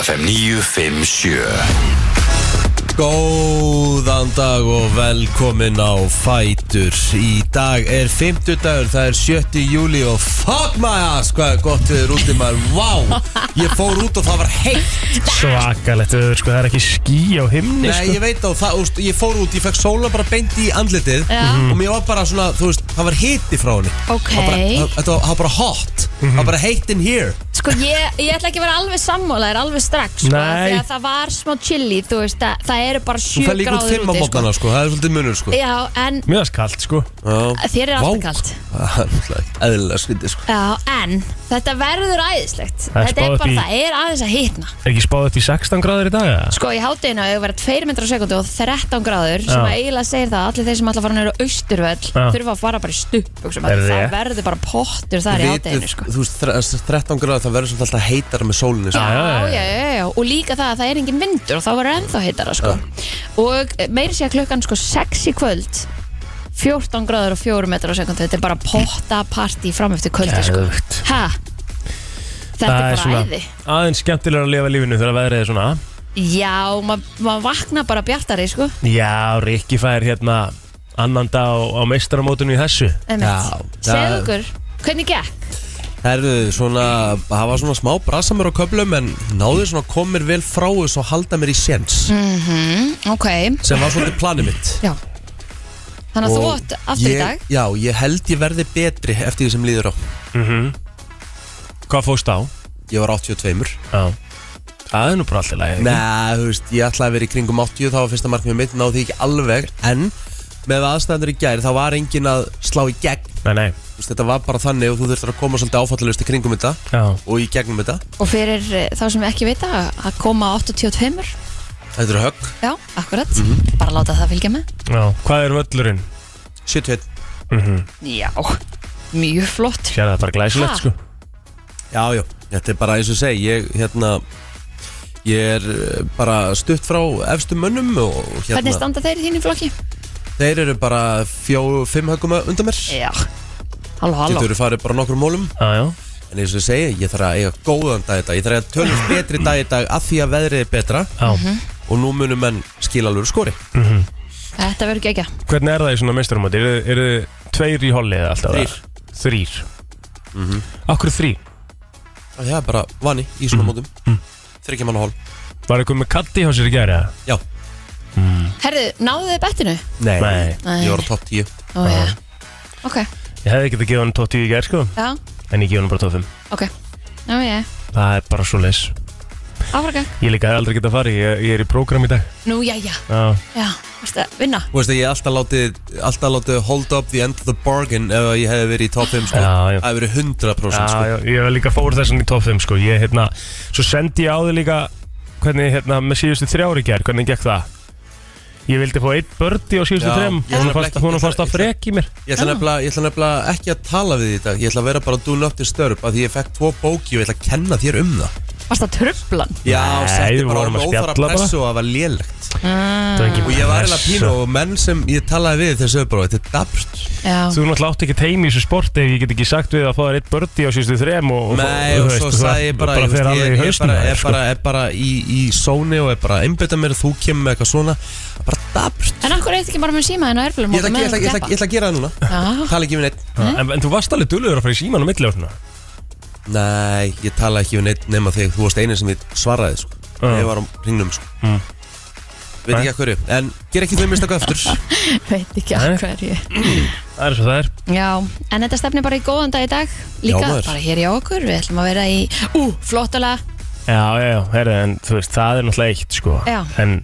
FM 957 Góðan dag og velkomin á Fætur Í dag er 50 dagur, það er 7. júli og fuck my ass hvað er gott við erum úti maður Vá, ég fór út og það var heitt Svakalegt öður, sko, það er ekki ský á himni, Nei, sko ég veit á það, úst, ég fór út, ég fekk sóla bara beint í andlitið Mhm. Já. Og mér var bara svona, þú veist, það var hiti frá henni Ok. Það var bara, það- þetta var, það var bara hot, það var bara heitt in here Sko ég, ég ætla ekki að vera alveg sammála þér alveg strax sko, Nei. Því að það var smá chilli Þú veist að það eru bara Þú 7 fær líka út gráður 5 á úti sko. mótana, sko, það er svolítið munur, sko Já en Mjög skallt, sko Já. þér er Vá. alltaf kalt Það er náttúrulega eðlilega skytið, sko Já en þetta verður æðislegt Það Þetta er spáð er upp bara í- það er aðeins að hitna Er ekki spáð upp í 16 gráður í dag, eða? Sko í hátteginu hefur verið 2 metrar á sekundu og 13 gráður sem Já. að eiginlega segir það að allir þeir sem ætla að fara nýra á austurvöll Já. þurfa að fara bara í stupp Er það rétt. verður bara pottur þar í Vitið, hátteginu sko. Þú veist, þre- 13 gráður, það verður svolítið alltaf heitar með sólinni sko. Já, já, já, já. já, já, og líka það að það er engin vindur og þá verður ennþá heitara sko. og meiri sé að klukkan sko 6 í kvöld 14 gráður og 4 metrar á sekundu þetta er bara potta partí fram eftir kvöldi sko. Geðveikt. ha, þetta Það er bara svona æði Aðeins skemmtilega að lifa lífinu þegar veðrið er svona já, ma- maður vaknar bara bjartari sko. Já, Rikki fær hérna annan dag á, á meistaramótinu í þessu Já, það- segðu okkur, hvernig gekk? Herðu, svona, það var svona smá brasa mér á köflum en náðu svona að koma mér vel frá þess og halda mér í séns Mhm, ok, sem var svolítið planið mitt já þannig að þú Og átt aftur ég, í dag Já, ég held ég verði betri eftir því sem líður á Mhm. Hvað fóst á? Ég var 82 Já Það er nú bara alltaf lægið Nei, þú veist, ég ætlaði að vera í kringum 80 þá var fyrsta markmið mitt, náðu því ekki alveg en með aðstæðandur í gær þá var engin að slá í gegn Nei, nei Þú veist, Þetta var bara þannig og þú þurftir að koma svolítið áfallalust í kringum þetta Já og í gegnum þetta og fyrir eh, þá sem ekki vita að koma 8.25 Þetta eru högg, já, akkurat, bara láta það fylgja með Já Hvað er völlurinn? Mhm. 71 Já, mjög flott Sér það er Ha? bara glæsilegt, sko Já, já, þetta er bara eins og segi Ég, hérna Ég er eh, bara stutt frá efstu mönnum og hérna Hvernig standa þeir í þínu flokki? Þeir eru bara fjó, fimm högum undan mér Já Halló, halló Getur eru farið bara nokkrum mólum Já, já En eins og segi, ég þarf að eiga góðan dag í dag Ég þarf að tölum betri dag í dag að því að veðrið er betra Já Mhm. Og nú munum menn skila alveg skori Mhm. Þetta verður ekki Hvernig er það í svona meistaramóti? Eru, eru tveir í holli eða alltaf? Þrír. Mhm. eða? Þrír Akkur þrír? Mhm. Það er bara vani í svona mótum Þryggja manna hól Var eitthvað með katti hjá sér í gæri? Já, Herðu, náðu þið bettinu? nei, Nei Ég var á topp 10 Ó, já Ok, Ég hefði ekki að gefa hann tótt í gæri sko já, En ég gefa hann bara tótt 5 ok Já, já, Það er bara svo leis áfraga Ég líka hef aldrei getað að fara Ég, ég er í prógram í dag Nú, já, já, Já já Varstu að vinna? Þú veist að ég hef alltaf látið, alltaf látið hold up the end of the bargain ef að ég hefði verið í top 5 sko. Já, já. Það hefði verið 100% Já, sko. já, ég hef líka fór þessan í topp 5 sko Ég hérna Svo sendi ég á þig líka Hvernig hérna með síðustu þrjári gær Hvernig gekk það? Ég vildi fá eitt bördi á síðustu Já, þrjám ég Hún ætla fannst ekki- hún fannst ég að ætla- frek í mér Ég ætla, nefnilega, ég ætla nefnilega ekki að tala við því í dag Ég ætla að vera bara do not disturb að Því ég fekk tvo bóki og ég ætla að kenna þér um það Varstu að tröflan? Já, Nei, setti við bara á vorum að mig óþara spjalla bara. pressu og það var lélegt Ah. Það var engin sko. Og ég var eiginlega pressa. pínu og menn sem ég talaði við þessu bara Þetta er dabrt Já Þú náttúrulega átt ekki teimi í þessu sport ef ég get ekki sagt við að fá þér eitt bördi á síðustu þrem og, og Nei, og þú svo veist, sagði ég bara bara Ég fer veist, alveg í ég- ég er hausnum bara- á þér, er sko. bara- er bara í í sóni og er bara einbytta mér Þú kemur með eitthvað svona Það er bara dabrt En akkur eitthvað ekki bara með síma þinn á erflum Ég ætla- ég ætla- ég ætla ég ætla að gera það núna Já, Tala ekki við neitt en, en þú varst alveg dulluður að fara í síman á milli á svona Nei, ég tala ekki við neitt nema þig Þú varst einin sem ég svaraði sko. Já. Ég var á hringnum sko. Mm. Veit ekki að hverju En ger ekki þau mistaka aftur veit ekki Nei. að hverju Það er svo það er Já, en þetta stefnir bara í góðan dag í dag Líka Já, maður. bara hér hjá okkur Við ætlum að vera í, ú, flottalega Já, já, já, herri, en þú veist, það er náttúrulega eitt sko Já. En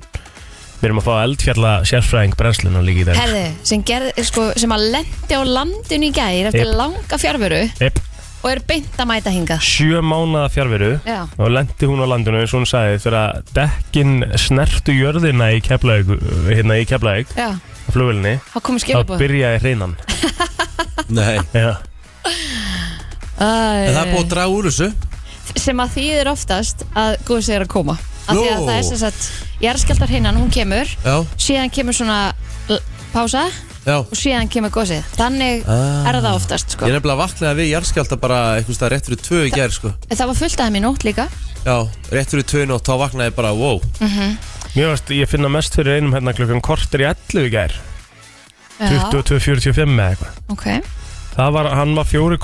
við erum að fá eldfjalla sérfræðing brennsluna líka í dag Herðu, sem, gerð, sko, sem að lendi á landinu í gæri eftir Yep. langa fjárveru Epp, og er beint að mæta hingað sjö mánaða fjárveru Já. Og lendi hún á landinu eins og hún sagði Þegar að dekkin snertu jörðina í Keflavík Hérna í Keflavík, Já, á flugvölinni þá komið Þá skilabóð byrjaði hreinan Nei Já, Eh. En það er búið að draga úr þessu sem að þýðir oftast að góðs er að koma af því að Nú. það er sem sagt jarðskjaldar hinnan, hún kemur Já síðan kemur svona l- pása Já. og síðan kemur gósið þannig Ah. er það oftast sko. Ég er nefnilega vaknaði við jarðskjálta bara einhvers stað rétt fyrir tvö í gerð sko. það var fullt af þeim í nótt líka Já, rétt fyrir tvö í nótt þá vaknaði ég bara, wow Mér varst, ég finna mest fyrir einum hérna klukkan kortir í 11 í gær Já, 22.45 eða eitthvað ok Það var, hann var 4,7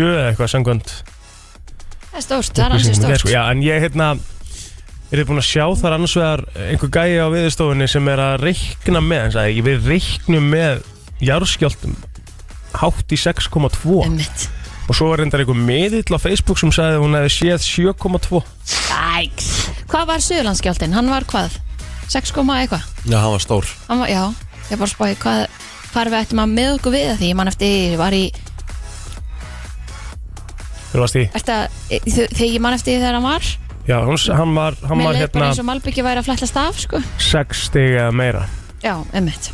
eða eitthvað sangvönd það er stórt, það er ansið stórt Já, en ég hérna Er þið búin að sjá þar annars vegar einhver gæi á viðstofunni sem er að reikna með hann sagði, ég við reiknum með jarðskjáltum hátt í 6,2 Einmitt. og svo var reyndar einhver miðill á Facebook sem sagði að hún hefði séð 7,2 Æks. hvað var Suðurlandsgjaldin, hann var hvað 6, komma eitthvað Já, hann var stór Hann var, já, ég bara spáði hvað hvar við ættum að með okkur við að því ég man eftir, ég var í Þú varst í? ertu að, e, þe- þegar ég man eftir þegar hann var Já, hún, s- hann var, hann mér var leið bara hérna eins og Malbyggi væri að flættast af sko. 6 stig eða meira já, emmitt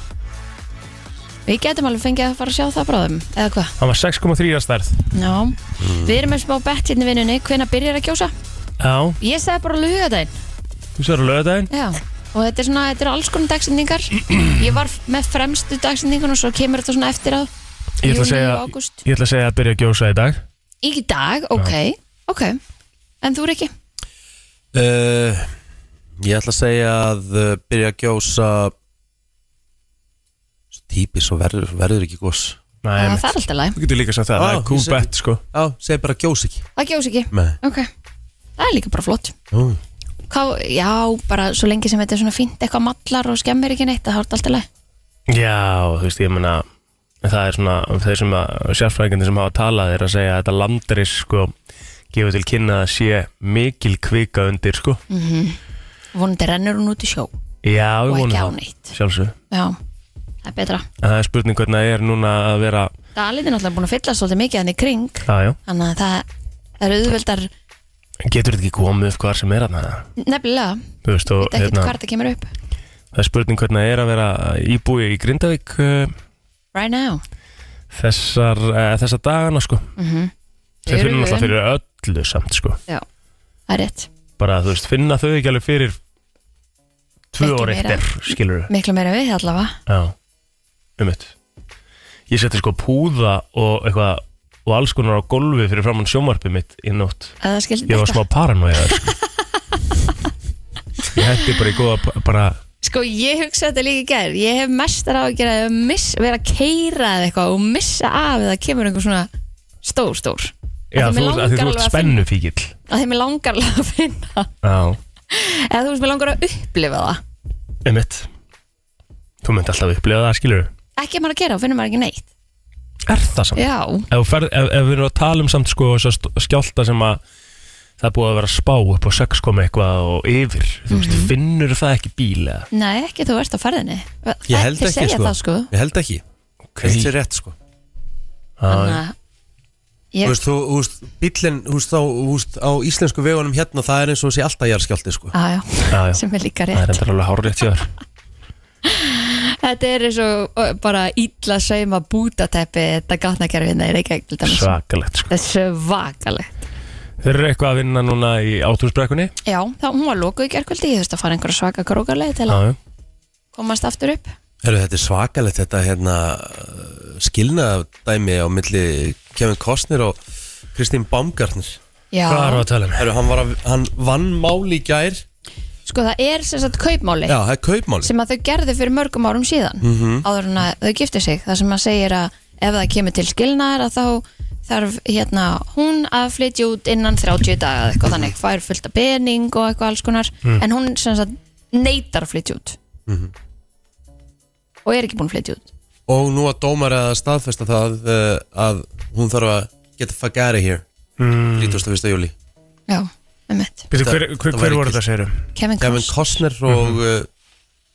við getum alveg fengið að fara að sjá það bráðum eða hvað, Hann var 6,3 að stærð já við erum með smá bett hérna í vinnunni, hvenær byrjar að kjósa Já, ég sagði bara lögadaginn þú sér að löða já, og þetta er svona, þetta eru alls konar dagsendingar ég var f- með fremstu dagsendingun og svo kemur þetta svona eftir á Ég ætla að júní segja- og ágúst Ég ætla að segja að byrja að gjósa í dag í dag, ok, ok en þú er ekki, uh, Ég ætla að segja að uh, byrja að gjósa Svo típis og verður, verður ekki gós Nei, Ah, það einmitt. er alltaf læg Þú getur líka sagt það, Á, það er Ah, ég cool segi- bet sko Já, segi bara gjós ekki það kjós ekki, Nei ok það er líka bara flott Ú. Hvað, já, bara svo lengi sem þetta er svona fínt eitthvað mallar og skemmir ekki neitt það hort alltaf leið Já, þú veist, ég meina Það er svona, þeir sem að sérfrækindi sem hafa talað er að segja að þetta landris sko gefur til kynna að sé mikil kvika undir sko Mhm. vonandi rennur hún út í sjó Já, við og vonum ekki á það neitt Sjálfsög, já, það er betra en það er spurning hvernig það er núna að vera Dalið er náttúrulega búin að fylla svolítið mikið hann í kring Já, já, þannig að það, það eru auðveldar getur þetta ekki komið upp hvar sem er að það nefnilega, Þú veist, og hérna, þetta er ekkert hvað það kemur upp það er spurning hvernig það er að vera íbúi í Grindavík uh, right now þessar, uh, þessar dagana sko Þau Mhm. Eru finnum alltaf vön. fyrir öllu samt sko já, það er rétt, bara þú veist, finna þau ekki alveg fyrir tvö Ekki ári meira. eftir, skilur miklu meira við allavega já, um eitt ég seti sko púða og eitthvað og alls konar á gólfi fyrir framann sjónvarpið mitt í nótt, að það skildi ég var smá paranoið sko. ég hætti bara í góða bara, Sko ég hugsa þetta líka í gerð Ég hef mestar á að gera að miss, vera að keira eða eitthvað og missa af eða kemur einhver svona stór, stór já, Af því mig þú, ert- af langar því þú alveg ert að finna- spennu fíkil að þeim er langar alveg að finna já, eða þú veist, mér langar að upplifa það um eitt þú myndi alltaf upplifa það, skilur ekki ef maður að gera og finnur maður ekki neitt er það samt? Já, Ef, þú ferð, ef, ef við erum að tala um samt sko þessa st- skjálta sem að það er búið að vera að spá upp á 6 koma eitthvað og yfir, þú veist, Mhm. finnur það ekki bíl eða? nei, ekki þú ert á ferðinni Ég held ekki segja sko. það sko Ég held ekki Ok. Þetta er rétt sko Ah, Þannig að Þú ég, veist, þú, þú veist, bíllinn, þú veist, þá, þú veist, á íslensku vegunum hérna, það er eins og sé alltaf jarðskjálti, sko. á, já, Ah, Já, já. Ah, sem er líka Það er rétt endur alveg hárétt hjá þér Þetta er eins og ö, bara ítla sauma bútatæpi þetta hérna gatnakerfið er ekki ekki þetta Svakalegt sko er svakalegt Þeir eru eitthvað að vinna núna í átúrsbrekkunni Já, þá hún var lokuð í gerkvöldi ég þurfti að fara einhverja svaka krókarleið til að Já, já komast aftur upp Herru, þetta er svakalegt, þetta hérna skilnaðdæmi á milli Kevin Costner og Kristín Baumgartner. Já, Hvað erum við að tala um? Herru, hann, var að, hann vann máli í gær. sko það er sem sagt kaupmáli Já, það er kaupmáli. Mhm. sem að þau gerðu fyrir mörgum árum síðan -hmm. áður en að þau giftu sig það sem að segir að ef það kemur til skilnaðar að þá þarf hérna hún að flytja út innan 30 daga eða eitthvað þannig, fær fullt af pening og eitthvað alls konar Mhm. en hún sem sagt neytar að flytja út og er ekki búin að flytja út Og nú að dómar að staðfesta það uh, að hún þarf að get the fuck out of here mm. 31. júli. já, með mitt Býtu, hver, hver, Þetta- þetta hver væri voru ekki- þetta Mhm. segiru? Kevin Kevin Costner Costner og uh,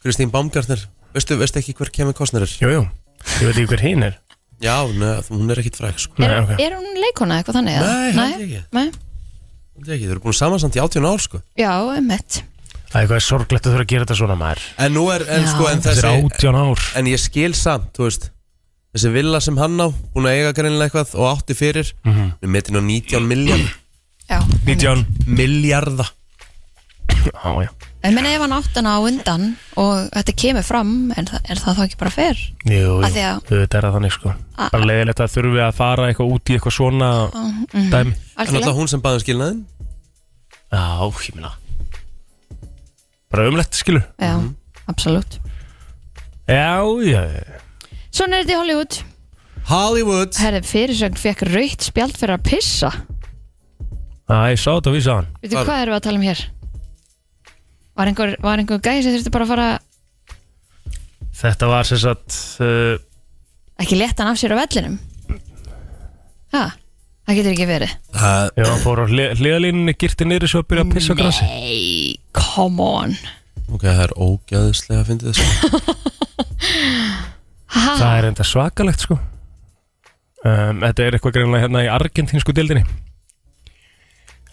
Kristín Baumgartner. Veistu, veistu ekki hver Kevin Costner er? Jú, jú Ég veit ekki hver hinn er Já, neð, hún er ekkit fræk, sko. Nei, er, ok er hún leikona eitthvað þannig? eða? Nei, held ég ekki. nei, Þetta er ekki, Þau eru búin samansamt í 18 ár, sko. já, með mitt Það er eitthvað sorglegt að þurfa að gera þetta svona maður En nú er, en Já. sko, en Þetta þessi, er átján ár en ég skil samt, þú veist þessi villa sem hann á, búin að eiga greinilega eitthvað og átti fyrir mm -hmm. Mhm. við metin á 19 miljard já, einmitt. 19 miljarda Já, já Ég meina ef hann átt hana á undan og þetta kemur fram, en það, er það þá ekki bara fer? Jú, jú, Af því að- þetta er það þannig sko A- Bara leiðilegt að þurfi að fara eitthvað út í eitthvað svona mhm. dæmi En alltaf hún sem baði um skilnaðin Já, ég minna Bara umlegt skilur Já, Mhm. absolutt. Já, já, já. Svona er þetta í Hollywood. Hollywood Herði, fyrirsögn fekk rautt spjald fyrir að pissa. Æ, ég sá þetta að vísa hann Veitu, Var- hvað erum við að tala um hér? Var einhver, var einhver gæði sem þurfti bara að fara Þetta var sem sagt uh, ekki leta hann af sér á vellinum? Ha, það getur ekki verið. Það Já, hann fór á hlið- hliðalínunni girti niður svo að byrja að pissa á grassi Nei, come on. Ok, það er ógæðislega að fyndi þessu Ha, Það er enda svakalegt sko um, Þetta er eitthvað greinlega hérna í argentínsku dildinni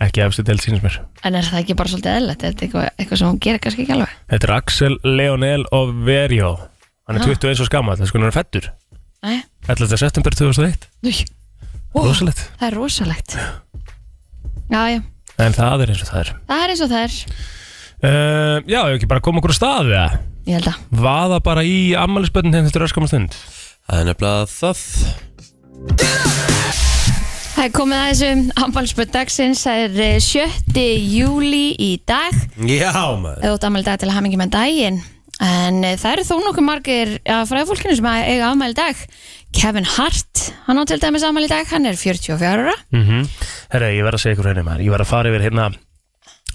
Ekki efstu dild sínins mér en er það ekki bara svolítið eðlætt? Er þetta eitthvað, eitthvað sem hún gerir kannski ekki alveg? Þetta er Axel Leonel Overio Hann er 21 og skammal, það er sko hann er fættur Nei, 11. september 2001, Új, ó, rosalegt það er rosalegt. Já, já, En það er eins og það er það er eins og það er. um, Já, ef ekki bara koma okkur á staði það Ég held að. Vaða bara í ammælisböndin þegar þetta er öskamma stund Það er nefnilega það Það er komið að þessu ambalspöld dagsins. Það er eh, 7. júli í dag. Já, maður eða út afmæli í dag til að hamingi með daginn en eh, það eru þó nokkuð margir að fræða fólkinu sem að eiga afmæli í dag Kevin Hart, hann á til dæmis afmæli í dag hann er 44 ára mm -hmm. Herra, ég verð að segja ykkur henni maður Ég verð að fara yfir hérna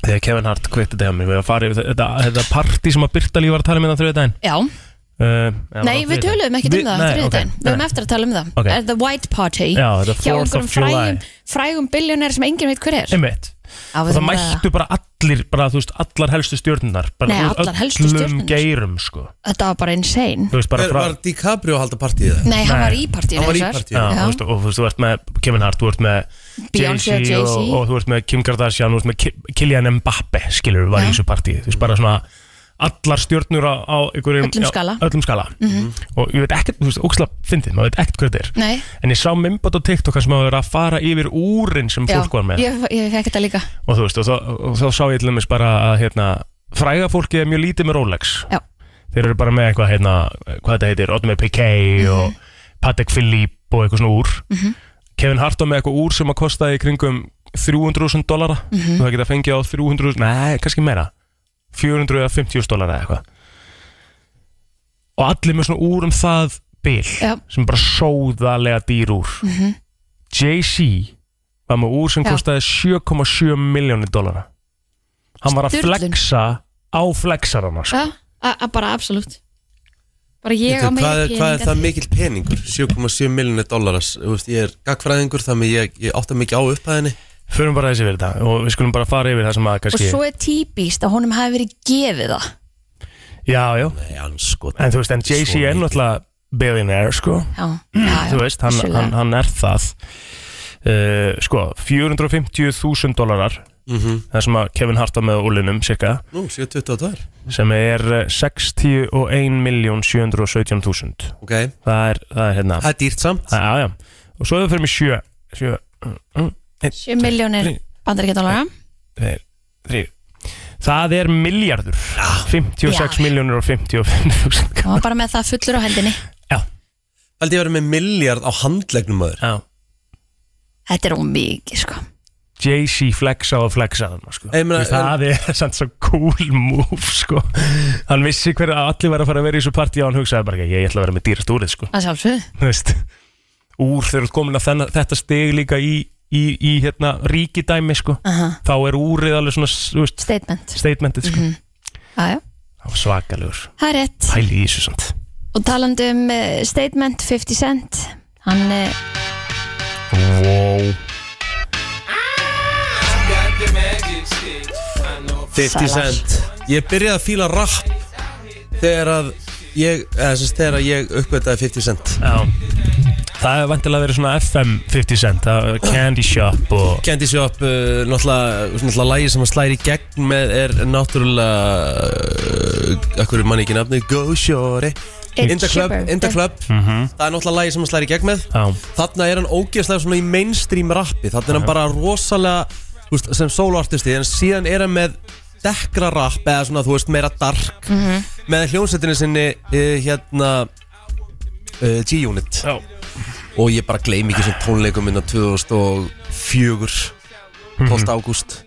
Þegar Kevin Hart kveikti þetta hjá mér Ég verð að fara yfir þetta, þetta partí sem að Byrta líf var að tala um með það þrjóðu daginn já, uh, nei við töluðum ekki um það nei, þriðið daginn, ok, við höfum nei. eftir að tala um það Ok. er The White Party Já, the 4th of July. frægum, frægum biljónir sem enginn veit hver er Einmitt. Já, Og við það þurfum að- mættu bara allir bara, þú veist, allar helstu stjórnunar bara, Nei, þú veist, allar helstu öllum stjörnurnar. geirum sko. þetta var bara insane Þú veist, bara Hver frá var DiCaprio að halda partíð það? nei, hann Nei. var í partíinu Hann var í hins vegar. partíinu. Já, þú veist, og þú veist, þú ert með Kevin Hart, þú ert með Beyoncé og Jay-Z. og, og þú ert með Kim Kardashian, þú ert með Ki- Kylian Mbappe, skilur við, var í Já. þessu partíi þú veist, bara svona allar stjórnur á, á einhverjum, Öllum já, skala. öllum skala. Mhm. Mhm. og ég veit ekkert, þú veist, óksla fyndið, maður veit ekkert hvað þetta er Nei. en ég sá minnbátt á TikTok þar sem maður verið að fara yfir úrin sem já, fólk var með ég, ég fekk þetta líka og þú veist, og þá, og þá sá ég til dæmis bara að hérna, fræga fólki er mjög lítið með Rolex já, þeir eru bara með eitthvað hérna, hvað þetta heitir, Otmar Piquet Mhm. og Patek Philippe og eitthvað svona úr Kevin Hart var með eitthvað úr sem að kostaði í kringum 300.000 dollara Mhm. og það geta fengið á 300, nei, kannski meira 450.000 dollara eða eitthvað og allir með svona úr um það bil Já. sem er bara sóðalega dýr úr Mm-hmm. Jay-Z var með úr sem Já. kostaði 7,7 miljónir dollara hann var að Sturlun. flexa á flexarana sko. já, a- a- bara absolutt bara ég á Veitu, mig Hvað er, hvað er það mikill peningur? 7,7 miljonir dollaras veist, Ég er gagfræðingur þannig ég, ég átta mikið á upphæðinni Förum bara þessi yfir þetta og við skulum bara fara yfir það sem að og kannski svo er típist að honum hafi verið gefið það Já, já, Nei, anskot en þú veist, en Jay-Z Svo er mikið. náttúrulega billionaire, sko já, já, já, Þú veist, hann, vissulega. hann, hann er það uh, Sko, 450.000 dólarar mm -hmm. Það sem að Kevin Hart var með á úlinum, cirka Nú, 7,22 Sem er eh, 61.717.000 Ok, Það er, það er hérna það er dýrt samt Já, já, og svo ef við fyrir mig sjö Sjö, 7 miljónir Þrír. bandaríkjadólara tveir, þrýr Það er miljardur 56 Já. miljónur og 55.000 hann var bara með það fullur á hendinni Já, Haldi ég verið með miljard á handlegnum maður já þetta er ómikið sko Jay-Z flexa og flexa þarna sko. Ég meina, Þú veist, það er sann svo cool move sko. hann vissi hver að allir var að fara að vera í þessu partí og hann hugsaði bara ekki, ég ætla að vera með dýrast úrið sko. að sjálfsög Þú veist, úr þegar þú ert komin að þenna, þetta stig líka í, í, í hérna, ríkidæmi sko. Aha. þá er úrið alveg svona þú veist, statement statementið sko. já, já. mm. svakalegur, það er rétt pæli í þessu sant. og talandi um eh, statement 50 cent hann eh, wow 50 cent Ég byrjaði að fíla rapp Þegar að ég, eða sem sagt, þegar að ég uppgötaði 50 cent Já. það er vantilega verið svona FM 50 cent, það er Candy Shop og Candy Shop, uh, náttúrulega, náttúrulega lægi sem að slæri í gegn með er náttúrulega uh, akkur manni ekki nafni, Go Shore Ed In the Club, Sheeran. in the club. Mhm. það er náttúrulega lægi sem hann slæri í gegn með Já. þarna er hann ógeðslega svona í mainstream rappi þarna er hann bara rosalega þú veist, sem soloartisti, en síðan er hann með dekkra rap eða svona, þú veist, meira dark Mhm, með hljómsveitinni sinni uh, hérna uh, G-Unit Já, og ég bara gleym ekki sem tónleikum hérna minna 2004 Mhm. 12. ágúst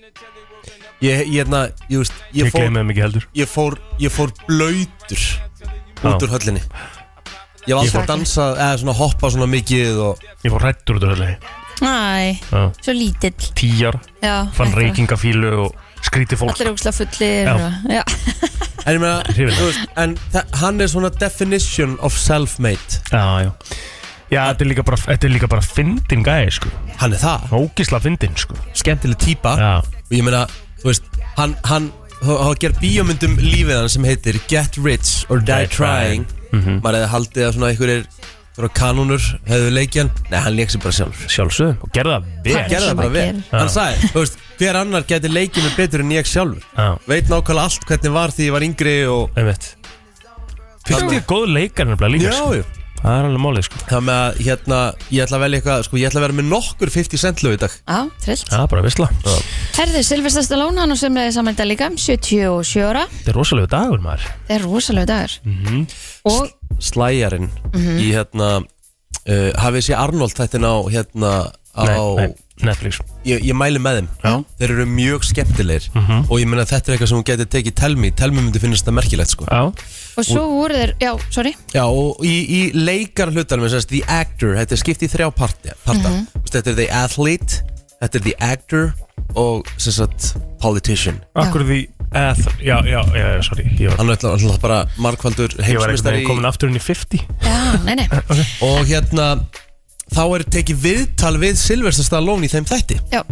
ég, ég, hérna, ég, veist, ég, ég fór, gleymi þeim ekki heldur ég fór ég fór blöytur Já. út úr höllinni ég var alltaf að dansa eða svona hoppa svona mikið og Ég fór rættur út af þessu Æ, svo lítill Tíjar, Já, fann þetta- reykingafílu og skríti fólk Allir er ógslag fullir Já. og, já. en ég meina, Hrifinn. þú veist, en þa- hann er svona definition of self-made Já, já Já, þetta er líka bara, þetta er líka bara fyndin gæði, sko hann er það, Ógisla fyndin, sko skemmtileg típa Já, og ég meina, þú veist, hann hann hafa gerð bíómyndum lífið hann sem heitir Get Rich or Die, Die Trying. Trying, Mhm. maður hefði haldið að svona einhverjir svona kanúnur hefðu leikjan, nei hann leik sér bara sjálfur sjálfsögum Og gerði það vel Hann gerði það sem bara að vel, gera. hann sagði þú veist, hver annar geti leikið mig betur en ég sjálfur Já, veit nákvæmlega allt hvernig var því ég var yngri og einmitt Fyrst Þannig- ég góð leikar nefnilega líka, sko jájú Það er alveg málið, sko Það með að hérna, ég ætla að velja eitthvað, sko, ég ætla að vera með nokkur 50 cent lög í dag Já, trillt Það er bara vissla Herðu, Silvestar Stallone, hann og semlega samælda líka 77 ára, Þetta er rosalega dagur, maður það er rosalega dagur Mhm. Og, Mhm. Slæjarinn í hérna, uh, hafið sé Arnold þættin á hérna á, Nei, nei, Netflix Ég, ég mæli með þeim, Já. þeir eru mjög skemmtilegir Mhm. og ég meina þetta er eitthvað sem hún geti tekið telmi, telmi myndi finnast það merkilegt sko Já, og svo voru þeir, já, sorry Já og í, í leikar hlutanum þess að The Actor, þetta er skipt í þrjá parti, parta Mhm. Þú veist, Þetta er The Athlete, þetta er The Actor og sem sagt Politician akkur því eð, Já, já, já, já, sorry Ég var, Hann er alltaf- alltaf bara markvaldur ég var einhvern heimsmyndstari veginn komin aftur inn í 50 Já, nei, nei, og hérna þá er tekið viðtal við Silvestar Stallone í þeim þætti já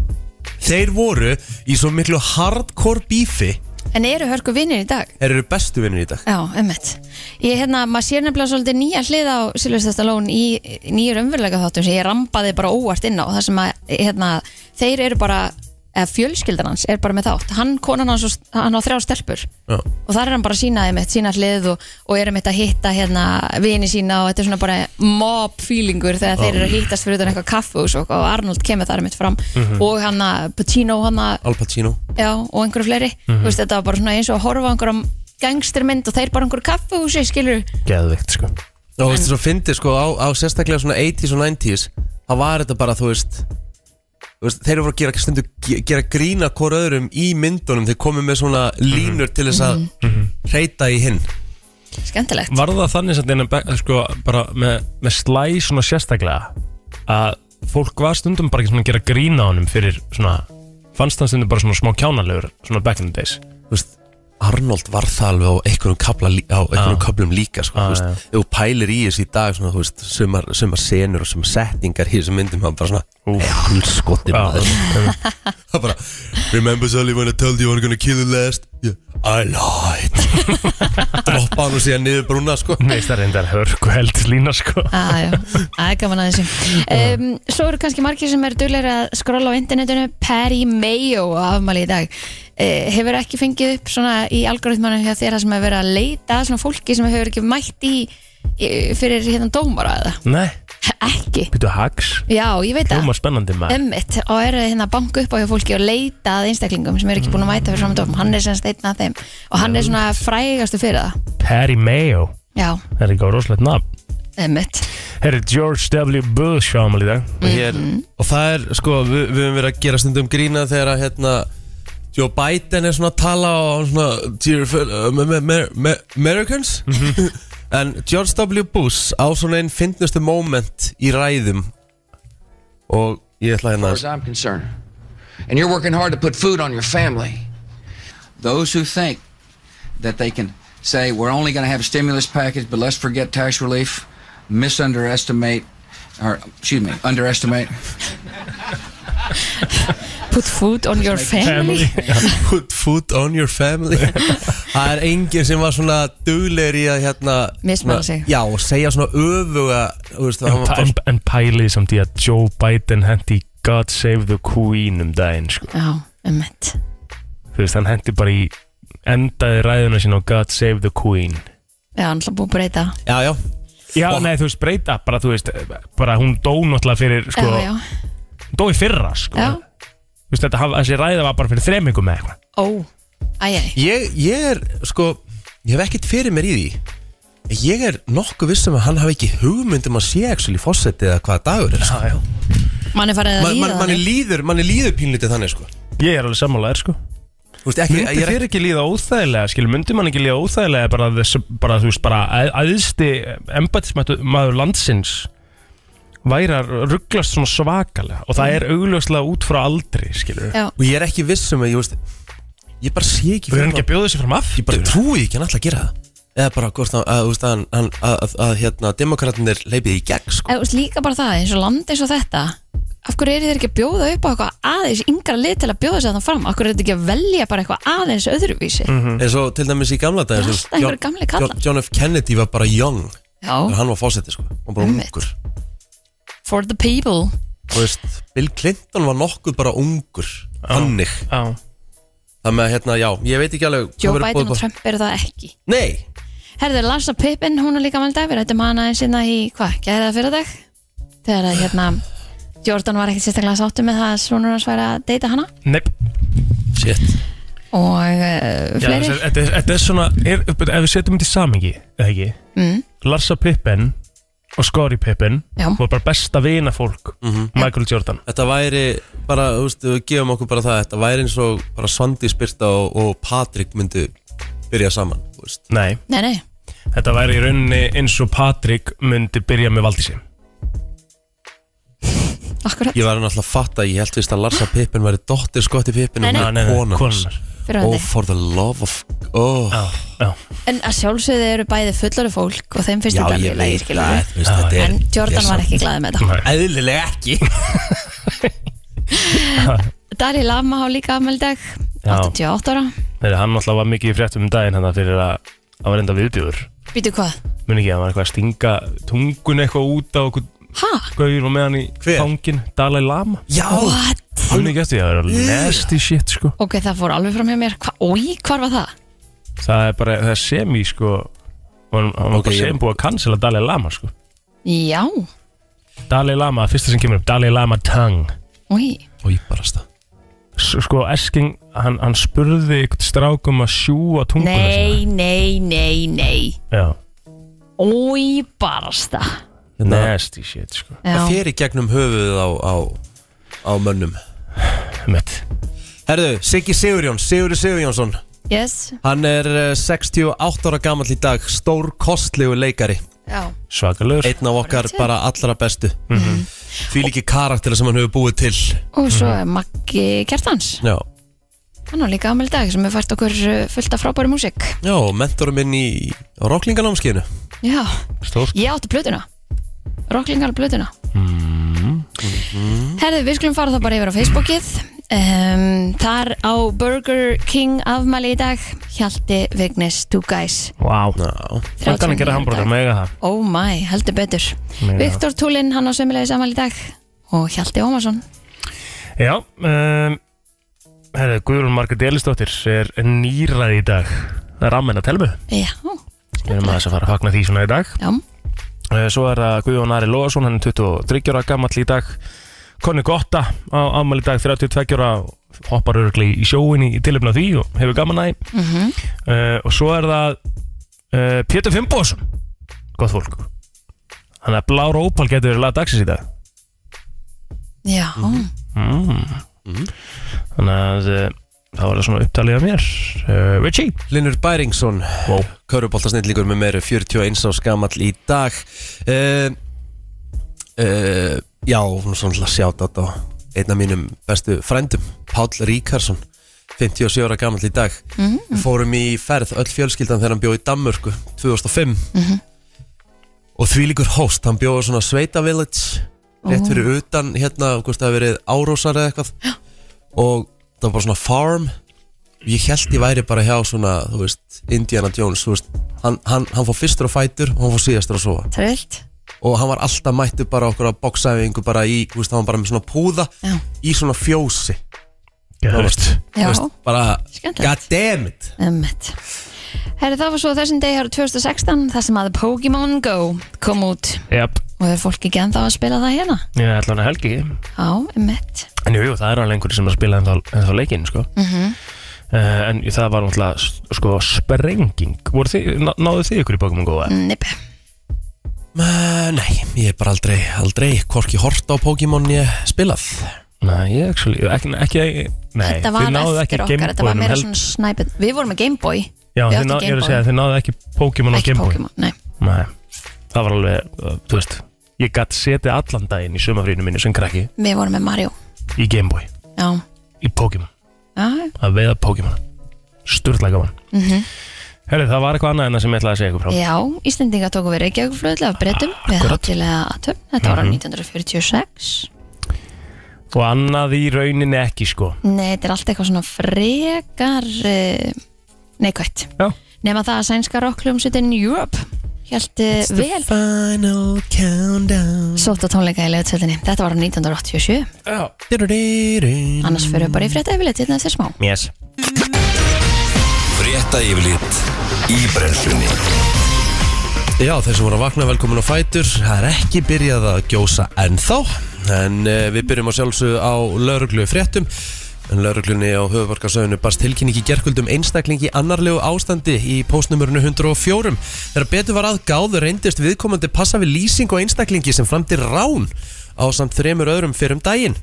Þeir voru í svo miklu hardcore bífi, En eru hörku vinnir í dag? þeir eru bestu vinnir í dag Já, ummitt Ég, hérna, maður sér nefnilega svolítið nýja hlið á Silvestar Stallone í í nýjur umverulega þáttum sem ég rambaði bara óvart inn á það sem að, hérna, þeir eru bara eða fjölskyldan hans er bara með þátt hann, konan hans, og- hann á þrjá stelpur Já. og þar er hann bara að sína einmitt, sína hlið og, og er einmitt að hitta hérna vini sína og þetta er svona bara mob feelingur þegar þeir eru að hittast fyrir utan eitthvað kaffús og, og Arnold kemur þar einmitt fram og hann að Pacino hann að Al Pacino já, og einhverju fleiri Þú veist, þetta var bara svona eins og að horfa á einhverjum gangstermynd og þeir bara einhverju kaffúsi skilur Geðveikt, sko Já, þú veist, svo fyndið sko á, á sérstaklega svona 80s og 90s þá var þetta bara, þú veist þú veist, þeir eru voru að gera, stundu, gera grína hvort öðrum í myndunum þeir komu með svona línur til þess að Mhm. reyta í hinn skemmtilegt Var það þannig sem þetta sko, bara með, með slæ svona sérstaklega að fólk var stundum bara ekki svona að gera grína á honum fyrir svona fannst hann stundum bara svona smá kjánalegur svona back in the days þú veist, Arnold var það alveg á einhverjum, kapla, lí- á einhverjum köplum líka sko, Ah. Já, þú veist, ef þú pælir í þessu í dag svona, þú veist, sumar, sumar senur og sumar setningar í þessum myndum, hann bara svona Já, hulskottir maður Það bara, remember Sally when I told you I'm gonna kill you last yeah, I lied droppa hann og síðan niður brúna sko neist það reyndar hörku held lína sko Ah, já. Það er gaman að þessu um, Svo eru kannski margir sem eru duglegri að skrolla á internetinu Perry Mayo á afmæli í dag uh, Hefur ekki fengið upp svona í algoritmanum hjá þér það sem hefur verið að leita að svona fólki sem hefur ekki mætt í, í fyrir hérna dómara eða Nei, Ekki býtu hags Já, ég veit að Hljóma spennandi maður Ömmit og eru hérna að banka upp á hjá fólki og leita að einstaklingum sem eru ekki búin að mæta fyrir fram að dómum hann er semst einn af þeim og hann er svona frægastu fyrir það Perry Mayo, Já, það er ekki á rosalegt nafn ömmit Herri George W. Bush ámali í dag og, hér, Mhm. og það er sko, við, við höfum verið að gera stundum grína þegar að hérna Joe Biden er svona að tala og hann svona dear fel- uh, me- me- me- me- Americans en George W. Bush á svona einn fyndnustu moment í ræðum og ég ætla hérna far as I'm concerned. And you're working hard to put food on your family. Those who think that they can say we're only going to have a stimulus package, but let's forget tax relief, misunderestimate, or excuse me, underestimate. Put food on your family put food on your family það er enginn sem var svona duglegur í að hérna Mismæla svona- sig. já, og segja svona öfuga þú veist, hann En, var pa- en, bara- en pælið samt í að Joe Biden hendi God Save the Queen um daginn sko. Já, ömmit Þú veist, hann hendi bara í endaði ræðuna sín á God Save the Queen Já, hann ætla búið að breyta já, já, Já, Og- nei, þú veist, breyta bara, þú veist, bara hún dó náttúrulega fyrir, sko, Já, já, hún dó í fyrra, sko já Þú veist, þetta, haf- þessi ræða var bara fyrir þremingum eða eitthvað Ó, Æjæj, ég, ég er, sko, ég hef ekkert fyrir mér í því En Ég er nokkuð vissum að hann hafi ekki hugmynd um að sé actually fósetti eða hvaða dagur er sko. Já, já. mann er farið að man, man, líða manni þannig líður, manni líður pínlítið þannig sko. Ég er alveg sammálaðir sko Þú veist, ekki, Myndi ég er þér ekki líða óþægilega, skilur, myndi mann ekki líða óþægilega bara, þess, bara þú veist, bara að- æðsti embatismæður landsins væri að rugglast svona svakalega og það er augljóslega út frá aldri, skilur Mm. Já, og ég er ekki viss um að ég veist ég bara sé ekki Við erum mér- ekki að bjóða þessi fram ég bara aftur trúi ekki að hann ætla að gera það eða bara hvort hann- að, þú veist, að, hann- hann- að, að, að hérna, demokratinir leipið í gegn sko. eða þú veist, líka bara það, eins og land eins og þetta Af hverju eru þeir ekki að bjóða upp á eitthvað aðeins yngra lið til að bjóða sér þannig fram? Af hverju eru þeir ekki að velja bara eitthvað aðeins öðruvísi? Mhm. eins og til dæmis í gamla dag Það er alltaf einhverjir gamlir kallar. John F. Kennedy var bara young þegar Já, hann var fósetti sko. hann bara Einmitt. ungur for the people Þú veist, Bill Clinton var nokkuð bara ungur hannig Já, það með hérna, já, ég veit ekki alveg hvað Joe verður Biden boðið og upp á- Trump eru það ekki nei, Herðu, Larsa Pippin, hún er líka mæli dag Við rættum hana eins hérna í, hvað, gæða fyrir dag Þegar að hérna Jordan var ekkert sérstaklega sáttu með það að Svonur hans væri að deyta hana neip shit Og uh, Já, fleiri þessi- Þetta er- þetta er svona, er, ef við setjum þetta í samingi, eða ekki mm, Larsa Pippen og Scottie Pippen Já. voru bara besta vina fólk Mhm. Michael Jordan þetta væri bara, þú veist, við gefum okkur bara það þetta væri eins og bara Svandi Spyrta og, og Patrik myndu byrja saman, þú veist Nei, Nei, nei, þetta væri í rauninni eins og Patrick myndi byrja með Valdísi akkurat Ég var náttúrulega að fatta, ég held vist að Larsa Pippin væri dóttir Scotti Pippin Nei, og nei. hún er konan hans. konar fyrir Oh hann for the love of oh. Já, já En að sjálfsögðu eru bæði fullari fólk Og þeim finnst Já, þetta ég alveg lægir veit skilur það, við. þú veist, þetta er- En þetta er Jordan var samt- ekki glaðið með þetta Nei. Eðlilega ekki Dalí Lama á líka afmæli í dag Já. 88 ára Þegar hann alltaf var mikið í fréttum um daginn hann fyrir að hann var enda viðbjóður Býtu hvað? Mun ekki, hann var eitthvað að stinga tungun eitthvað út á okkur Ha? gauðir og með hann í Hver? fangin Dalai Lama Já, What? Mun ekki eftir því að það er nasty shit sko Ok, það fór alveg fram hjá mér Hva? Ói, hvar var það? Það er bara, það er semi sko Hann hann var Ok, bara ég- semi búið að cancela Dalai Lama sko Já, Dalai Lama, fyrsta sem kemur upp, Dalai Lama Tang ói og ég bara stað S- sko Esking, hann, hann spurði eitthvað strákum að sjúa tunguna Nei, nei, nei, nei sína Já, Ói, barasta nasty shit sko Já, Hérna- Það fer í gegnum höfuðið á, á, á mönnum Mitt. Herðu, Siggi Sigurjón, Sigurður Sigurjónsson yes Hann er eh, 68 ára gamall í dag Stór kostlegu leikari Já, Svakalur Mhm. Einn af okkar Rétt. bara allra bestu mm -hmm. Fýlíki karakter sem hann hefur búið til og svo er Maggi Kjartans Já, Hann á líka ammæli dag sem hefur fært okkur uh, fullt af frábæri músík Já mentorum minn í rocklinganámskinu Já, Stórt ég átti plötuna Rocklingal plötuna Mm. Herði, við skulum fara þá bara yfir á Facebookið um, Þar á Burger King afmæli í dag Hjalti Vignis Two Guys Vá Já, Hvað kann að 39 gera hambúrgar dag. með eiga það? Oh my, heldur betur Meina. Viktor Túlin, hann á sömulegis afmæli í dag Og Hjalti Ómarsson Já um, Herðu, Guðrún Margrét Elisdóttir er nýrað í dag Það er ammenn að telmu Já, Við erum aðeins að fara að fagna því svona í dag já, Eh, Svo er það Guðjón Ari Lóðarsson, hann er 23 ára gamall í dag Konni Gotta á afmæli í dag 32 ára hoppar örgli í sjóin í tilöfna því og hefur gaman aði mm Mhm. og svo er það uh, Pétur Fimboðsson gott fólk Þannig að Blár Ópal getur verið laga dagsins í dag já mm. Þannig að uh, það var það svona upptalið af mér uh, Richie Linur Bæringsson wow. Köruboltasnillíkur með meiru 41 á skamall í dag uh, uh, Já, hún er svona sjátt á einn af mínum bestu frændum Páll Ríkarsson 57 ára gamall í dag Við fórum í ferð öll fjölskyldan þegar hann bjóð í Danmörku 2005 Mm-hmm. og þvílíkur hóst, hann bjóð svona Sveita Village rétt fyrir utan hérna, hvort það hafi verið árósar eða eitthvað og það var bara svona farm ég held ég væri bara hjá svona þú veist, Indiana Jones þú veist, hann, hann, hann fór fyrstur á fætur og hann fór síðastur að sofa Trillt og hann var alltaf mættur bara okkur á boksæfingu bara í, þú veist, hann var bara með svona púða Já. í svona fjósi Geðveikt. Þú Já, bara, Skemmtilegt. god damn it ummitt Herri, það var svo þessum degi árið 2016 þar sem að Pokémon Go kom út Jep, og hefur fólk ekki ennþá að spila það hérna ég er allan að helgi Já, ummitt En jú, jú, það er alveg einhverju sem að spila ennþá, ennþá leikinn, sko mm uh, en það var náttúrulega s- sko sprenging Voru þið, ná, náðu þið ykkur í Pokémon Go? eða? Nipi. Uh, nei, ég er bara aldrei, aldrei Hvorki hort á Pokémon ég spilað Nei, ég actually, ekki, ekki nei, Þetta þið var náðuð ekki eftir okkar, þetta var Gameboynum meira held- svona snæpin Við vorum með Gameboy Já, við þið áttum ná, ég er að Gameboy. segja, þið náðu ekki Pokémon á Ekki Gameboy Pokémon, nei Nei, það var alveg, uh, þú veist Ég gætt setið allan daginn í sumafrínu minni sem krakki Við vorum með Mario í Gameboy, Já, í Pokémon já, að veiða Pokémon Sturla gaman mm Herri, það var eitthvað annað en það sem ég ætlaði að segja ykkur frá já Íslendinga tóku við Reykjavíkflöðlega af breytum við Akkurat. hátilega aðtöfn, þetta var á 1946 og annað í rauninni ekki sko Nei, þetta er allt eitthvað svona frekar uh, neikvætt Já, Nefna það að sænska rockljómsutin Europe Hjælt vel Final countdown sótt á tónleika í leiðutöldinni Þetta var á 1987 já Annars Annars fyrir við bara í frétta yfirleitt hérna eftir smá Yes. Frétta yfirlit í brennslunni Já, þeir sem voru að vakna velkomin á Fætur Það er ekki byrjað að gjósa ennþá En uh, við byrjum á sjálfsög á lauruglu fréttum En lauruglunni á höfuborgarsöðinu barst tilkynning í gerkvöldum einstakling í annarlegu ástandi í postnumurinu 104 Þegar betur var að gáðu reyndist viðkomandi passa við lýsing á einstaklingi sem framdi rán á samt þremur öðrum fyrir um daginn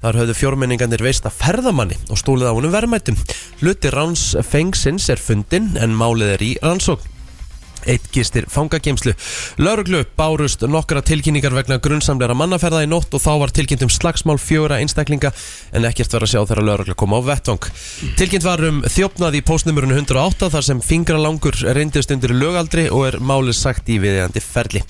Þar höfðu fjórmenningarnir veist að ferðamanni og stúlið á honum verðmættum. Hluti ráns fengsins er fundin en málið er í rannsókn eitt gistir fangageimslu. Lörglu bárust nokkra tilkynningar vegna grunnsamleira mannaferða í nótt og þá var tilkynnt um slagsmál fjóra einstaklinga en ekkert var að sjá þegar lörglu kom á vettvang. Tilkynnt var um þjófnað í postnumurinn 108 þar sem fingralangur reyndist undir lögaldri og er málið sagt í viðjandi ferli.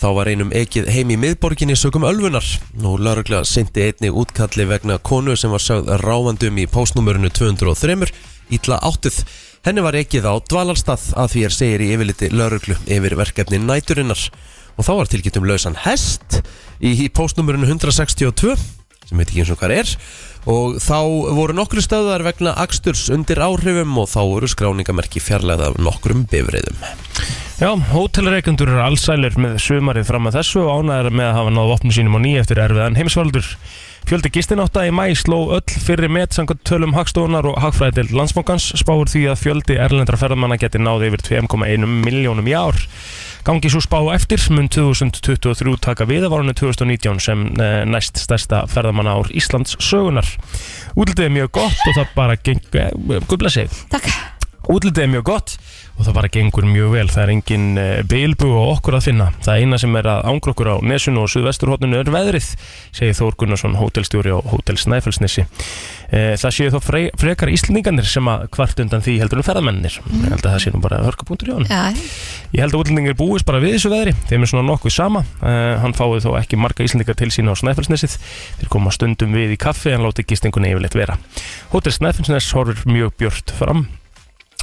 Þá var einum ekið heim í miðborginni sögum ölfunar. Nú lörgla syndi einni útkalli vegna konu sem var sögð ráfandum í postnumurinu 203 ítla áttuð. Henni var ekið á dvalarstað að því er segir í yfirliti lauruglu yfir verkefni næturinnar og þá var tilkynnt um lausan hest í í póstnúmerinu 162 sem veit ekki eins og hvað er og þá voru nokkru stöðar vegna aksturs undir áhrifum og þá voru skráningamerki fjarlæða af nokkrum bifreiðum. Já, hótelreikendur eru allsælir með sumarið fram að þessu og ánæður með að hafa náð vopnum sínum á nýja eftir erfiðan heimsvaldur. Fjöldi gistinátta í mæ sló öll fyrir met samkvæmt tölum hagstofunar og hagfræðild landsmókans spáur því að fjöldi erlendra ferðamanna geti náði yfir 2,1 miljónum í ár. Gangi svo spá eftir mun 2023 taka við af árunni 2019 sem eh, næst stærsta ferðamanna ár Íslands sögunar. Útlitið er mjög gott og það bara gengur, eh, guðbla sig, Takk Útlitið er mjög gott og það bara gengur mjög vel. Það er engin uh, bilbu og okkur að finna. Það eina sem er að ángra okkur á nesunu og suðvesturhóttinu er veðrið, segir Þór Gunnarsson, hótelstjóri á Hótel Snæfellsnesi. Uh, það séu þó fre frekar íslendingarnir sem að hvart undan því heldur um ferðamennir. Ég held að það sé nú bara hörkapunktur í honum. Já, Ég held að útlendingar búist bara við þessu veðri Þeim er svona nokkuð sama uh, Hann fáið þó ekki marga Íslendingar til sína á Snæfellsnesið Þeir koma stundum við í kaffi En láti gistingunni yfirleitt vera Hótel Snæfellsnes horfur mjög björt fram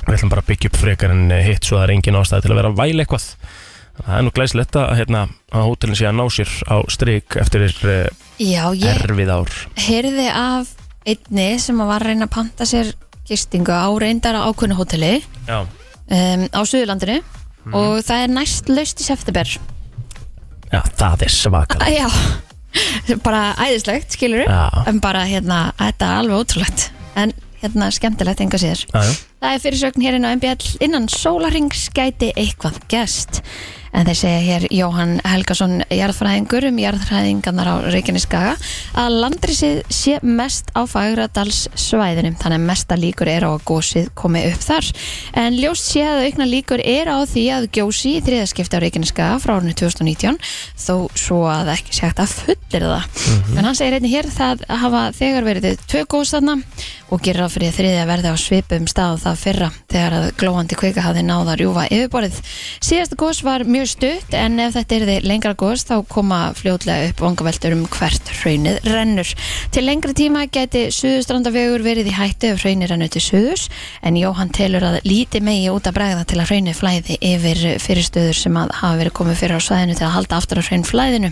Við ætlum bara að byggja upp frekar en eh, hitt Svo það er engin ástæði til að vera að væla eitthvað Það er nú glæslegt að, hérna, að hótelin sé að ná sér á strik Eftir uh, já ég erfið ár heyrði af einni sem var að reyna að panta sér gistingu á reyndara ákvönu hóteli Já, um, á Suðurlandinu og það er næst laust í september Já það er svakar Já, bara æðislegt skilur Já. en bara hérna, þetta er alveg ótrúlegt en hérna skemmtilegt enga síður Já, já. Það er fyrirsögn hér inn á MBL innan sólarings gæti eitthvað gest en þeir segja hér Jóhann Helgason jarðfræðingur um jarðfræðingarnar á Reykjaneskaga að landrisið sé mest á Fagradals svæðinu þannig að mesta líkur er á að gósið komi upp þar en ljóst sé að aukna líkur er á því að gjósi í þriðaskipti á Reykjaneskaga frá árinu 2019 þó svo að ekki sé hægt að fullir það en hann segir einnig hér það hafa þegar verið tvö gós þarna og gerir á fyrir þriði að verða á svipum stað og það fyrra þegar að glóandi kvika hafði náða að rjúfa yfirborðið. Síðasta gós var mjög stutt en ef þetta erði lengra gós þá koma fljótlega upp vangaveldur um hvert hraunið rennur. Til lengri tíma geti suðustrandavegur verið í hættu ef hraunið rennur til suðus en Jóhann telur að líti megi út að bregða til að hraunið flæði yfir fyrirstöður sem að hafa verið komið fyrir á svæðinu til að halda aftur af hraun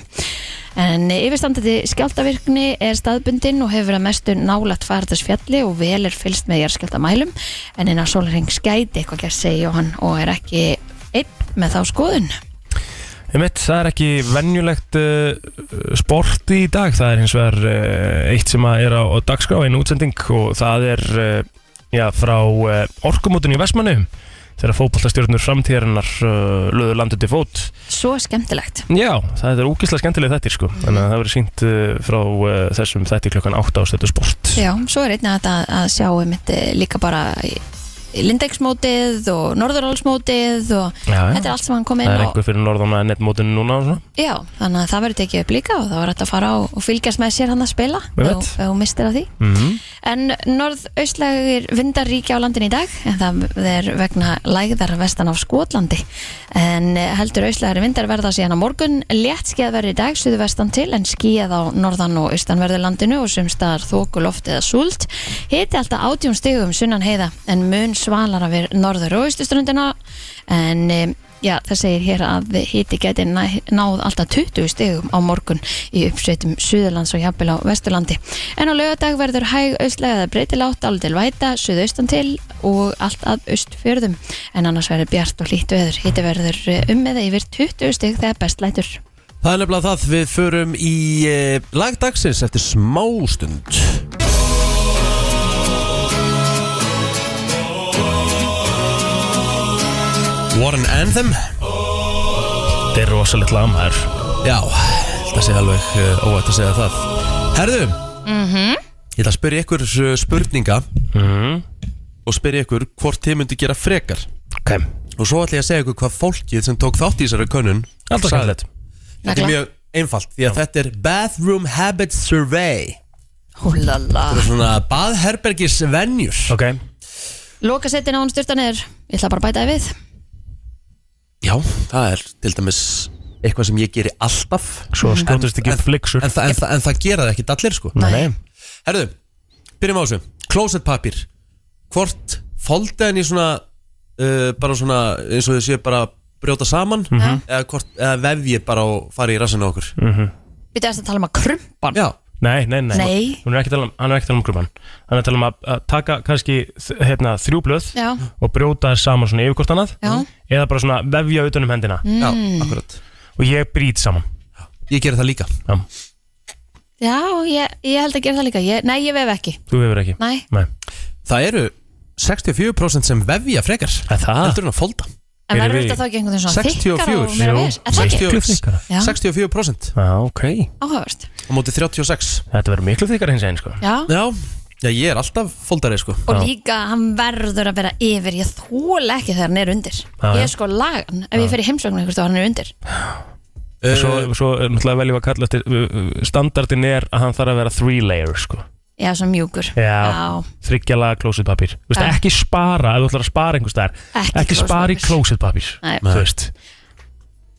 En yfirstandandi skjáltavirkni er staðbundin og hefur verið að mestu nálægt farðarsfjalli og vel er fylst með jarðskjáltamælum en innan sólarheng skæti eitthvað gerð segi Jóhann og er ekki einn með þá skoðun. Einmitt, það er ekki venjulegt uh, sport í eh, dag, það er hins vegar uh, eitt sem að er á, á dagskrá, einu útsending og það er uh, já, frá uh, orkumótinu í Vestmannum þegar fótballtastjórnur framtíðarinnar uh, löðu landið til fót Svo skemmtilegt Já, það er úkislega skemmtileg þettir sko þannig að það verður sínt uh, frá uh, þessum þætti klukkan 8 á stötu sport Já, svo er einnig að, að sjá einmitt eh, líka bara Lindegsmótið og Norðurálsmótið og Já, já. þetta er allt sem hann kom inn Það á er einhver fyrir norðan að netmótinu núna og svona. Já, þannig að það verður tekið upp líka og þá er þetta að fara og, og fylgjast með sér hann að spila Einmitt. og, og mistir af því Mhm. En norðaustlægir vindar ríkja á landin í dag en það er vegna lægðar vestan af Skotlandi en eh, heldur austlægir vindar verða síðan á morgun létt skíðað verður í dag suðu vestan til en skíðað á norðan og austanverðu landinu og sem staðar þóku loft eða súld hiti alltaf átjón stigum sunnan heiða en mun svalara við norður og austustrundina en eh, Já, það segir hér að hiti geti næ- náð alltaf 20 stegum á morgun í uppsveitum Suðurlands og jafnvel á Vesturlandi. En á laugardag verður hæg austlega eða breytilátt alveg til væta, suðaustan til og allt að austfjörðum. En annars verður bjart og hlýtt veður. Hiti verður eh, um eða yfir 20 steg þegar best lætur. Það er nefnilega það, við förum í eh, lagdagsins eftir smástund Warren Anthem Þetta er rosalegt lag maður Já, þetta sé alveg eh, óætt að segja það Herðu Mhm. Ég ætla að spyrja ykkur eh, spurninga mm. og spyrja ykkur hvort þið myndi gera frekar Ok, og svo ætla ég að segja ykkur hvað fólkið sem tók þátt í þessari könnun alltaf sagði. skemmtilegt Þetta er Nagla. mjög einfalt því að þetta er Bathroom Habit Survey Húlala. Þetta er svona baðherbergis venjur Ok, Loka setin á hann styrta neður. Ég ætla bara að bæta það við. Já, það er til dæmis eitthvað sem ég geri alltaf svo skjóttist ekki en, upp fliksur en, það- en, það- en það gera það ekki allir sko Nei, Herðu, byrjum á þessu Closetpapir Hvort foldið henni svona uh, bara svona eins og þið séu bara brjóta saman Mhm. eða, hvort, eða vefjið bara og farið í rassinu á okkur Mhm. Við þess að tala um að krumpan. Já, nei, nei, nei. Nei. Hún er ekki að tala um, Hann er ekki að tala um grúman Hann er að tala um að, að taka kannski þ- hérna, þrjú blöð Já. og brjóta þær saman svona yfir hvort annað Já. Mm. eða bara svona vefja utan um hendina já, akkurat og ég brýt saman Ég geri það líka Já, Já, ég, ég held að gera það líka. Ég, nei, ég vef ekki. þú hefur ekki Nei. Nei. Það eru 64% sem vefja frekar Er það? Heldur en að folda En Erum verður við- þetta þá ekki einhvern veginn svona þykkar og 64 meira Jú. ves? Er það ekki? 60 Þykkara. Já. 64% Já, ok Áhugavert. á móti 36 Þetta verður miklu þykar hins einn sko Já. Já, já ég er alltaf foldari sko Og líka, hann verður að vera yfir Ég þóla ekki þegar hann er undir Ég já. er sko lagan, ef ég fer í heimsóknu einhvert og hann er undir uh, Svo, svo er náttúrulega veljum að kalla eftir uh, uh, Standardin er að hann þarf að vera three layer sko Já, svo mjúkur Já, þryggjalaga klósitpapír Þú veist, Já. ekki spara, ef þú ætlar að spara einhvers staðar Ekki Ekki spara í klósitpapír Nei. Þú veist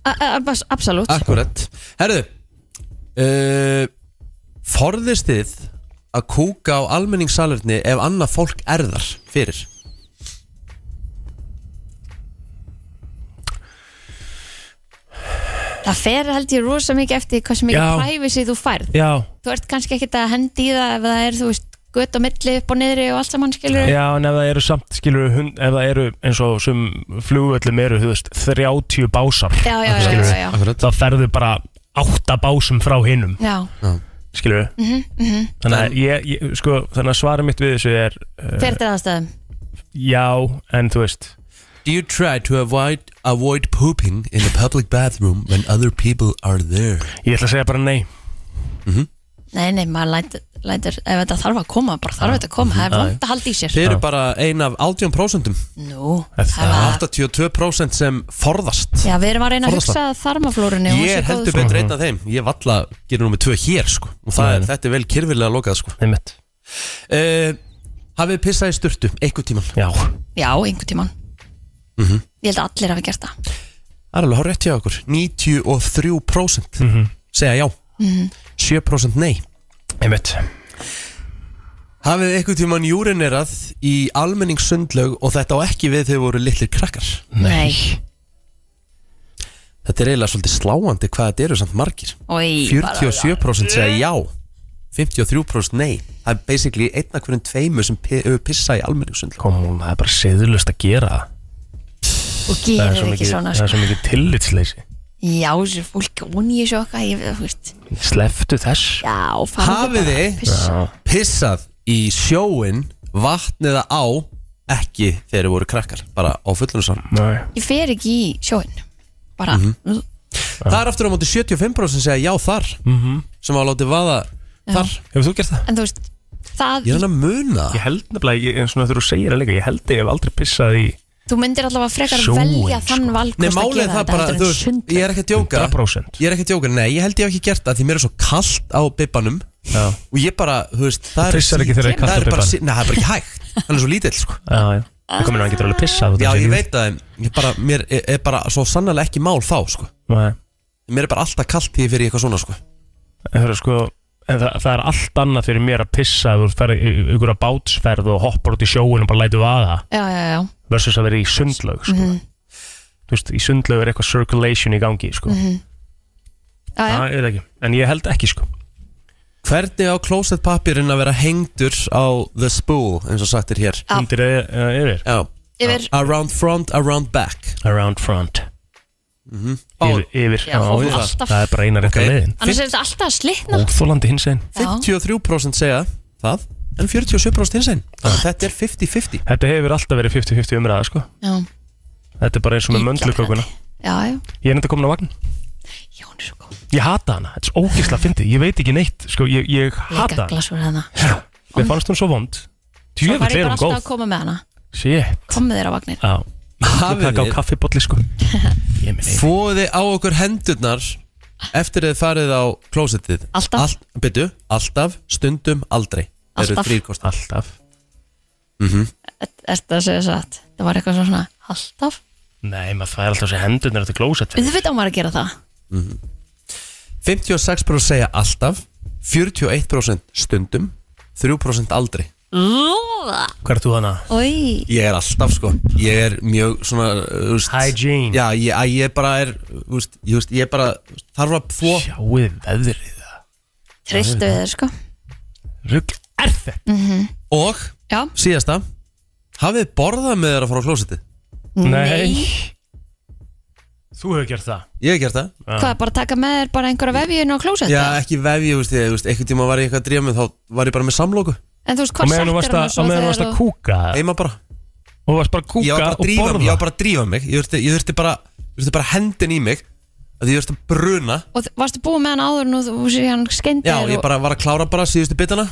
A- a- abs- Absolutt Akkurat Herðu uh, Forðist þið að kúka á almenningssalerni ef annað fólk erðar fyrir Það fer held ég rosa mikið eftir hversu mikið Já. privacy þú færð Já, Þú ert kannski ekkit að hendi í það ef það er, þú veist, gött á milli upp og niðri og allt saman skilur Já, en ef það eru samt, skilur hund, ef það eru eins og sem flugvöllum eru, þú veist, 30 básar Já, já, já, já, Skilurðu? já, já. Akkurat þá ferðu bara átta básum frá hinnum, já. Mhm, skilur við Þannig að ég, ég, sko, þannig að svara mitt við þessu er uh, Fer til aðstæðum já, en þú veist Do you try to avoid, avoid pooping in a public bathroom when other people are there? Mhm. ég ætla að segja bara nei, Nei, nei, maður lætur, lætur ef þetta þarf að koma, bara þarf þetta að koma Það er vant að halda í sér Þið eru bara ein af 18% Nú, Það- það var 82% sem forðast Já, við erum að reyna að Forðast hugsa að þarmaflórunni og hún Ég sé er góð heldur svona. betur einn af þeim Ég valla gerir nummið tvö hér sko Og það er, þetta er vel kyrfilega lokað sko nei mitt uh, Hafið pissað í sturtu, einhver tíman já, Já, einhvern tíman Mhm. Ég held að allir hafi gert það Það er alveg hár rétt hjá okkur 93% segja já Mhm. 7% nei nei mitt Hafið einhver tíman júrinerað í almenning sundlaug og þetta á ekki við þegar voru litlir krakkar Nei Þetta er eiginlega svolítið sláandi hvað þetta eru samt margir Oi, bara, 47% segja já 53% nei Það er basically einna hverjum tveimu sem pi- hefur pissað í almenning sundlaug kom hún, það er bara siðlust að gera það Og það er gerir svo ekki mikið, svona sko. það er svo mikið tillitsleysi Já, þessu fólk hún í þessu okkar Ég veit, þú veist sleftu þess Já, farðu bara Hafið að þið pissa. pissað í sjóin vatn eða á ekki þegar þeir voru krakkar bara á fullunarsan Nei, Ég fer ekki í sjóin Bara það Mhm. er aftur á móti 75% sem segja já þar Mhm. sem hafa látið vaða þar hefur þú gert það? En þú veist, það ég er hann að muna Ég held nefnilega, ég- eins og þegar þú segir það líka, ég held ég hef aldrei pissað í Þú myndir allavega frekar Sjóinn, velja sko. þann Nei, valkost að málið er gera það þetta bara, heldur þú en veist, sund ég er ekki að djóka 100%. Ég er ekki að djóka, nei, ég held ég hef ekki gert það Því mér er svo kallt á bibbanum Já. Og ég bara, þú veist, það er Pissar ekki þegar það er það kallt á er bara bibbanum. sí- Nei, það er bara ekki hægt, hann er svo lítill, sko Já, já Það komir hann getur alveg pissað þú Já, veist, ég veit það, en ég bara, mér er, er bara svo sannlega ekki mál þá, sko Nei, Mér er bara alltaf kallt því fyrir eitthvað svona, sko en það er sko En það, það er allt annað fyrir mér að pissa ef þú ferð í í einhverja bátsferð og hoppar út í sjóin og bara lætur vaða Já, já, já, versus að vera í sundlaug sko. Mhm. Þú veist, í sundlaug er eitthvað circulation í gangi Mhm. sko. já, já. Það er ekki, en ég held ekki sko. Hvernig á klósettpapirinn að vera hengdur á the spool, eins og sagt er hér Já. Undir eða- eða e- yfir Já, Yfir, around front, around back Around front Ó, Yfir, yfir. Já, Já, og það. alltaf. það er bara eina rétt Ok. að leiðin annars er þetta alltaf að slitna Óþólandi hins einn Já, 53% segja það En 47% hins einn Þetta er 50-50 Þetta hefur alltaf verið 50-50 umræða sko. já, Þetta er bara eins og með Illa möndlukökuna já, já, Ég er nefndi komin á vagn já, hún er svo góð Ég hata hana, þetta er svo ógisla fyndið Ég veit ekki neitt, sko, ég, ég hata Líka hana glasur hana Mér fannst hún svo vond Svo var ég Tjöfull er bara alltaf hún góð að koma með hana Shit Komið þér á vagnir Já, ég Hafið taka á þið- kaffibolli sko Ég minn einu Fóði á okkur hendurnar Eftir að þið farið á klósettið Alltaf. Byttu, alltaf, stundum, aldrei Eru Alltaf. þrír kostir. Alltaf Þetta að segja satt Það var eitthvað svona alltaf Nei, maður það er alltaf þessi hendunar Þetta glósett fyrir Auðvitað á maður að gera það 56% segja alltaf 41% stundum 3% aldrei Hvað er þú hana? Í, Ég er alltaf sko Ég er mjög svona uh, úst, Hygiene. Já, ég, að ég bara er úst, ég, úst, ég bara úst, þarf að þvó Sjáuð veðrið treystu við þér sko Rugl er þetta? Mhm. Og Já, síðasta Hafið þið borðað með þeirra að fara á klósettið Þú hefur gert það Ég hef gert það Hvað, bara taka með þér bara einhverja vefjun á klósett Já, ekki vefi, þú veist, ég, þú veist, einhvern tíma var ég eitthvað að drífa mig, þá var ég bara með samlóku, En þú veist, Og hvað meðan þú varst settir hann að- á meðan þú varst að kúka heima bara. Og þú varst bara að Ég var kúka bara að og drífa, mig- ég borða var bara að drífa mig, ég þurfti, ég þurfti bara, ég þurfti bara hendin í mig, að ég þurfti að bruna. Og þ- varstu búið með hann áður nú þú sé hann skeindi Já, ég bara var að klára bara síðustu bitana.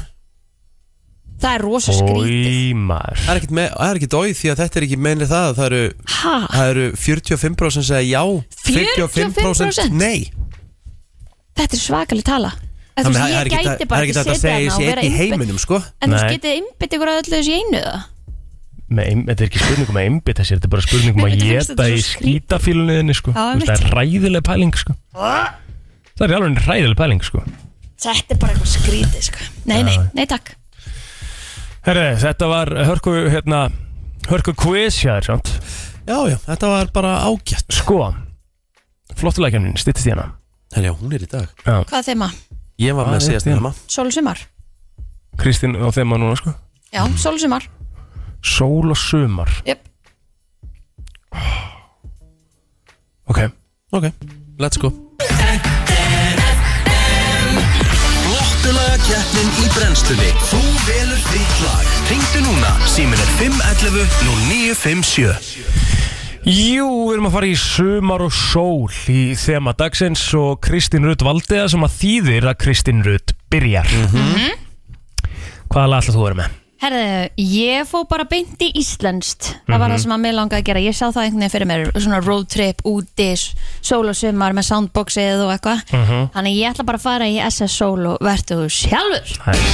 og það er rosa skrítið Í maður Það er ekkit, með, það er ekkit óið því að þetta er ekki meinlega það, það eru, Hæ, það eru 45% segja já, 45% nei. þetta er svakalig tala En þú Þannig veist, að það er ég ekkit- gæti bara það er ekki ekkit hægt að setja segja hann þessi og vera einn í einbett heiminum, sko. En þú Nei. veist, getið einbytt ykkur að öllu þessu í einu það Með ein- Þetta er ekki spurning um að einbytta sér Þetta er bara spurning um Nei, að þetta finnst geta þetta í svo skrítið. skítafílunniðinni sko. Já, Þú veist, einmitt. Það er ræðileg pæling sko. Það er alveg ræðileg pæling sko. Þetta er bara eitthvað skrítið, sko Nei, nei, nei, takk Herre, Þetta var hörku hérna, hörku quiz hjá þér samt. Já, já, þetta var bara ágætt. Sko Flottulækjarnin, stittist í hana Herjá, hún er í dag. Hvað er þeima? Ég var Ah, með rétt, síðast já. nema. Sól og sumar? Kristín og þeim að núna sko. Já, sól og sumar Sól og sumar Jöp, Ok, Ok, let's go. Flottulaga keppnin í brennslunni Þú velur þitt lag Ringdu núna, símin er 511 0957 Jú, við erum að fara í sumar og sól í þema dagsins og Kristín Rutt valdi það sem að þýðir að Kristín Rutt byrjar Mhm. Hvaða lag ætlaðu þú að vera með? Herðu, ég fó bara beint í Íslandst Það Mhm. var það sem að mér langaði að gera Ég sá það einhvern veginn fyrir mér Svona road trip, úti, s- sól og sumar Með soundboxið og eitthvað Mhm. Þannig ég ætla bara að fara í SS Sól Og vertu þú sjálfur Hæs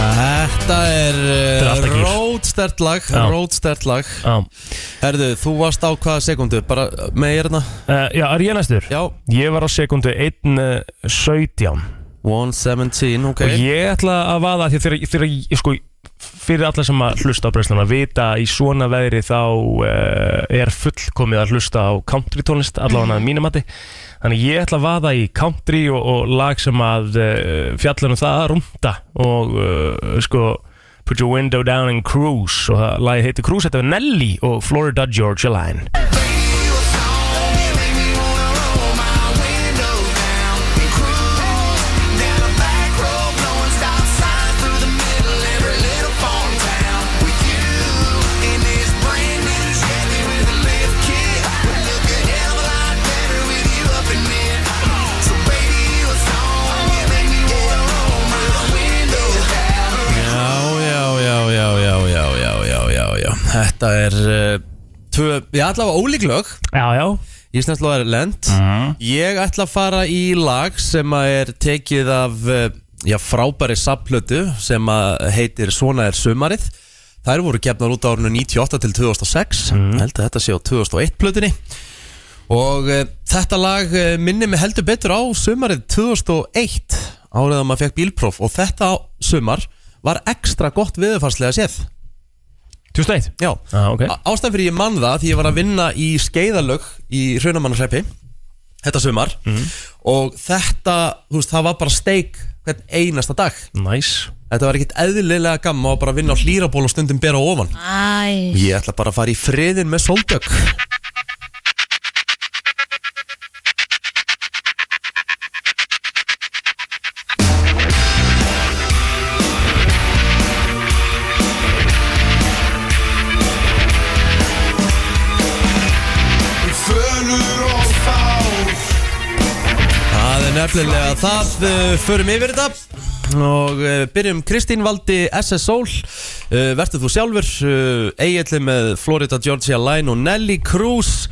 Þetta er er alltaf uh, gír. rótstert lag, Já. rótstert lag Já, Herðu, þú varst á hvaða sekundu? Bara uh, með ég hérna? uh, já er ég næstur? Já Ég var á eh, sekundu 1.17 117, ok og ég ætla að vaða því þegar, þegar ég, sko, fyrir alla sem að hlusta á brennsluna að vita að í svona veðri þá uh, er fullkomið að hlusta á country tónlist, allavega að mínum mati þannig ég ætla að vaða í country og, og lag sem að uh, fjallar um það að rúnda og uh, sko Put your window down and cruise og það lagi heiti Cruise, þetta er Nelly og Florida Georgia Line Já, já, já, já, já, já, já, já, já, já Þetta er uh, tvö, ég ætla að ólík lög Já, Mhm. já, Íslands lag er lent Ég ætla að fara í lag sem að er tekið af uh, já, frábæri saplötu sem að heitir Svona er sumarið Þær voru gefnar út á árinu 98 til 2006 Mhm. mm. held að þetta sé á 2001 plötunni og uh, þetta lag uh, minni mig heldur betur á sumarið 2001 árið að maður fekk bílpróf og þetta sumar var ekstra gott viðurfarslega séð 2001 Já, Ah, ok. Á- ástæðan fyrir ég mann það því ég var að vinna í skeiðalög í Hraunamannarhreppi þetta sumar Mhm. og þetta, þú veist, það var bara steik hvern einasta dag Nice Þetta var ekkit eðlilega gamma og bara að vinna á hlýraból og stundum bera á ofan Æ, Ég ætla bara að fara í friðin með sóldök Það er nefnilega það uh, Förum yfir þetta Og uh, byrjum Kristín Valdi SS Soul uh, Vertu þú sjálfur uh, Egilli með Florida Georgia Line og Nelly Cruz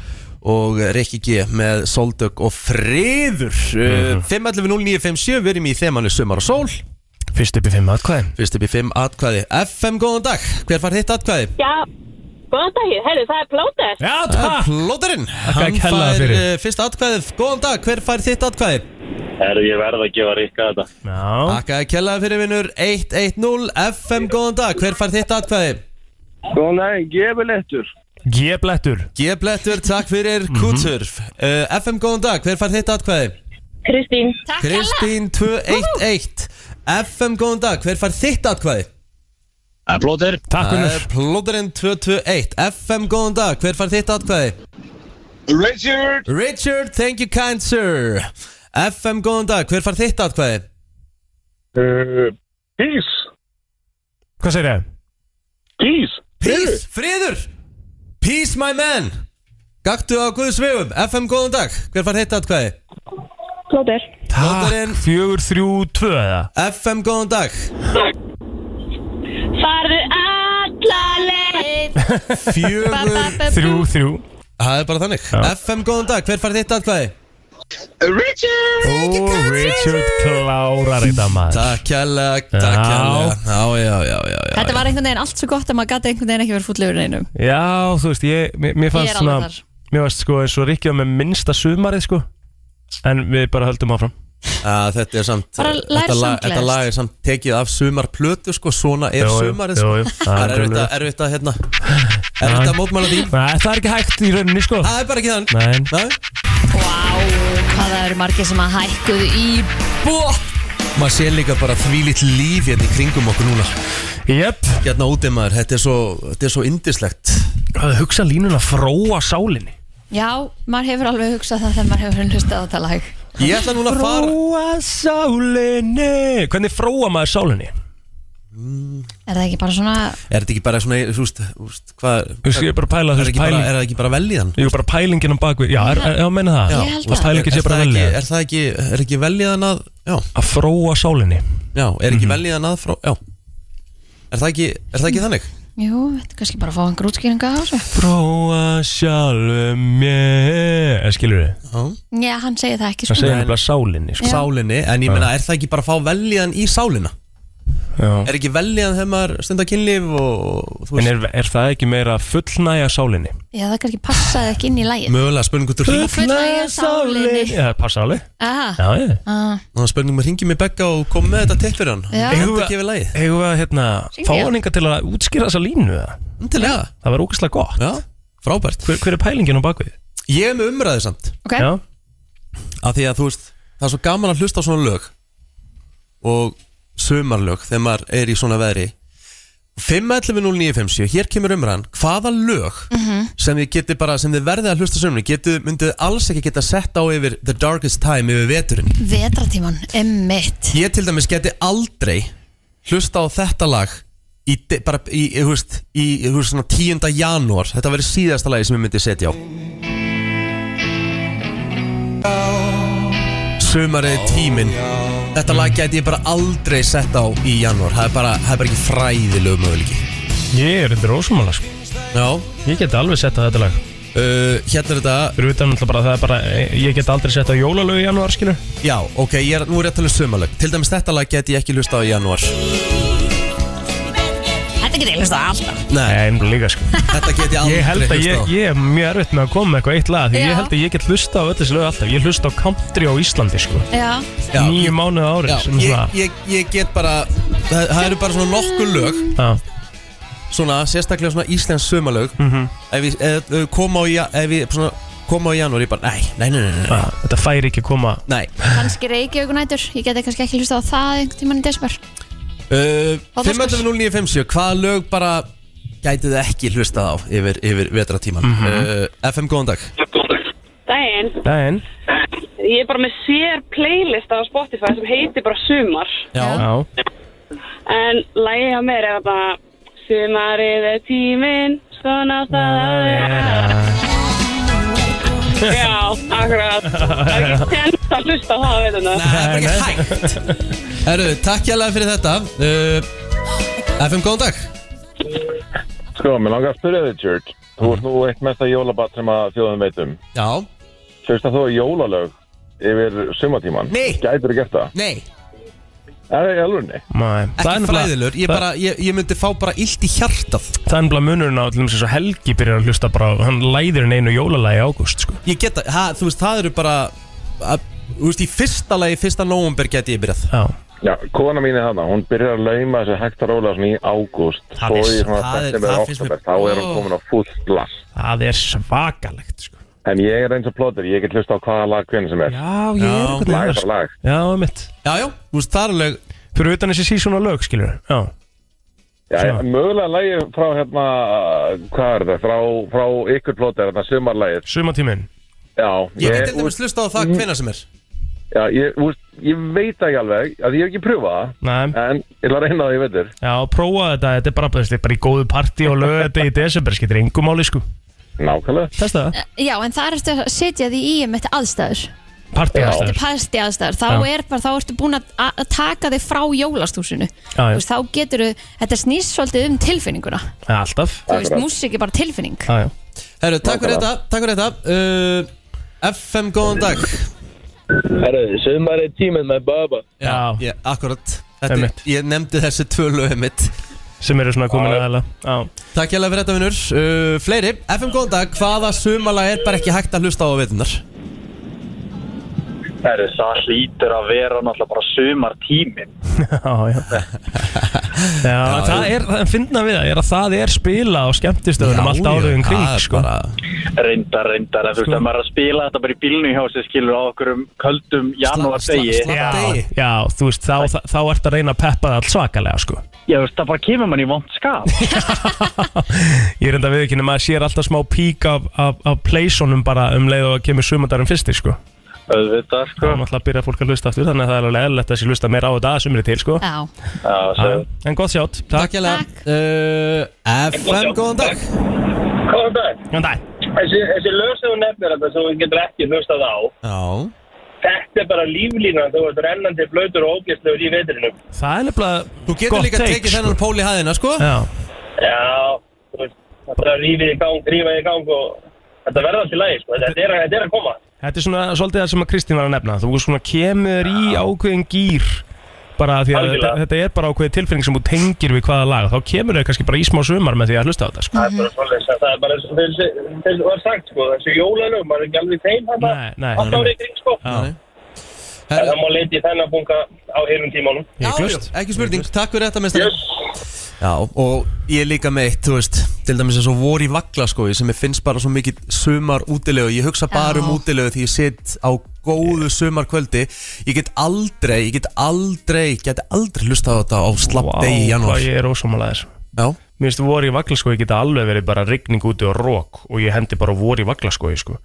Og Rikki G með Soldök og Friður Mhm. uh, 5.11.09.57 Við erum í þemanu Sumar og Sól Fyrst upp í fimm aðkvæðin Fyrst upp í 5 atkvæði FM, góðan dag, hver far hitt atkvæði? Já, góðan daginn, heyrðu, það er plóter. Já, Ah. takk Plóterinn, að hann kella það fær fyrir. uh, fyrst atkvæðið Góðan dag, hver fær þitt atkvæði? Herru, ég verð að gefa Rikka þetta. Já, Takk að kellaði fyrir vinnur 110 FM, góðan dag, hver fær þitt atkvæði? Góðan daginn, gefur lettur. ég blettur G-blettur, takk fyrir Mhm. Kútur uh, FM, góðan dag, hver fær þitt atkvæði? Kristín, takk hella Kristín 211 FM, góðan dag, hver fær þitt atkvæði? Það er plóter. Takk Það unnur er Plóterinn 221 FM, góðan dag, hver fær þitt atkvæði? Richard! Richard, thank you kind sir FM, góðan dag, hver far þitt atkvæði? Eh, Uh, Gís! Hvað segir ég? Gís! Peace, friður Peace my man Gaktu á Guðs vegum, FM, góðan dag Hver far þitt atkvæði? plóter. Plóterinn. Takk, fjögur, þrjú, tvö eða FM, góðan dag Farðu alla leið. Ba, ba, Fjögur ba, Þrjú, bú. þrjú Það er bara þannig FM, góðan dag, hver far þitt atkvæði? Richard! Og Richard klárar þetta maður Takk kærlega, takk Já. kærlega Já, já, já, já, já. Þetta var einhvern veginn allt svo gott að maður gæti einhvern veginn ekki verið fúll yfir neinum Já, þú veist, ég, mér, mér Ég fannst er alveg svona þar. Mér fannst sko eins og Rikki var með minnsta sumarið sko En við bara höldum áfram Að, Þetta er samt Bara lær þetta, lag, samgleðst. þetta lag er samt tekið af sumarplötu sko, Svona er Jú, jú, sumarið jú, sko. jú. Það er erfitt að, erfitt að hérna Erfitt að mótmála því Nei, það er ekki hægt í rauninni sko Það er bara ekki þannig Nei, Nei Vá, hvað það eru margir sem að hækkuðu í bó Maður sé líka bara þvílitt líf hérna í kringum okkur núna jöp Hérna úti maður, þetta er svo, þetta er svo indislegt Það hugsa línuna fróa sálinni Já, maður hefur alveg hugsað það þegar maður hefur hlustað á þetta lag Ég ætla núna að fara Fróa sálinni Hvernig fróa maður sálinni? Er það ekki bara svona Er þetta ekki bara svona, þú veist, þú veist, hvað Þú veist, ég er bara að pæla þú Er það veist, ekki bara, pæling er það ekki bara velíðan? Ég er bara pælingin á bakvið Já, er, er, já, meina það Ég held Þú veist, það. pælingin sé Er bara það ekki, velja er það ekki, er ekki velíðan að Já, Að fróa sálinni Mhm. já, er ekki velíðan að frá Já Er það ekki, er það ekki þannig? Jú, þetta er kannski bara að fá einhver útskýringa á þessu Fróa sjálfum mér Eh, Skilur við? Já Já, hann segir það ekki Það sko segir nefnilega sálinni sko. Sálinni, en ég meina, er það ekki bara að fá velíðan í sálina? Já. Er ekki veljan þegar maður stundar kynlíf og, og En þú veist, er, er það ekki meira að fullnægja sálinni? Já, það kannski passaði ekki inn í lægin mögulega spurning hvort þú hringir Fullnægja sálinni. Já, það passa alveg Aha, Ah, Já, ég aha. og það spurning maður ringi mig begga og kom með þetta tipp fyrir hann Já. Enda ekki við lagið, Eigum við að hérna, Syngja. fá hann enga til að útskýra þessa línu eða? endilega Það var ógeðslega gott Já, frábært hver, hver er pælingin á bakvið? Ég er með umræði samt ok Já, af því að þú veist, það er svo gaman að hlusta á svona lög og sumarlög þegar maður er í svona veðri 5.11.09.50 hér kemur umræðan, hvaða lög sem þið getið bara, sem þið verðið að hlusta sömni getið, myndið alls ekki geta sett á yfir The Darkest Time yfir veturinn Vetratíman, emmitt ég til dæmis geti aldrei hlusta á þetta lag í, de- bara í, í, þú veist, í, í þú veist, svona 10. janúar, þetta verið síðasta lagi sem ég myndi setja á Sumarið tíminn Þetta lag geti ég bara aldrei sett á í janúar Það er bara, það er bara ekki fræðilegu möguleiki ég er þetta rosamála sko. Já, Ég get alveg sett að þetta lag uh, hérna er þetta Fyrir utan náttúrulega bara að það er bara Ég get aldrei sett að jólalögu í janúar skilu Já, ok, ég er, nú er ég að tala um sumarlög Til dæmis þetta lag geti ég ekki hlusta á í janúar Þetta getur ég hlust á alltaf Nei, Nei, nú líka sko þetta geti ég aldrei Ég held að hlusta ég, á ég er mjög erfitt með að koma með eitthvað eitt lag Því Já. ég held að ég get hlusta á öll þessi lög alltaf Ég hlusta á country á Íslandi sko Já, Já, Nýju mánuð árið Já, sem er ég, svona ég, ég get bara það, það eru bara svona nokkur lög Já, svona, sérstaklega svona íslensk sumalög Mhm. ef við ef, ef koma á í ja- ef við svona, koma á í janúar, ég bara, nei, nei, nei, nei, nei. já, Ah, Þetta fær ekki að koma nei. kannski Reykjavíkunætur Ég geti kannski ekki hlusta á það einhvern tímann í desember Uh, Og það 5.09.50, hvaða lög bara gætið þið ekki hlustað á yfir, yfir vetratíman Mhm. uh, FM, góðan dag Dæin, Dæin, ég er bara með sér playlist á Spotify sem heitir bara Sumar já, En lægið hjá mér er bara Sumarið er tíminn, svona það að vera Já, akkurat Það er ekki tjent að hlusta á það, veit hann Nei, það er bara ekki hægt Herru, takk hérlega fyrir þetta uh, FM, góðan dag Sko, mér langar að spyrja þig, Tjörg. Þú ert nú eitt mesta jólabat sem að þjóðum veitum. Já, Sjöfst að þú er jólalög yfir sumatíman. Nei. Gætur þú gert það? nei Er það í alvörni? maður Ekki fræðilur, ég, bara, ég, ég myndi fá bara illt í hjartað Það er nefnilega munurinn á til dæmis eins og Helgi byrjar að hlusta bara á, hann læðir henni einu jólalagi í ágúst sko. Ég geta, ha, þú veist, það eru bara að, Þú veist, í fyrsta lagi, fyrsta nóvumber geti ég byrjað Já, Já, kona mín er þarna, hún byrjar að lauma þessu hægt að róla svona í ágúst Það svo er- í svona það er- september það og finnst oktober, mér- þá er hún Ó. komin á fullt last það er svakalegt sko. En ég er eins og plóður, ég get hlusta á hvaða lag hvernig sem er Já, ég er eitthvað Lag er sko. lagar bara lag Já, mitt Já, já, þú veist, það er alveg Fyrir utan þessi sísona lög, skilur Já, Já, Svona. mögulega lagi frá hérna, hvað er það, frá, frá ykkur plóður, þarna sumarlagið sumatíminn Já, ég, Mm. Ég get til dæmis hlusta á það hvenna sem er já, ég, úst, ég veit ekki alveg, að ég hef ekki pröfað það Nei, En ég ætla að reyna það, ég veitur já, prófa þetta, þetta er bara, þetta er bara í góðu partí og lög þetta í desember, skilur, engum máli sko Nákvæmlega Testa það, Eh, Já, en það ertu að setja því í einmitt aðstæður partí Þetta Já. er aðstæður pasti aðstæður Þá, Já. er bara, þá ertu búin að að taka þig frá jólastúsinu Já, Þú já. veist, Þá getur Þetta snýst svolítið um tilfinninguna Já, Alltaf Þú veist, Akkurat. músík er bara tilfinning Já, já Herru, takk fyrir þetta, takk fyrir þetta uh, FM, góðan dag Herru, sumar er tíminn með Bubba Já. ég, akkurat þetta, er- Einmitt. Ég nefndi þessi tvö lögum mitt Sem eru svona komin aðeila Já, Takk hérlega fyrir þetta, vinnur uh, Fleiri, FM, góðan dag, hvaða sumalag er bara ekki hægt að hlusta á að veitunar? Herru, það hlýtur að vera náttúrulega bara sumar tíminn já, já Já, það er, það er finna við það, er að það er spila á skemmtistöðunum allt árið um kring, sko Reyndar, reyndar, en Sko- þú veist að maður er að spila þetta bara í bílnu hjá sig skilur á okkur um köldum janúar degi sla- Já, Degi. já, þú veist, þá, þá, þá ertu að reyna að peppa það allt svakalega, sko Já, þú veist, það bara kemur mann í vond skap Ég reynda við ekki nema að sér alltaf smá pík af, af, af pleysonum bara um leið og að kemur sumandarinn fyrsti, sko Öðvitað, Þá sko er náttúrulega að byrja fólk að hlusta aftur, þannig að það er alveg eðlilegt að sé hlusta meira á þetta að sumri til, sko Já, Já, svo Já, En gott sjátt, takk Takk hérlega uh, FM, góðan dag Góðan dag Góðan dag Þessi, þessi lög sem þú nefnir þetta sem þú getur ekki hlustað á Já, Þetta er bara líflínan, þú veist, rennandi blöytur og ógæstlegur í vetrinum Það er nefnilega þú getur gott líka take, tekið þennan pól í hæðina, sko Já, Já, þú veist, það er að rífið í gang, rífið í gang og þetta verður allt í lagi, sko, þetta er, að- þetta er að koma. þetta er svona svolítið það sem að Kristín var að nefna Þú svona kemur í ákveðin gýr bara því að Algjörlega. þetta, þetta er bara ákveði tilfinning sem þú tengir við hvaða lag þá kemur þau kannski bara í smá sumar með því að hlusta á þetta sko. Það er bara svolítið að það er bara eins og þessi- þessi var sagt sko, þessi jólalög, maður er ekki alveg þeim þetta Nei, nei, átt nei. árið í kring sko. Já, En Herra, það má leita í þennan bunga á hinum tímanum. já, já, hygglust. ekki spurning, takk fyrir þetta mestar Yes. Já, og ég er líka meitt, þú veist Til dæmis eins og vor í vagla sko Sem ég finnst bara svo mikið sumar útilegu Ég hugsa bara Já. um útilegu því ég sit á góðu sumar kvöldi Ég get aldrei, ég get aldrei Geti aldrei hlustað á þetta á slapp Vá, degi í janúar hvað ég er ósámálaðis Já, Mér finnst voru í vaglaskói geta alveg verið bara rigning úti og rók og ég hendi bara voru í vaglaskói sko.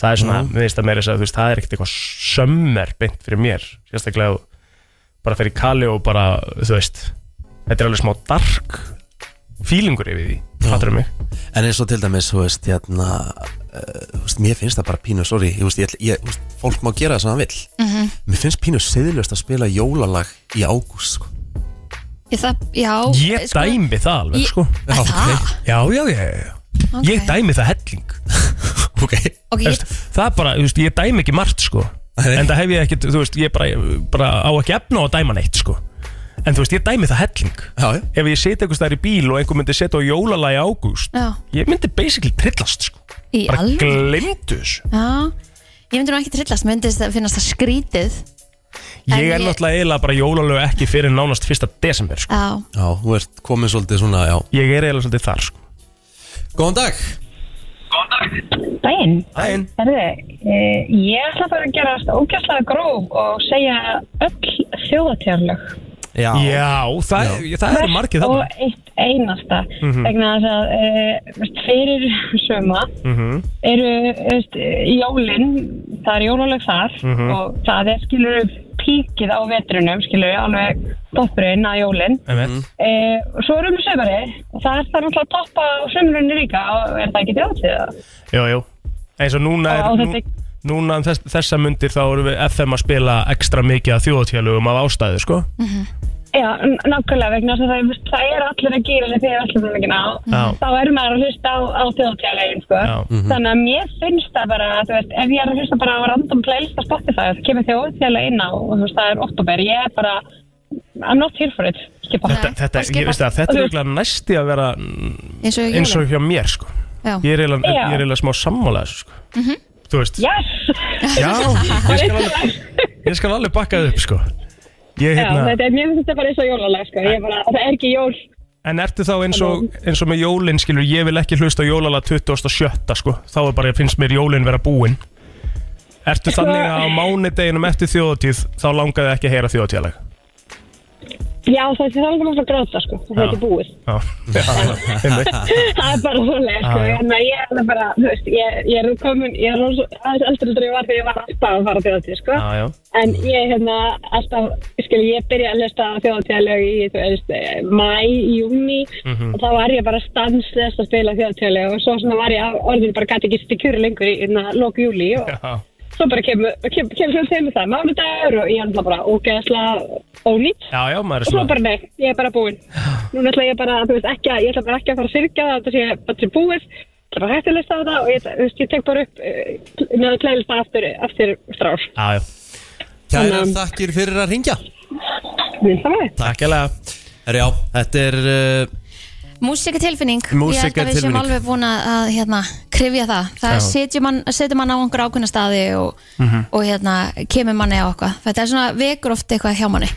Það er svona, mér finnst það meira þess að þú veist, það er ekkert eitthvað sömmer beint fyrir mér, sérstaklega ef þú bara fyrir kali og bara, þú veist þetta er alveg smá dark feelingur yfir því, fattur um mig En eins og til dæmis, þú veist, hérna, uh, þú veist, mér finnst það bara pínu, sorry, ég veist, ég, ætla- ég, þú veist, fólk má gera það sem það vill. Mhm. Mér finnst pínu siðlust að spila jólalag í ágúst, sko. Ég, það, já, Ég dæmi það alveg, sko, Ég- sko Er það? Já, já, já, já, já. Ok. Ég dæmi það helling Ok. Ok, ég, Erst, Það er bara, þú veist, ég dæmi ekki margt, sko Nei. En það hef ég ekkert, þú veist, ég bara, bara á ekki efna á að dæma neitt, sko En þú veist, ég dæmi það helling Já, já. ef ég seti einhvers staðar í bíl og einhver myndi setja á jólalagi ágúst já, ég myndi basically trillast sko. í bara alveg glemdu þessu Já, ég myndi nú ekki trillast, myndist það finnast það skrítið En ég er ég- náttúrulega eiginlega bara jólalög ekki fyrir nánast fyrsta desember sko. Já, Já, þú ert komin svolítið svona, já. ég er eiginlega svolítið þar sko. Góðan dag. Dæin, Æin, herðu, e, ég ætla bara að gerast ógæslega gróf og segja öll þjóðatjárlög. Já. já, það, já. það eru margið Og þarna Mhm. eitt einasta, vegna þess að e, fyrir söma eru þú veist, jólin, það er jólalög þar Mhm. og það er skilur píkið á vetrunum, skilur alveg toppurinn að jólin. Einmitt. E, og svo erum við sömari og það er það náttúrulega að toppa á sömurinn líka og er það ekki þjóðatíð það? jú, jú. eins og núna er Já, nú, þetta- núna um þess, þessa myndir þá erum við FM að spila ekstra mikið af þjóðatjálugum af ástæðu sko. Já, n- nákvæmlega vegna þess að það, það er allir að gýra sig þegar allir búin á Já. þá er maður að hlusta á, á þjóðtjálegin sko. Já. þannig að mér finnst það bara þú veist, ef ég er að hlusta bara á random playlist á Spotify það kemur þjóðtjálegin á og þú veist, það er oktober, ég er bara I'm not here for it, skipa þetta, þetta, ég veist það, þetta er eiginlega næsti að vera eins og eins og jólum hjá mér sko. Já. ég er eiginlega- Já. ég er eiginlega smá sammála þessu sko. Mhm. þú veist Yes! Já, ég skal alveg, ég skal alveg bakka það upp sko Já, ég, hérna, þetta er mér finnst þetta bara eins og jólalag sko. Ég er bara, það er ekki jól En ertu þá eins og, eins og með jólin skilur Ég vil ekki hlusta á jólala 27 sko Þá er bara, finnst mér jólin vera búin Ertu Sko- þannig að á mánudeginum eftir þjóðatíð Þá langaði ekki að heyra þjóðatíðalag Já, það er alveg maður að gráta sko. það Já. er ekki búið Já, já, einmitt. það er bara svoleið sko. Já, já. en ég er alveg bara, þú veist, ég, ég er komin ég er alveg aðeins eldri þegar ég var þegar ég var alltaf að fara á þjóðatíð, sko já, já. en ég, hérna, alltaf, skil, ég byrja að hlusta á þjóðatíðalög í, þú veist, eh, maí, júni Mhm. og þá var ég bara stansless að spila þjóðatíðalög og svo svona var ég á- orðin bara gæti ekki stikkur lengur í, hérna, lóku júli og já. svo bara kemur, kemur, kemur svona til með það, mánudagur og ég er alltaf bara ógeðslega ónýtt Já, já, maður er Og svo svona bara nei, ég er bara búinn. Núna ætla ég bara, þú veist, ekki að, ég ætla bara ekki að fara að syrkja það, þetta sé bara til búið, það er bara hægt að lista á það og ég, þú veist, ég tek bara upp uh, með að playlista aftur, aftur strár. Já, já, Kæra Þannig- þakkir fyrir að ringja. Minnst það maður? takk ég Herra, já, þetta er, uh, Músikatilfinning, ég held að við Músíkartilfinning. séum alveg búin að að, hérna, krifja það Það Já. setjum mann, setjum mann á einhver ákveðna staði og, Mhm. og hérna, kemur manni á eitthvað Þetta er svona vekur oft eitthvað hjá manni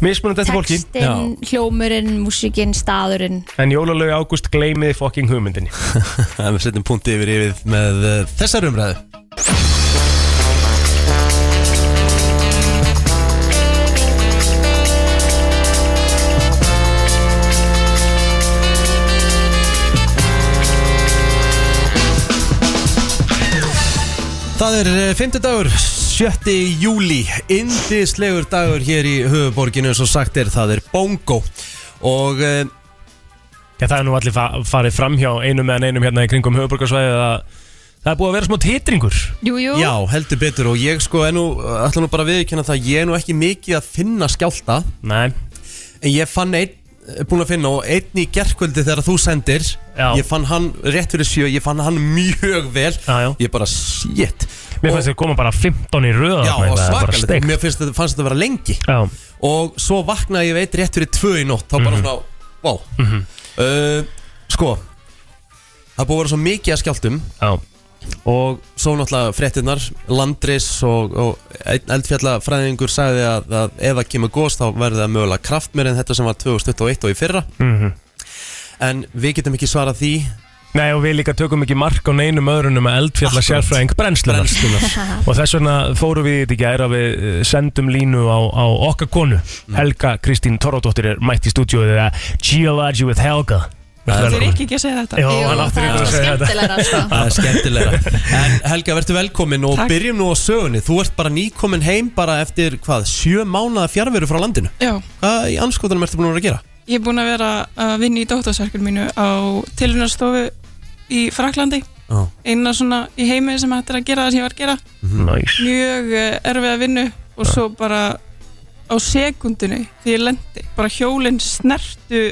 Mismunum þetta fólki Textin, hljómurinn, músikinn, staðurinn En jólalög í ágúst gleymiði fokking hugmyndinni við setjum punkt yfir yfir með uh, þessar umræðu. Það er eh, fymtudagur, 7. júli, indislegur dagur hér í höfuborginu, svo sagt er það er bongo og uh, Já, það er nú allir fa farið fram hjá einum eða einum hérna í kringum höfuborgarsvæðið að það er búið að vera smá titringur Jú, jú, Já, heldur betur og ég sko ennú, ætla nú bara að viðkynna það, ég er nú ekki mikið að finna skjálta Nei, En ég fann einn búin að finna og einn í gerkvöldi þegar þú sendir Já. Ég fann hann rétt fyrir sjö, ég fann hann mjög vel Já, já. Ég bara, shit Mér fannst þér koma bara 15 í röða Já, og svakalegt, svakalegt mér finnst þetta, fannst þetta að vera lengi Já, Mhm. Og svo vaknaði ég veit rétt fyrir tvö í nótt Þá bara svona, vá uh, Sko Það er búið að vera svo mikið að skjáltum já, og svo náttúrulega fréttinnar Landris og, og einn eldfjallafræðingur sagði að, að ef það kemur góðst þá verði það mögulega kraftmeir en þetta sem var 2021 og í fyrra mhm en við getum ekki svarað því Nei og við líka tökum ekki mark á neinum öðrunum að eldfjalla Akkurat. sérfræðing brennslunar. brennslunar og þess vegna fórum við í þetta í gær að við eh, sendum línu á, á okkar konu Helga Kristín Torradóttir er mætt í stúdíóið eða Geology with Helga Það Þeir ekki ekki að segja þetta Jó, Jú, hann áttur það er ykkur að segja þetta skemmtilegra sko. það er skemmtilega en Helga, verður velkomin og Takk. byrjum nú á sögunni þú ert bara nýkomin heim bara eftir hvað, sjö mánaða fjárveru frá landinu Já, hvað í anskotunum ertu búin að vera að gera? ég er búin að vera að vinna í dóttasverkur mínu á tilhörnarstofu í Fraklandi Já. eina svona í heimi sem hættir að gera það sem ég var að gera Næs mjög eh, erfiða vinnu og svo bara á sekundinu því ég lendi, bara hjólinn snertu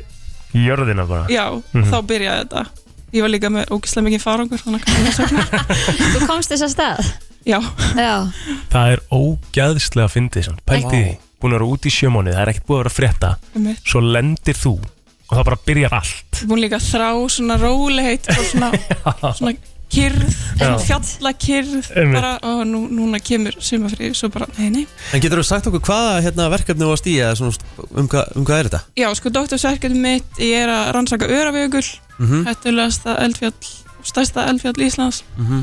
Jörðina bara já, Mhm. þá byrjaði þetta ég var líka með ógislega mikið farangur þannig að kannski þess vegna Þú komst þess að stað já, Já, Það er ógæðslega fyndið samt. Pældu í því, búin að vera út í sjömónið það er ekkert búið að vera að frétta um svo lendir þú og það bara byrjar allt búin líka að þrá svona rólegheit og svona, svona kyrð, Já. fjallakyrð Einmitt. bara, og nú, núna kemur sumafrið, svo bara, nei, nei en getur þú sagt okkur hvaða hérna, verkefni þú varst í eða svona, um, hva, um hvað er þetta? já, sko, doktorsverkefni mitt, ég er að rannsaka öravjögul, Mm Mhm. -hmm. hættulegasta eldfjall, stærsta eldfjall Íslands Mhm.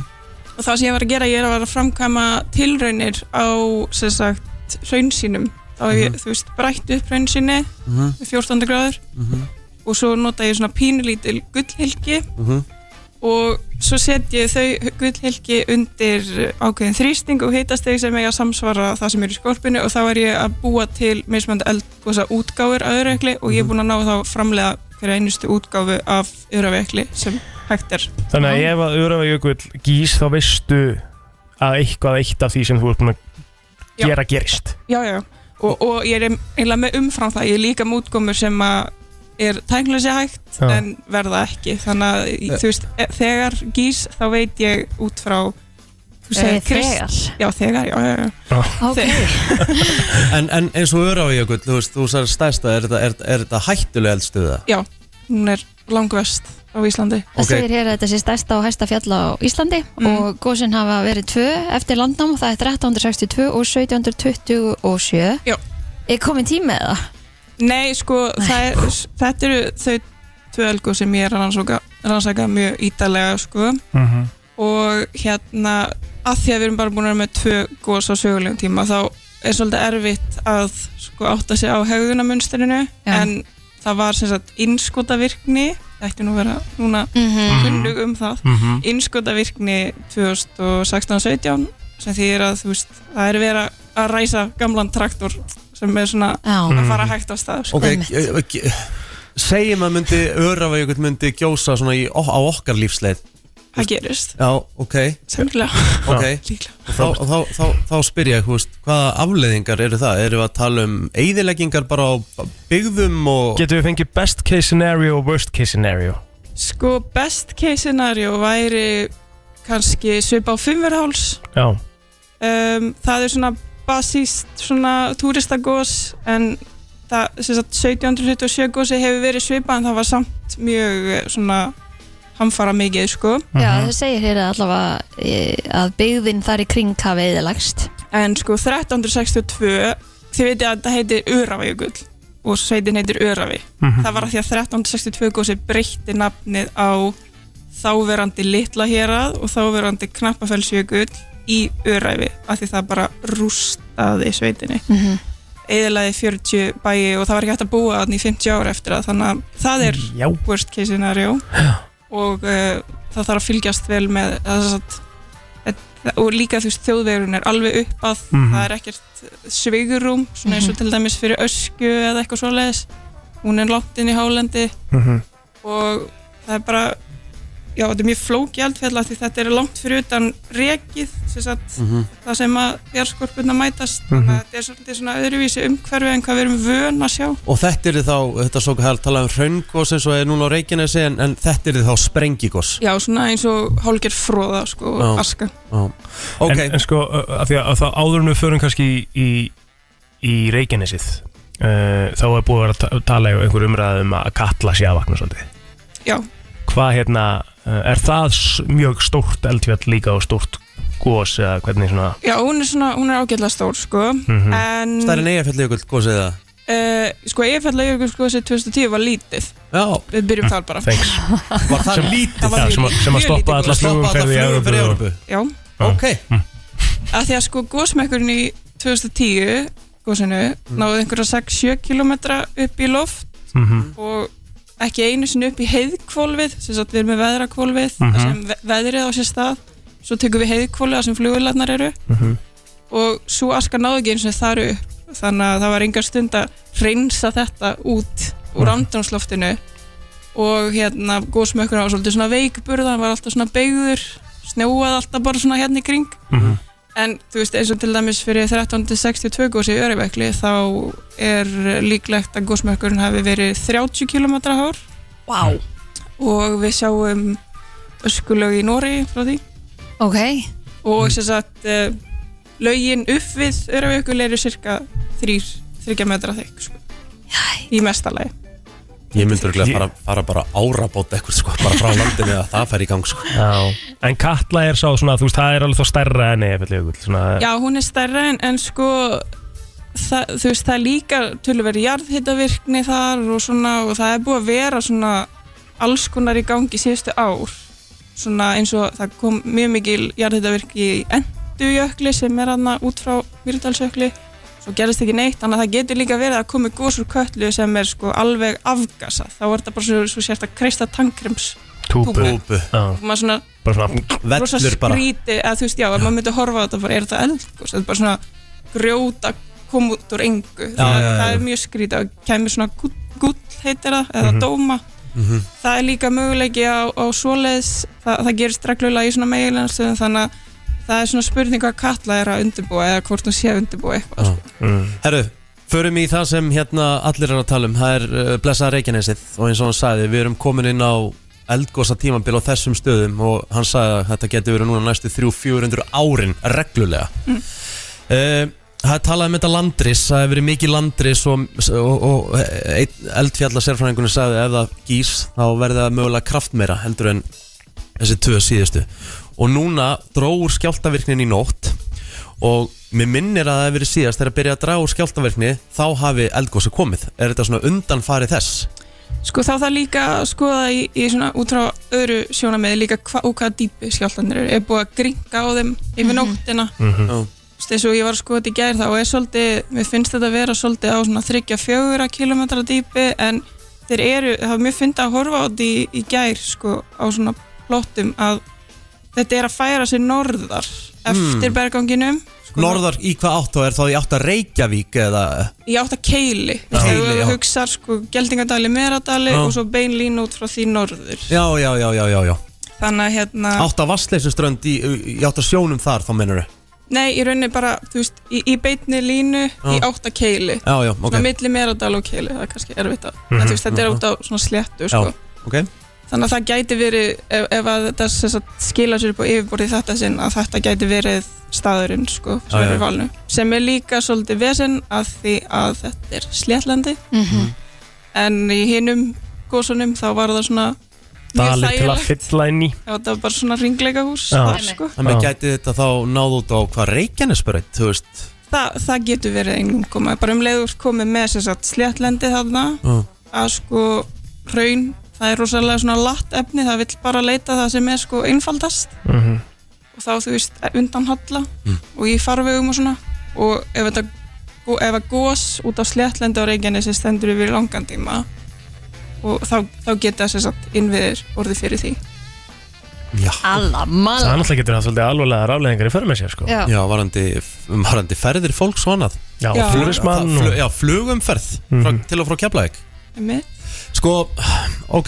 og það sem ég var að gera, ég er að vera að framkvæma tilraunir á, sem sagt, hraunsínum þá hef ég, Mhm. þú veist, brætt upp hraunsinni Mhm. við 14 gráður Mhm. og svo nota ég svona pínulítil gullhylki og svo set ég þau gullhylki undir ákveðin þrýsting og hitasteg sem eiga að samsvara það sem er í skorpinu og þá er ég að búa til mismönd eldgósa útgáfur af öðruekli og Mhm. ég er búin að ná þá framlega hverja einustu útgáfu af öðruekli sem hægt er. Þannig að ef að Örafajökull gís þá veistu að eitthvað eitt af því sem þú ert búin að Já. gera gerist Já, já, og, og ég er eiginlega með umfram það, ég er líka með útgáfur sem að er tæknlösi hægt Já. en verða ekki, þannig að Eh. þú veist, e- þegar gís þá veit ég út frá þú Eh, segir Krist, þegar já þegar, já, já, já. Ok, en, en eins og Öravíjökull, þú veist, þú sagði stærsta er þetta, er, er þetta hættulega eldstuða? hún er langvest á Íslandi Mm. það Ok. segir hér að þetta sé stærsta og hæsta fjall á Íslandi og gósin hafa verið tvö eftir landnám, það er 1362 og 1727 Já. Er komin tími eða? Nei, sko, það er, þetta eru þau tvö elgu sem ég er að rannsaka, rannsaka mjög ítalega sko. mm -hmm. og hérna að því að við erum bara búin að vera með tvö gos á sögulegum tíma þá er svolítið erfitt að sko, átta sig á hegðunamunsterinu Já. en það var sem sagt innskotavirkni það ætti nú að vera núna Mm kunnug um það innskotavirkni 2016-17 sem þýðir að þú veist það er verið að ræsa gamlan traktor sem er svona Já, að fara hægt á stað sko. Mm. Mhm. Ok, Einmitt. eh, ok, segjum að myndi Örafajökull myndi gjósa svona í, á okkar lífsleið það gerist, Já, ok, samlega ok líklega, Og Þá, þá, þá, þá spyr ég, þú veist, hvaða afleiðingar eru það? Eru við að tala um eyðileggingar bara á byggðum og Getum við fengið best case scenario og worst case scenario sko best case scenario væri kannski svipa á fimmverháls Já, um, það er svona basíst svona túristagós en það, sem sagt, 1777 gósi hefur verið svipa en það var samt mjög eh, svona hamfara mikið sko Já, það segir hér að allavega eh, að byggðin þar í kring hafi eðilagst en sko 1362 þið veitir að þetta heitir Öravíugull og sveitin heitir Öravi það var að því að 1362 gósi breytti nafnið á þáverandi litla hérað og þáverandi knappafellsjökull í Öravi af því það bara rústaði sveitinni mm -hmm. eðilaði 40 bæi og það var ekki hægt að búa þannig í 50 ára eftir það þannig að það er já, worst case scenario og uh, það þarf að fylgjast vel með það, satt, et, og líka þú veist þjóðvegurinn er alveg upp að Mhm. það er ekkert svigurum svona eins og til dæmis fyrir ösku eða eitthvað Mhm. svoleiðis hún er látt inn í hálendi mm -hmm. og það er bara já, þetta er mjög flóki eldfjalla því þetta er langt fyrir utan rekið sem sagt, Mhm. það sem að jarðskorpuna mætast Mhm. þannig að þetta er svolítið svona öðruvísi umhverfi en hvað við erum vön að sjá Og þetta er þá, þetta er svo hægt að tala um hraungos eins og er núna á Reykjanesi en, en þetta er þá sprengigos já, svona eins og hálgir fróða sko, Já. aska okay. en, en sko, uh, af því að, að það áður en við förum kannski í, í, í Reykjanesið uh, þá er búið að vera að ta- tala í einhver umræðum að kalla sé að vakna svolítið já, hvað hérna, uh, er það s- mjög stórt eldfjall líka og stórt gos eða hvernig svona já, hún er svona hún er ágætlega stór sko, Mhm. en Stærri neyjafjalli ykkur gosið eða? uh, sko, Eyjafjallajökull sko, þessi 2010 var lítið já. við byrjum þar bara Thanks. Var það lítið? Já, sem að- sem að Mjög stoppa lítið alla gos. flugumferð Stoppa alla í flugumferð í Evrópu. Mm. Evrópu. Já Ok að Því að sko gósmekkurinn í 2010 gósinu Mm. náðu einhverja 6-7 km upp í loft Mhm. og ekki einu sinni upp í heiðkvolfið sem sagt við erum með veðrakvolfið Mhm. þar sem ve- veðrið á sér stað svo tekum við heiðkvolfið þar sem flugurlarnar eru Mhm. og svo aska náðu ekki einu sinni þar upp þannig að það var engar stund að reynsa þetta út úr Mhm. andrumsloftinu og hérna gósmökkur var svolítið svona veikburða hann var alltaf svona beigður snjóaði alltaf bara svona hérna í kring Mhm. En þú veist eins og til dæmis fyrir 1362 gósi í Örebekli þá er líklegt að gósmökkurinn hafi verið 30 km hár Vá og við sjáum öskulög í Nóri frá því Ok og sem sagt uh, lögin upp við Örebekli eru cirka 3, 3 metra þykk sko. í mesta lagi Ég myndi örglega fara, fara bara árabót eitthvað sko, bara frá landinu að það fer í gang sko Já. en Katla er sá svona, þú veist, það er alveg þá stærra en Eyjafjallajökull svona, Já, hún er stærra en, en sko það, þú veist, það er líka tölverið jarðhitavirkni þar og svona og það er búið að vera svona alls konar í gangi síðustu ár svona eins og það kom mjög mikil jarðhitavirkni í Endujökli sem er aðna út frá Myrdalsjökli svo gerist ekki neitt, þannig að það getur líka verið að komi gos úr köllu sem er sko alveg afgasa, þá er þetta bara svo, svo sérst að kreista tankrems Túpu. Túpu. Já. og maður svona bara svona rosa skríti eða þú veist, já, ef maður myndi horfa á þetta bara, er þetta eldgós, þetta er bara svona grjóta kom út úr engu Já, það, já, já, það já. er mjög skrítið og kemur svona gull, gull heitir það, eða Mhm. dóma Mhm. það er líka möguleiki á, á svoleiðs það, það gerist reglulega í svona meginlandstöðum þannig að það er svona spurning hvað Katla er að undirbúa eða hvort hún sé að undirbúa eitthvað mm. Herru, förum í það sem hérna allir er að tala um Það er uh, blessað Reykjanesið og eins og hann sagði Við erum komin inn á eldgosa tímabil á þessum stöðum Og hann sagði að þetta getur verið núna næstu 300-400 árin reglulega Mm. Eh, Það er talað um þetta landris, það hefur verið mikið landris og, og, og einn eldfjalla sérfræðingunni sagði ef það gís þá verði það mögulega kraftmeira heldur en þessi tvö síðustu og núna dróður skjáltavirknin í nótt og mér minnir að það hefur verið síðast þegar að byrja að draga úr skjáltavirkni þá hafi eldgósi komið er þetta svona undanfari þess? Sko þá það líka að skoða í, í svona út frá öðru sjónameði líka hva, og hvaða dýpi skjáltanir eru. Er búið að gringa á þeim yfir nóttina. Mhm. Já. Þú veist, eins og ég var að skoða þetta í gær þá er svolítið, mér finnst þetta að vera svolítið á svona 34 km dýpi en þeir eru, það var mjög fyndið að horfa á þetta í, í gær sko á svona plottum að þetta er að færa sér norðar eftir sko. Mm. berganginum Norðar í hvað átt og er þá í átt að Reykjavík eða í átt að keili Já. Keili, þegar já. þú hugsar sko geldingadali, meradali Já. og svo beinlín út frá því norður Já, já, já, já, já, já. þannig að hérna átt að Vassleysuströnd í, í átt að sjónum þar þá mennur nei, í rauninni bara, þú veist, í, í beitni línu í átta keili Já, já, ok. svona milli meradal og keili, það er kannski erfitt að Mhm. en þú veist, þetta er Mhm. út á svona sléttu sko. Já, ok þannig að það gæti verið ef, ef að þetta sem sagt, skila sér upp á yfirborði í þetta sinn, að þetta gæti verið staðurinn, sko, sem Já, já. er valinu sem er líka svolítið vesinn að því að þetta er sléttlandi Mhm. en í hinum gósunum þá var það svona mjög dalir til að þægilegt. fylla inn í Já, það var bara svona ringleika hús sko. Þannig gæti þetta þá náð út á hvað Reykjanesbreyt, þú veist Þa, það getur verið einhverjum koma bara um leiður komið með sér satt sléttlendi þarna Já. að sko raun, það er rosalega svona latt efni, það vill bara leita það sem er sko einfaldast Mhm. og þá þú veist undan halla og í farvegum og svona og ef þetta og ef að gós út á sléttlendi á Reykjanesi stendur yfir í langan tíma og þá, þá geta sér satt innviðir orðið fyrir því Alla það mala náttúrulega getur það svolítið alvölega rafleðingar í förmið sér sko Já. Já, varandi, varandi ferðir fólks og annað Já, Já. flugrismann fl og- Mhm. Já, flugumferð frá, til og frá Keflavík Einmitt. Sko, ok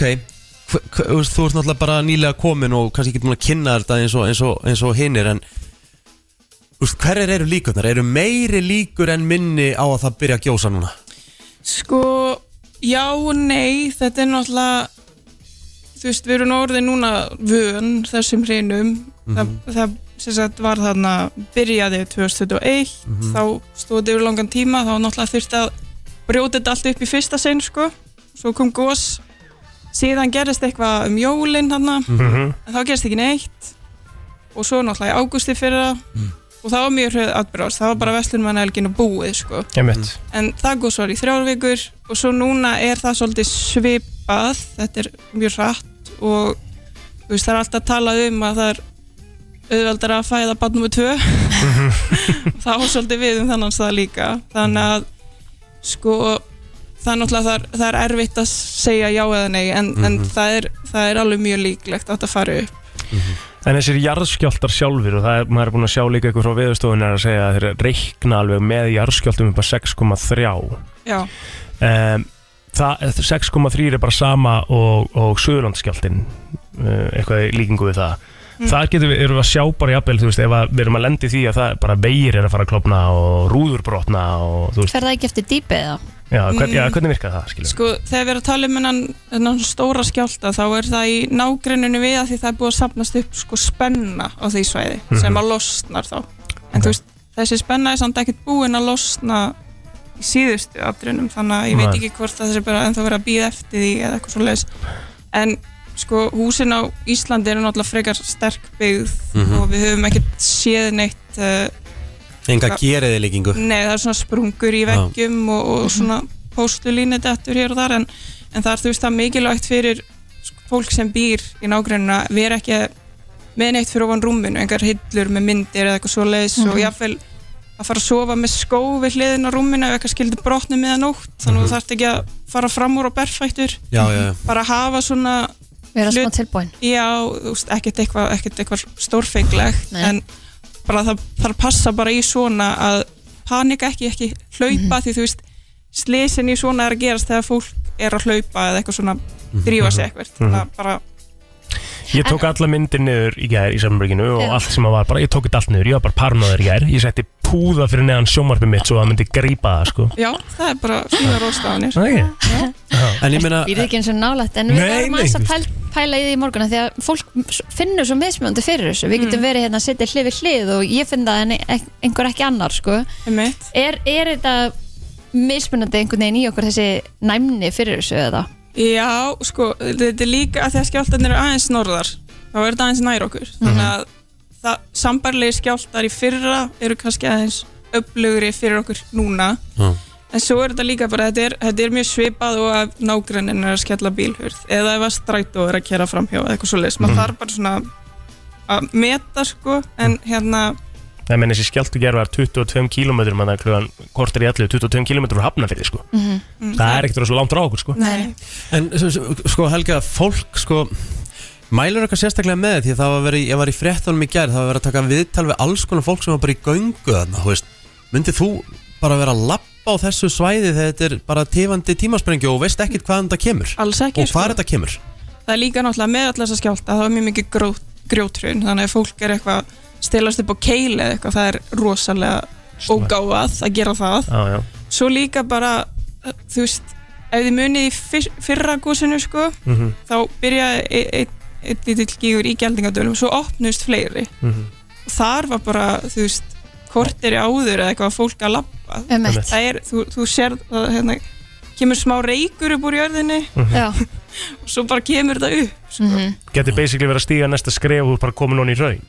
hva- hv- hv- þú veist, þú ert náttúrulega bara nýlega komin og kannski ekki búin að kynna þetta eins og, eins og, eins og hinnir en þú veist, hverjar eru líkurnar? Eru meiri líkur en minni á að það byrja að gjósa núna? Sko, já og nei, þetta er náttúrulega, þú veist, við erum orðið núna vön þessum hreinum. Það, það sem sagt var þarna, byrjaði 2021, Mhm. þá stóði yfir langan tíma, þá náttúrulega þurfti að brjóta þetta allt upp í fyrsta sinn, sko. Svo kom gos, síðan gerist eitthvað um jólinn þarna, Mhm. en þá gerist ekki neitt. Og svo náttúrulega í águsti fyrir það, og það var mjög hröð atbyrðast, það var bara vestlunmannahelgin og búið, sko Mm. Einmitt. en það góð svo í þrjár vikur og svo núna er það svolítið svipað þetta er mjög hratt og þú veist, það er alltaf talað um að það er auðveldar að fæða barn nr. 2 það á svolítið við um þannan stað líka þannig að sko það er náttúrulega það er, það er erfitt að segja já eða nei en, en Mhm. það, er, það er alveg mjög líklegt að þetta fari upp En þessir jarðskjáltar sjálfur og það er, maður er búin að sjá líka ykkur frá viðustofunar að segja að þeir reikna alveg með jarðskjáltum upp að 6,3 já, um, það- 6,3 er bara sama og, og Suðurlandsskjáltin uh, eitthvað í líkingu við það Mm. þar getum við, erum við að sjá bara jafnvel þú veist, ef að við erum að lendi því að það er bara veir er að fara að klopna og rúður brotna og þú veist, Fer það ekki eftir dýpið eða? já, hvern, já, Mm. hvernig virkar það skilur? Sko, þegar við erum að tala um hennan, hennan stóra skjálta þá er það í nágrenninu við að því það er búið að sapnast upp sko spenna á því svæði Mhm. sem að losnar þá en þú veist, þessi spenna er samt ekkert búin að losna í síðustu afdrunum þannig að ég veit Nei. ekki hvort það þessi bara ennþá verið að býða eftir því eða eitthvað svo en sko, húsin á Íslandi eru náttúrulega frekar sterk byggð Mhm. og við höfum ekkert séð neitt uh, Enga Hvað- gerið líkingu Nei, það er svona sprungur í Já. Mhm. veggjum og, og svona póstulínu dettur hér og þar en, en það er þú veist það mikilvægt fyrir sko, fólk sem býr í nágrunna vera ekki með neitt fyrir ofan rúminu engar hillur með myndir eða eitthvað svoleiðis og Mhm. jáfnvel að fara að sofa með skó við hliðin á rúminu ef eitthvað skildi brotni með að nótt þannig að þú Mhm. þarft ekki að fara fram úr og berfættur Já, já, já. bara hafa svona Vera smá tilbúin já, þú veist, ekkert eitthvað ekkert eitthvað stórfenglegt Nei. en bara það þarf að passa bara í svona að panika ekki, ekki hlaupa Mhm. því þú veist, slisin í svona er að gerast þegar fólk er að hlaupa eða eitthvað svona drífa sig eitthvað Mhm. það bara, Ég tók alla myndir niður í gær í Samurbygginu og Já. allt sem að var bara, ég tók þetta allt niður, ég var bara parnaður í gær, ég setti púða fyrir neðan sjómarfið mitt svo að það myndi grípa það sko. já, það er bara svona róstafanir okay. En ég meina, Við erum ekki eins og nálægt En við Eh, Nei, vorum nei, aðeins að þú pæl, pæla í því í morguna Því að fólk s- finnur svo mismjöndi fyrir þessu Við Mm. getum verið hérna að setja hlið við hlið Og ég finn það en e- einhver ekki annar sko. er, er þetta mismunandi einhvern veginn í okkur þessi næmni fyrir þessu eða? Já, sko, þetta er líka að því að skjáltarnir eru aðeins norðar þá er þetta aðeins nær okkur þannig að það, sambarlegi skjáltar í fyrra eru kannski aðeins upplugri fyrir okkur núna Já. en svo er þetta líka bara, þetta er, þetta er mjög svipað og að nágrannin er að skella bílhurð eða ef að strætó er að kera framhjá eða eitthvað svo leis, maður Mhm. þarf bara svona að meta sko, en hérna Það meina þessi skjáltu gerð var 22 km að það klugan kortir í allu 22 km frá hafnafyrði sko. Það er ekkert rosalega langt frá okkur sko. Mhm. Nei. En s- s- sko Helga, fólk sko Mælur okkar sérstaklega með því að það var verið, ég var í fréttunum í gær, það var verið að taka viðtal við alls konar fólk sem var bara í göngu þarna, þú veist, myndið þú bara vera að lappa á þessu svæði þegar þetta er bara tifandi tímasprengju og veist ekkit hvaðan þetta kemur? Alls ekki, sko. Og hvað þetta kemur? það er líka náttúrulega með allar þess að skjálta það er mjög mikið grjót, grjótrun þannig að fólk er eitthvað að stelast upp á keili eða eitthvað, það er rosalega ógáfað að gera það Já, já. svo líka bara, uh, þú veist ef þið munið í fyr, fyrra gósinu sko, Mhm. þá byrjaði e- einn einn lítill gígur í gældingadölum svo opnust fleiri Mhm. þar var bara, þú veist kortir í áður eða eitthvað fólk að labba Einmitt. það er, þú, þú sér það, hérna, kemur smá reykur upp úr jörðinni Já. og svo bara kemur þetta upp sko. Mm -hmm. Geti basically verið að stíga næsta skref og þú ert bara komin honni í raun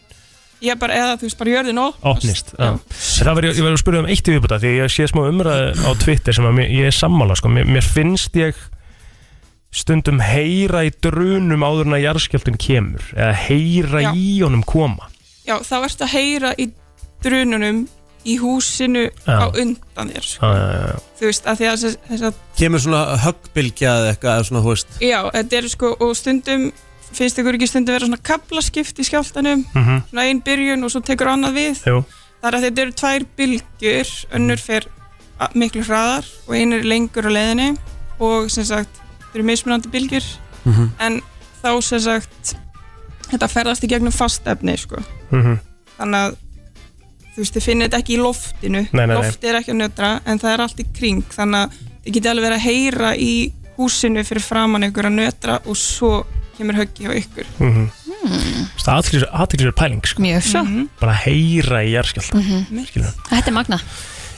Ég bara, eða þú veist, bara jörðin og Opnist já. En Það var, ég var að spyrja um eitt í viðbúta Því ég sé smá umræði á Twitter sem að mér, ég er sammála sko. mér, mér finnst ég stundum heyra í drunum áður en að jarðskjáltin kemur eða heyra Já. í honum koma Já, þá ertu að heyra í drununum í húsinu Já. á undan þér sko. já, já, já. Þú veist, að því að þess, þess að Kemur svona höggbylgja eða eitthvað, eða svona, þú veist, Já, þetta er sko, og stundum finnst ykkur ekki stundum vera svona kaplaskipt í skjáltanum Mhm. svona einn byrjun og svo tekur annað við Jú. Það er að þetta eru tvær bylgjur Mhm. önnur fer a- miklu hraðar og einn er lengur á leiðinni og sem sagt, þetta eru mismunandi bylgjur Mhm. en þá sem sagt þetta ferðast í gegnum fast efni sko. Mhm. þannig að þú veist, þið finnir þetta ekki í loftinu Nei, nei, nei. loftið er ekki að nötra en það er allt í kring þannig að þið getið alveg verið að heyra í húsinu fyrir framann ykkur að nötra og svo kemur höggi hjá ykkur Mhm. Það er aðtýrlisverð pæling sko. Mjög svo Mhm. mm Bara heyra í jarðskjálta -hmm. Þetta er magna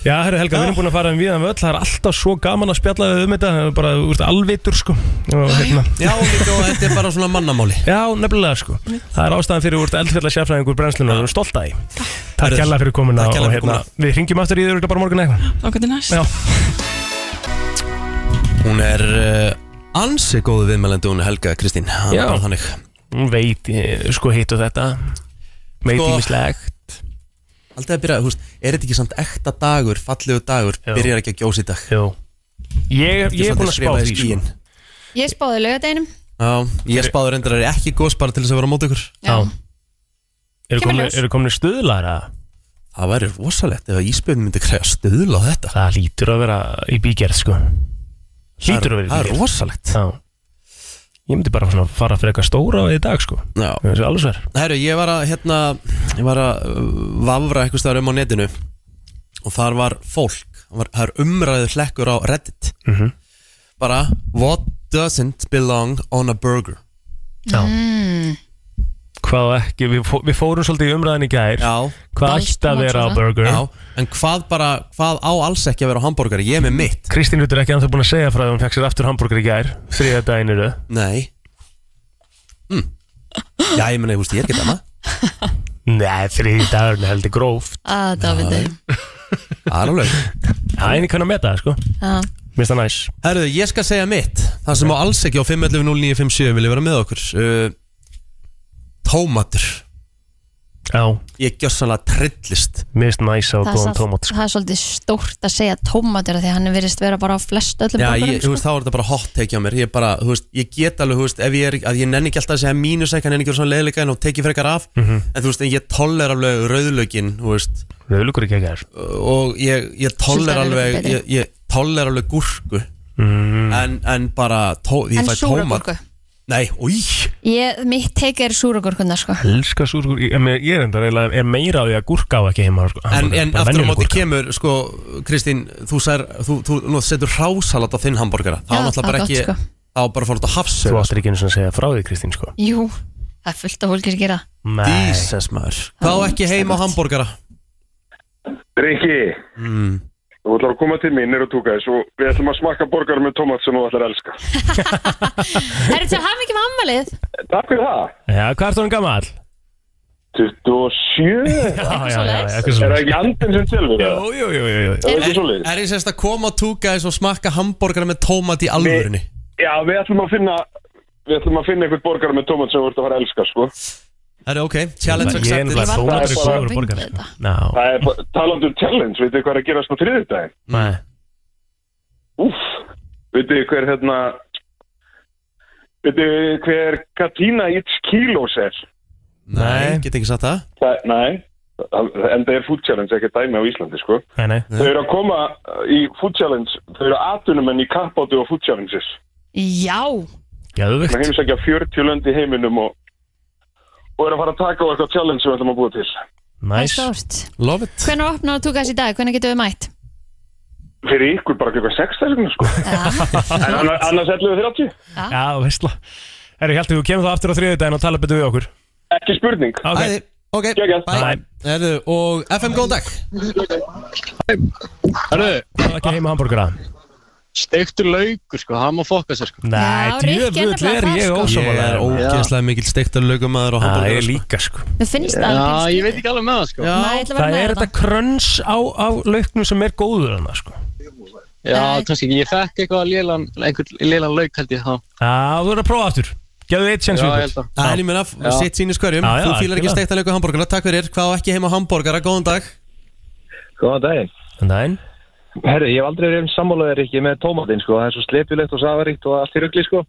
Já, herru Helga, við erum búin að fara um viðan völl Það er alltaf svo gaman að spjalla við um þetta Það er Bara, þú veist, alvitur sko og, hérna. Já, líka og þetta er bara svona mannamáli Já, nefnilega sko Það er ástæðan fyrir úr eldfjalla sérfræðingur brennsluna og við erum stolt að því Takk Herru, kjalla fyrir komuna takk kærlega og fyrir hérna, Við ringjum aftur í þau bara á morgun eða eitthvað þá getur næst Já. Hún er uh, ansi góðu viðmælendi Hún er Helga Kristín Það er Já. bara þannig Hún veit, eh, sko, hitt og þetta Veit Sko- ímislegt Aldrei að byrja, húst, er þetta ekki samt ekta dagur Fallegu dagur, Jú. byrjar ekki að gjósa í dag Jú Ég, ég er búin að spá því sko. skíin Ég spáði laugadeginum Já, ég spáður endur að það er ekki gós bara til þess að vera á móti ykkur Já. Eru Kemur komnir- ljós. Eru komin stuðlar að Það væri rosalegt ef að ísbjörn myndi kræða stöðla á þetta Það lítur að vera í bígerð sko Lítur að vera í Það er bígerð rosalegt Já Ég myndi bara svona fara fyrir eitthvað stóra í dag sko Já Það er alveg sver Herru, ég var að, hérna, ég var að uh, vafra eitthvað staðar um á netinu og þar var fólk, það var, það er umræðu hlekkur á Reddit Mhm. bara, what doesn't belong on a burger Já Hvað á ekki, við, fó, við fórum svolítið í umræðin í gær Já, Hvað Valsmann ætti að vera á svona. burger já, en hvað bara, hvað á alls ekki að vera á hambúrgari, ég er með mitt Kristín Rutt er ekki anþá búin að segja frá því að hún fekk sér aftur hambúrgar í gær Þriða daginn eru Nei mm. Já, ég meni, húst, ég er ekki dæma Nei, þriði dagurinn er heldur gróft að Davide Það er alveg Það er einnig kann að meta það sko Já. Mér finnst það næs Herru, ég skal segja mitt Það sem á alls ekki á 511957 vilja vera með okkur uh, Tómatur Já, Ég gjössanlega trillist mér finnst næs á það, er góðum samt- tómat sko. það er svolítið stórt að segja tómatur af Því að hann virðist vera bara á flest öllum sko. Já, borgarum, ég, þú veist, þá er þetta bara hot take á mér Ég bara, þú veist, ég get alveg, þú veist Ef ég er, að ég nenni ekki alltaf að segja mínus ekki Nenni ekki að vera svona leiðleika en þá teki frekar af En þú veist, en ég toller alveg rauðlögin, þú veist Rauðlugur ekki ekki þér Og ég, ég Sultan toller er alveg betri. Ég, ég toller alveg gúrku en, en bara, tó, ég En fæ tómat súragurku Nei, új, Ég, mitt teik er súragurkuna sko Elskar súrgur, ég, ég- ég er enda reyla er meira á því að gúrka á ekki heima sko. En, en Bara aftur á venjuleg móti gúrka. kemur, sko, Kristín, þú, sær, þú, þú, nú setur rásalat á þinn hambúrgara Það Já, var náttúrulega bara það er ekki, gott, sko. það var bara að fara út á Þú hafsöð áttir ekki einu svona að segja frá því Kristín sko Jú, það er fullt af fólki sem gera Nei Dísas maður Hvað á ekki heima á hambúrgara? Riki, Mm. þú ætlar að koma til mín nýra túkæðis og við ætlum að smakka borgar með tómat sem þú ætlar að elska. Erum til að hafa ekki með ammalið? Takk fyrir það. Já, hvað er það gammal? 27. Já, já, svoleiðis. já, eitthvað er það svona ekki andin sem tilfur það? Jú, jú, jú, jú, jú. Er það ekki svolítið? Er ég sérst að koma að túka þess og smakka hambúrgara með tómat í alvörunni? Já, við ætlum að finna Við ætlum að finna einhvern borgar með tómat sem þú ert að fara að elska, sko Það er ok, challenge Ég er accepted nefnilega Ég var bara tómatur í svo góður fenguð borgar þetta. Ná, Það er bara- talandi um challenge, veitir hvað er að gerast á þriðjudaginn? nei Úff, veitir hver hérna Veitir hver Katina It's Kilos er? Nei, get ekki sagt það Það, nei Það- Enda er food challenge ekki dæmi á Íslandi, sko Nei, nei Þau eru að koma uh, í food challenge Þau eru atvinnumenn í kappátu og food challenges Já, Þau Gjöðvikt heimsækja 40 lönd í heiminum og, og eru að fara að taka á eitthvað challenge sem við ætlum að búa til það er Næs stórt Love it Hvernig opnar þú gæs í dag? Hvernig getum við mætt? Fyrir ykkur bara klukka 6 þess vegna, sko En anna- annars 11.30 Já, veistla Herri, Hjalti, þú kemur þá aftur á þriðjudaginn og tala betur við okkur Ekki spurning Ok, Æði, ok, Geggjað. bye Bye. Herðu, og FM góðan dag Herru, það er ekki heima hambúrgara steiktur laukur sko, það má fokka sér sko Nei, Rikki er djöfull nefnilega er þar, ég sko. Ég ósámála er ógeðslega mikil steiktar lögumæður og Það er hambúrgara sko. líka, sko Mér finnst það Já, alveg ég veit ekki alveg með það sko Já, Það er þetta kröns á, á lauknum sem er góður hana, sko kannski ekki, ég fekk eitthvað lélan, einhvern lélan lauk held ég þá Já, þú er að prófa aftur Gjöðu eitt Já, sjans ég við held að Það er líka Já. sitt sínir skverjum Já, já, Þú fýlar ekki algjörlega. steiktar lögu hambúrgara, takk fyrir Hvað á ekki heima á hambúrgara, góðan dag Góðan daginn Næn Herri, ég hef aldrei verið um sammálaðir ekki með tómatinn sko. Það er svo slepjulegt og safaríkt og allt í rugli sko.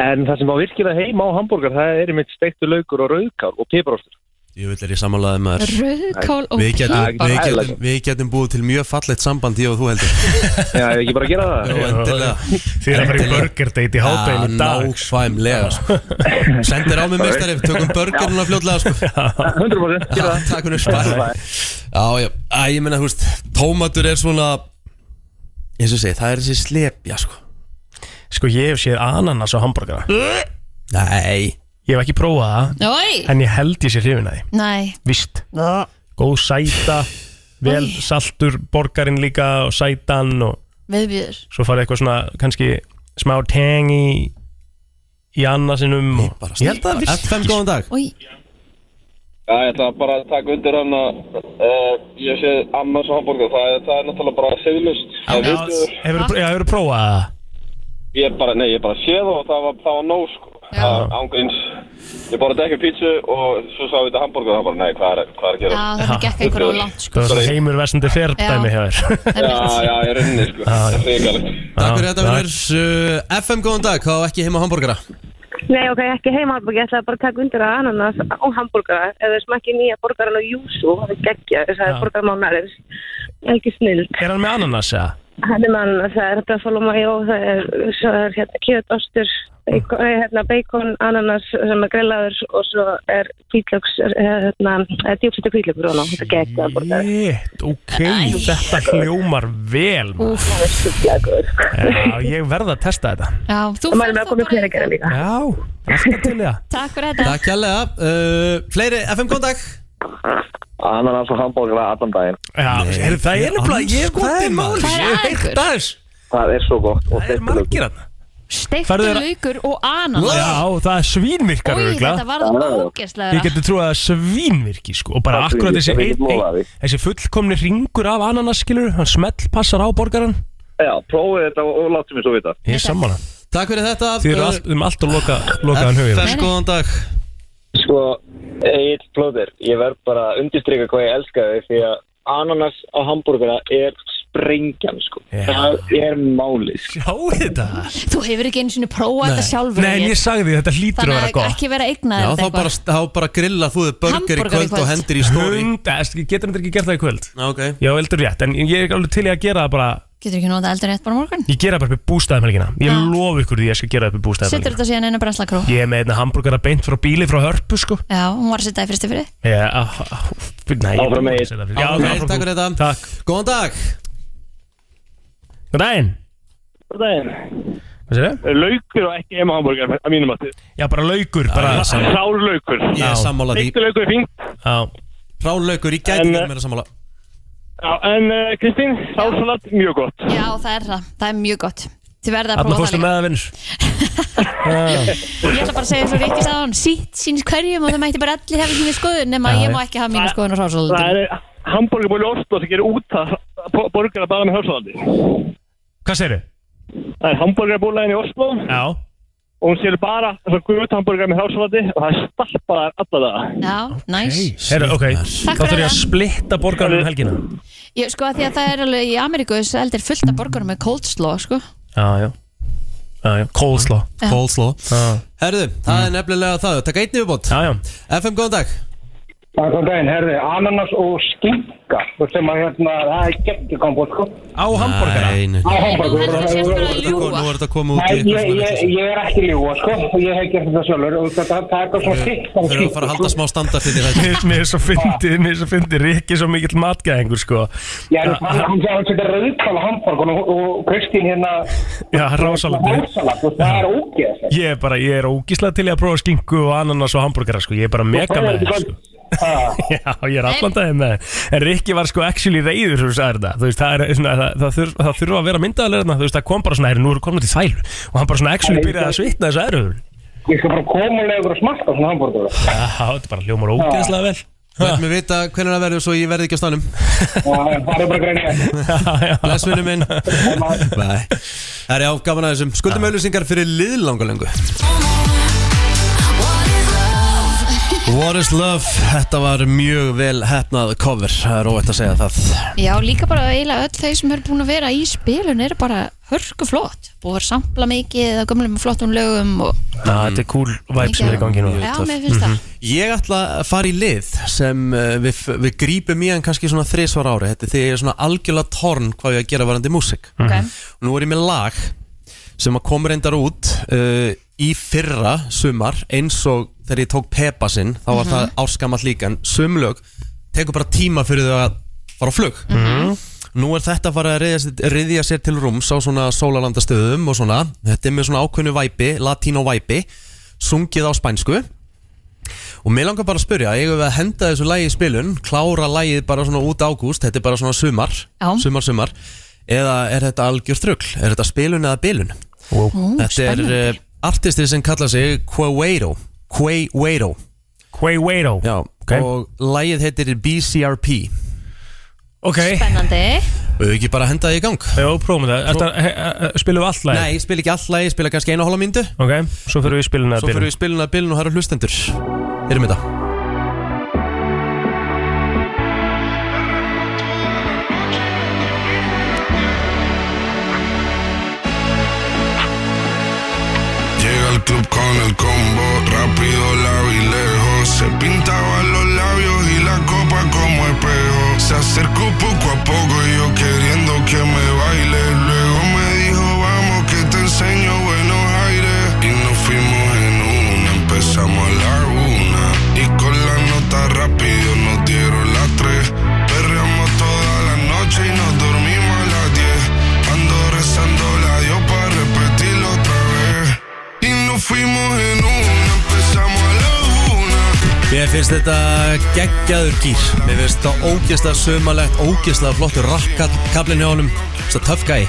En það sem á virkilega heima á hambúrgar Það er einmitt steiktu laukur og rauðkál og piparostur Ég vil er ég samanlega maður Rauðkál og Við getum, pípa. við, getum, við getum búið til mjög fallegt samband ég og þú heldur Já, ég ekki bara að gera það Jó, endilega Ah, Þið er að fara í burger date í hádeginu í dag Nákvæmlega sko. Sendir á mig meistari, tökum burgeruna fljótlega sko. 100% Já, Takk fyrir spara Já, já, Æ, ég meina, húst, tómatur er svona eins og ég segi, það er þessi slepja sko. Sko ég hef séð ananas á hamburgara Nei Ég hef ekki prófað það Oj. En ég held ég sé hrifin að því Nei Vist Góð sæta Vel saltur borgarinn líka og sætan og Viðbjör svo farið eitthvað svona kannski smá teng í í annasinum og ég held að það FM góðan dag Oj. Já, ég ætla bara að taka undir hann að uh, ég sé annars hambúrgar, það, er- það er náttúrulega bara siðlust. Það er vitlaust. hefur þú prófað það? Ég bara, nei, ég bara sé það og það var, það var nóg, sko. Það ángríns. Ég borði ekki pítsu og svo sá ég þetta hambúrgar og það bara, nei, hvað er, hvað er að gera? Já, þetta gekk einhverju á langt Það var svona Sko, heimur vesandi ferdæmi hjá þér Já, já, ég rauninni, sko. Það er reyngalegt. Takk fyrir þetta, vinnur uh, FM góðan dag, hvað á ekki heima hamburgara? Nei, ok, ekki heimhamburg, ég ætlaði bara að taka undir að ananas á hamburgara, ef þau smakki nýja borgaran á júsu, það er geggja, það er Já. borgarmánarins, ekki snill. Er hann með ananas eða? Hann er með ananas, það er buffalomajó, það er, svo er hérna kjötostur, beikon, nei, hérna, bacon, ananas sem er grillaður og svo er kvítlöks, hérna, djúpsýttu kvítlökur og ná, þetta er geggja borgari. Jett, ok, þetta hljómar vel maður. Það er sjúklega góð, sko. Já, ég verð að testa þetta Já, þú Og maður er með að koma í fleiri að gera líka. Já, alltaf til í það Takk fyrir þetta Takk hérlega uh, Fleiri, FM góðan dag Ananas og hambúrgara allan daginn Já, heyrðu, það er nefnilega, ég, sko. það er máli, Hvað er ég að hef ykkur? heilt aðeins Það er svo gott og Það er margir hann Farðu Steiktur þér að- laukur og ananas Já, það er svínvirkar Í örugglega. þetta var það ógerslega Ég getur trúið að svínvirki sko Og bara Takk akkurat fyrir, þessi ég get ein, lofað því. ein, Þessi fullkomni ringur af ananas skilur Hann smell passar á borgaran Já, prófið þetta og, og láttu mig svo vita Ég er sammála Takk fyrir þetta Þið eru allt, um allt að loka, lokaðan hugið FM góðan dag Sko, Egil Plóðir, ég verð bara að undirstryka hvað ég elska þau því að ananas á hambúrgara er sprengjan, sko. Já. Það er málið, sko. Sjáu þetta Þú hefur ekki einu sinni prófað þetta sjálfur Nei, en ég sagði því, þetta hlýtur að Þannig vera að gott ekki vera eignað Já, þá bara, þá bara grilla þú þið burger í Hamborgara í kvöld og kvöld. hendir í stóri Hunda, esti, getur þetta ekki gert það í kvöld? Ok Já, eldur rétt, en ég er alveg til í að gera það bara Getur ekki notað eldur rétt bara á morgun Ég gera það bara upp í bústæðumhelgina Ég Já. lofa ykkur því að ég skal gera það upp í Setur bústæðumhelgina þetta síðan einu brenslakró Ég er með einna hambúrgara beint frá bíli frá hörpu sko Já, hún var að setja í fyrstu fyrir Ég, á, á, ah, nei, ég- Áfram Egill. Já, Áfram Egill, áfram takk þú. fyrir þetta. Takk Góðan dag Góðan daginn Góð daginn. Eh, Hvað séu? Laukur og ekki heima hambúrgar, að mínum að þið. Já, bara laukur bara, ég er sammála. Sár laukur. Ég er sammála því Eittu laukur er fínt. Já, Rálaukur, ég gæti En, verið meira sammála Já, en uh, Kristín, sársalat, mjög gott. Já, það er það, það er mjög gott Þið verða að Þarna prófa fórstu það með líka það vinnur Ég ætla bara að segja svo Ríkis að hann Sitt síns hverjum og það mætti bara allir hafa sínu skoðun Nefn að ég má ekki hafa mínu skoðun og Það sásóldum er hambúrgarbóli Oslo sem gerir út að borgara bara með hörsalandi. Hvað segirðu? Það er hambúrgarbólaðin í Oslo Já og hún sér bara þessar guðut hambúrgar með hörsalandi og það er stappaðar alltaf Já, næs Herru, ok Takk Þá þarf fyrir ég að það. splitta borgarum um helgina Ég, sko að því að það er alveg í Ameríku þessu eldir fullt af borgarum með coldslaw sko. Já, já Já, já Coleslaw Já. Coleslaw Já, Herðu, það er nefnilega það Takk einnig viðbót Mm. já, já FM góðan dag Takk fyrir daginn, herði, ananas og skinka og sem að hérna, það er gegn í kombo, sko Á hambúrgara Nei, nei, á nei. Þú hamburgur heldur að sérst bara að Nú er ljúga þetta komið út Nei, ég, í ég, eitthvað svona vitleysu. ég er ekki ljúa, sko og ég hef gert þetta sjálfur og þetta það er eitthvað svona þykkt á Þau eru að fara að skinka, halda sko. smá standart inn í þetta Mér- Mér er svo fyndið, mér er svo fyndið Rikki er svo mikill matgæðingur, sko Já, en hann hann sagði að þetta er rauðkala hamburgur og, og Kristín hérna Já, rásalandri Rásalat, og það er ógeð Ég er bara, ég er ógíslega til í að prófa skinku og ananas og hambúrgara, sko Ég er bara mega með það, sko Já, ég er allan daginn með það En Rikki var sko actually reyður þú sagðir þetta Þú veist, það, er, svona, það, það, þurf, það þurfa að vera myndaðalega Þú veist, það kom bara svona, "Heyrðu, nú eru komin út í þælu Og hann bara svona actually byrjaði að svitna þessu aðröður Ég skal bara koma og leiður að smakka svona sko. hamburgur Já, þetta er bara hljómar ógeðslega vel Læt mig vita hvernig það verður svo ég verði ekki á stannum Það er bara greinir Bless vinnu minn Bæ Það er já, gaman að þessum Skuldum auðlýsingar fyrir liðlanga lengu What is love? Þetta var mjög vel hefnað cover, það er óvægt að segja það Já, líka bara eiginlega öll þau sem eru búin að vera í spilun eru bara hörku flott búið að sampla mikið að gömlum og flottum lögum og Já, þetta er cool vibe sem er í gangi nú Já, mér finnst það. Ég ætla að fara í lið sem eh, við, við grípum í hann kannski svona þrisvar ári Þetta er því ég er svona algjörlega torn hvað ég að gera varandi músik Ok. Og Nú er ég með lag sem að kom reyndar út uh, í fyrra sumar eins og þegar ég tók Peppa sinn þá var Mhm. það áskamall líka en sumlög tekur bara tíma fyrir þau að fara á flug Mhm. Nú er þetta að fara að reyðja, sér- ryðja sér til rúms á svona sólalandastöðum og svona Þetta er með svona ákveðnu væpi, latínó væpi sungið á spænsku og mér langar bara að spyrja, eigum við að henda þessu lægi í spilun, klára lægið bara svona út ágúst, þetta er bara svona sumar Já. sumar, sumar, eða er þetta algjör þrugl, er þetta spilun eða bilun wow. Ó, þetta er spennandi. uh, artistir sem kalla sig Quaveiro Quaveiro Quaveiro Já, og lægið heitir BCRP Ok Spennandi Við höfum ekki bara að henda það í gang Já, prófum það, Ertu að- he- he- spilum við allt lagið? Nei, spil ekki allt lagið, spila kannski einu og hálfa myndu Ok, svo fyrir við spilun að Svo fyrir við spilun að bilun og það eru hlustendur Erum við þetta Llega al club con el combo, rápido, largo y lejos. Se pintaban los labios y la copa como espejo. Se acercó poco a poco y yo queriendo que me baile. Luego me dijo, vamos que te enseño buenos aires. Y nos fuimos en una, empezamos a la una. Y con la nota rápido nos dieron las tres. Perreamos toda la noche y nos dormimos a las diez. Ando rezando la Dios para repetirlo otra vez. Y nos fuimos en una, empezamos a la una. Mér finnst þetta geggjaður gýr Mér finnst þetta ógeðslega sömalegt Ógeðslega flottur rakkablin hjá honum Þetta töff gæi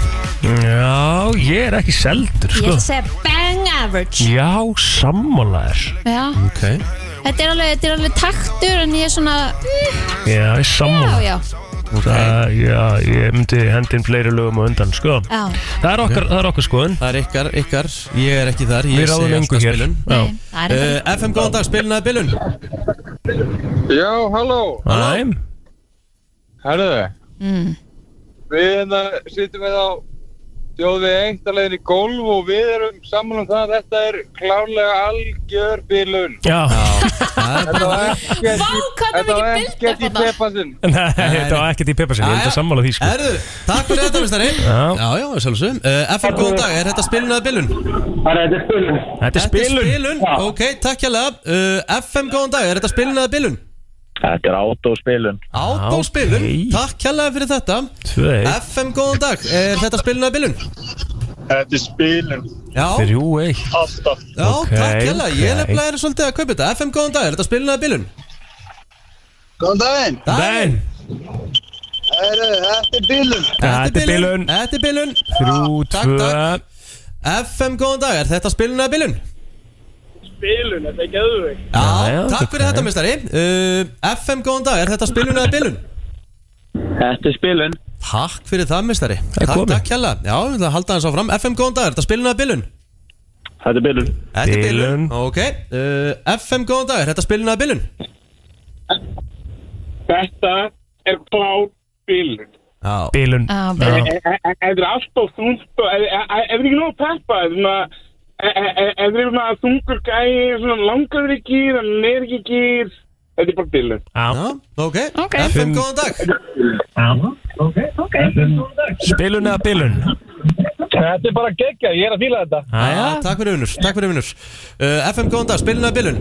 Já, ég er ekki seldur Ég ætla sko. að segja bang average Já, sammálaður Já, Ok þetta er alveg, þetta er alveg taktur en ég er svona mm, Já, ég er Já, sammála já, Það, já, ég myndi hendin fleiri lögum á undan, sko já Það er okkar, það er okkar skoðun Það er ykkar, ykkar, ég er ekki þar Við ráðum engu hér uh, Já. FM, góðan dag, spilin að bilun Já, halló Næm Herðu, mm. við hérna sittum við á þjóðvið eintarlegin í golf og við erum saman um það að þetta er klárlega algjör bílun. Já Þetta var ekkert í- þetta var ekkert í pepasinn. Nei, þetta var ekkert í peppa sinni, ég held að sammála því, sko Erðu, takk fyrir þetta, mistari Já. já, já sjálfsögum uh, FM, góðan dag, er þetta spilin að bilun? Þetta er spilun Þetta er spilun Já. ok, takk hérlega uh, FM, góðan dag, er þetta spilin að bilun? Þetta er autospilun Átóspilun, Ok. takk hérlega fyrir þetta Tvö eitt. FM, góðan dag, er þetta spilin að bilun? Þetta er spilun Já Þrjú eitt Alltaf Já, takk hérlega, ég ok. nefnilega er svolítið að kaupa þetta FM, góðan dag, er þetta spilin að bilun? Góðan daginn Daginn Herðu, þetta er bílun. Þetta er bilun Þetta er bilun Þrjú, tvö FM, góðan dag, er þetta spilin að bilun? Bílun, þetta er gæðvig. Já, takk fyrir þetta, mistari uh, FM, góðan dag, er þetta spilun eða bilun? Þetta er spilun Takk fyrir það, mistari Takk, komið. takk hérlega, já, við ætlum að halda hans áfram FM, góðan dag, er þetta spilun eða bilun? Þetta er bílun Þetta er bilun Ok, uh, FM, góðan dag, er þetta spilun eða bilun? Þetta er klár bílun. Bílun Ef það er alltaf þungt og ef ef- ef það er ekki nóg peppa ef það e- er svona þungur gæi svona langaður í gýr en er ekki í gýr þetta er bara bílun Já, ok, Ok. FM, góðan dag Spilun eða bilun? Þetta er bara geggja, ég er að fýla þetta Jæja, Ah, Takk fyrir vinnur, takk fyrir vinnur uh, FM, góðan dag, spilun eða bilun?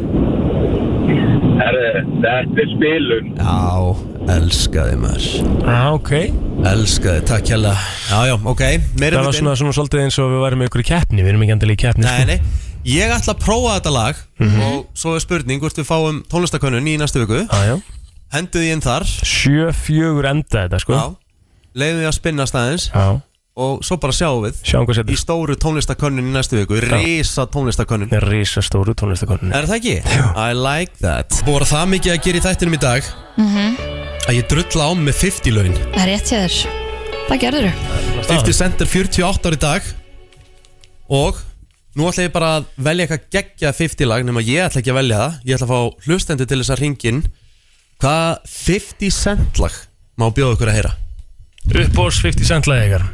Þetta er spilun Já, elskaði maður Já, ok Elskaði, takk hella Já, já, ok meiri Það var hlutinn. svona, svona svolítið eins og við værum í ykkur í keppni Við erum ekki endilega í keppni sko. Nei, nei, ég ætla að prófa þetta lag Mhm. Og svo er spurning hvort við fáum tónlistakönnun í næstu viku Ah, Já, já Henduði inn þar Sjö, fjögur enda þetta, sko Já, leiðum við að spinna staðins Já Og svo bara sjáum við Sjáum hvað setur Í stóru tónlistakönnun í næstu viku Risa tónlistakönnun Risa stóru tónlistakönnun Er það ekki? I like that Bóra það mikið að gera í þættinum í dag Mhm. Að ég drulla á mig með 50 laun Það er rétt hjá þér Það gerður 50 cent er 48 ár í dag Og Nú ætla ég bara að velja eitthvað geggja 50 lag nema ég ætla ekki að velja það Ég ætla að fá hlustendur til þess að ringin Hvað 50 cent lag má bjóða ykkur að heyra? Uppbórs 50 cent lag ykkar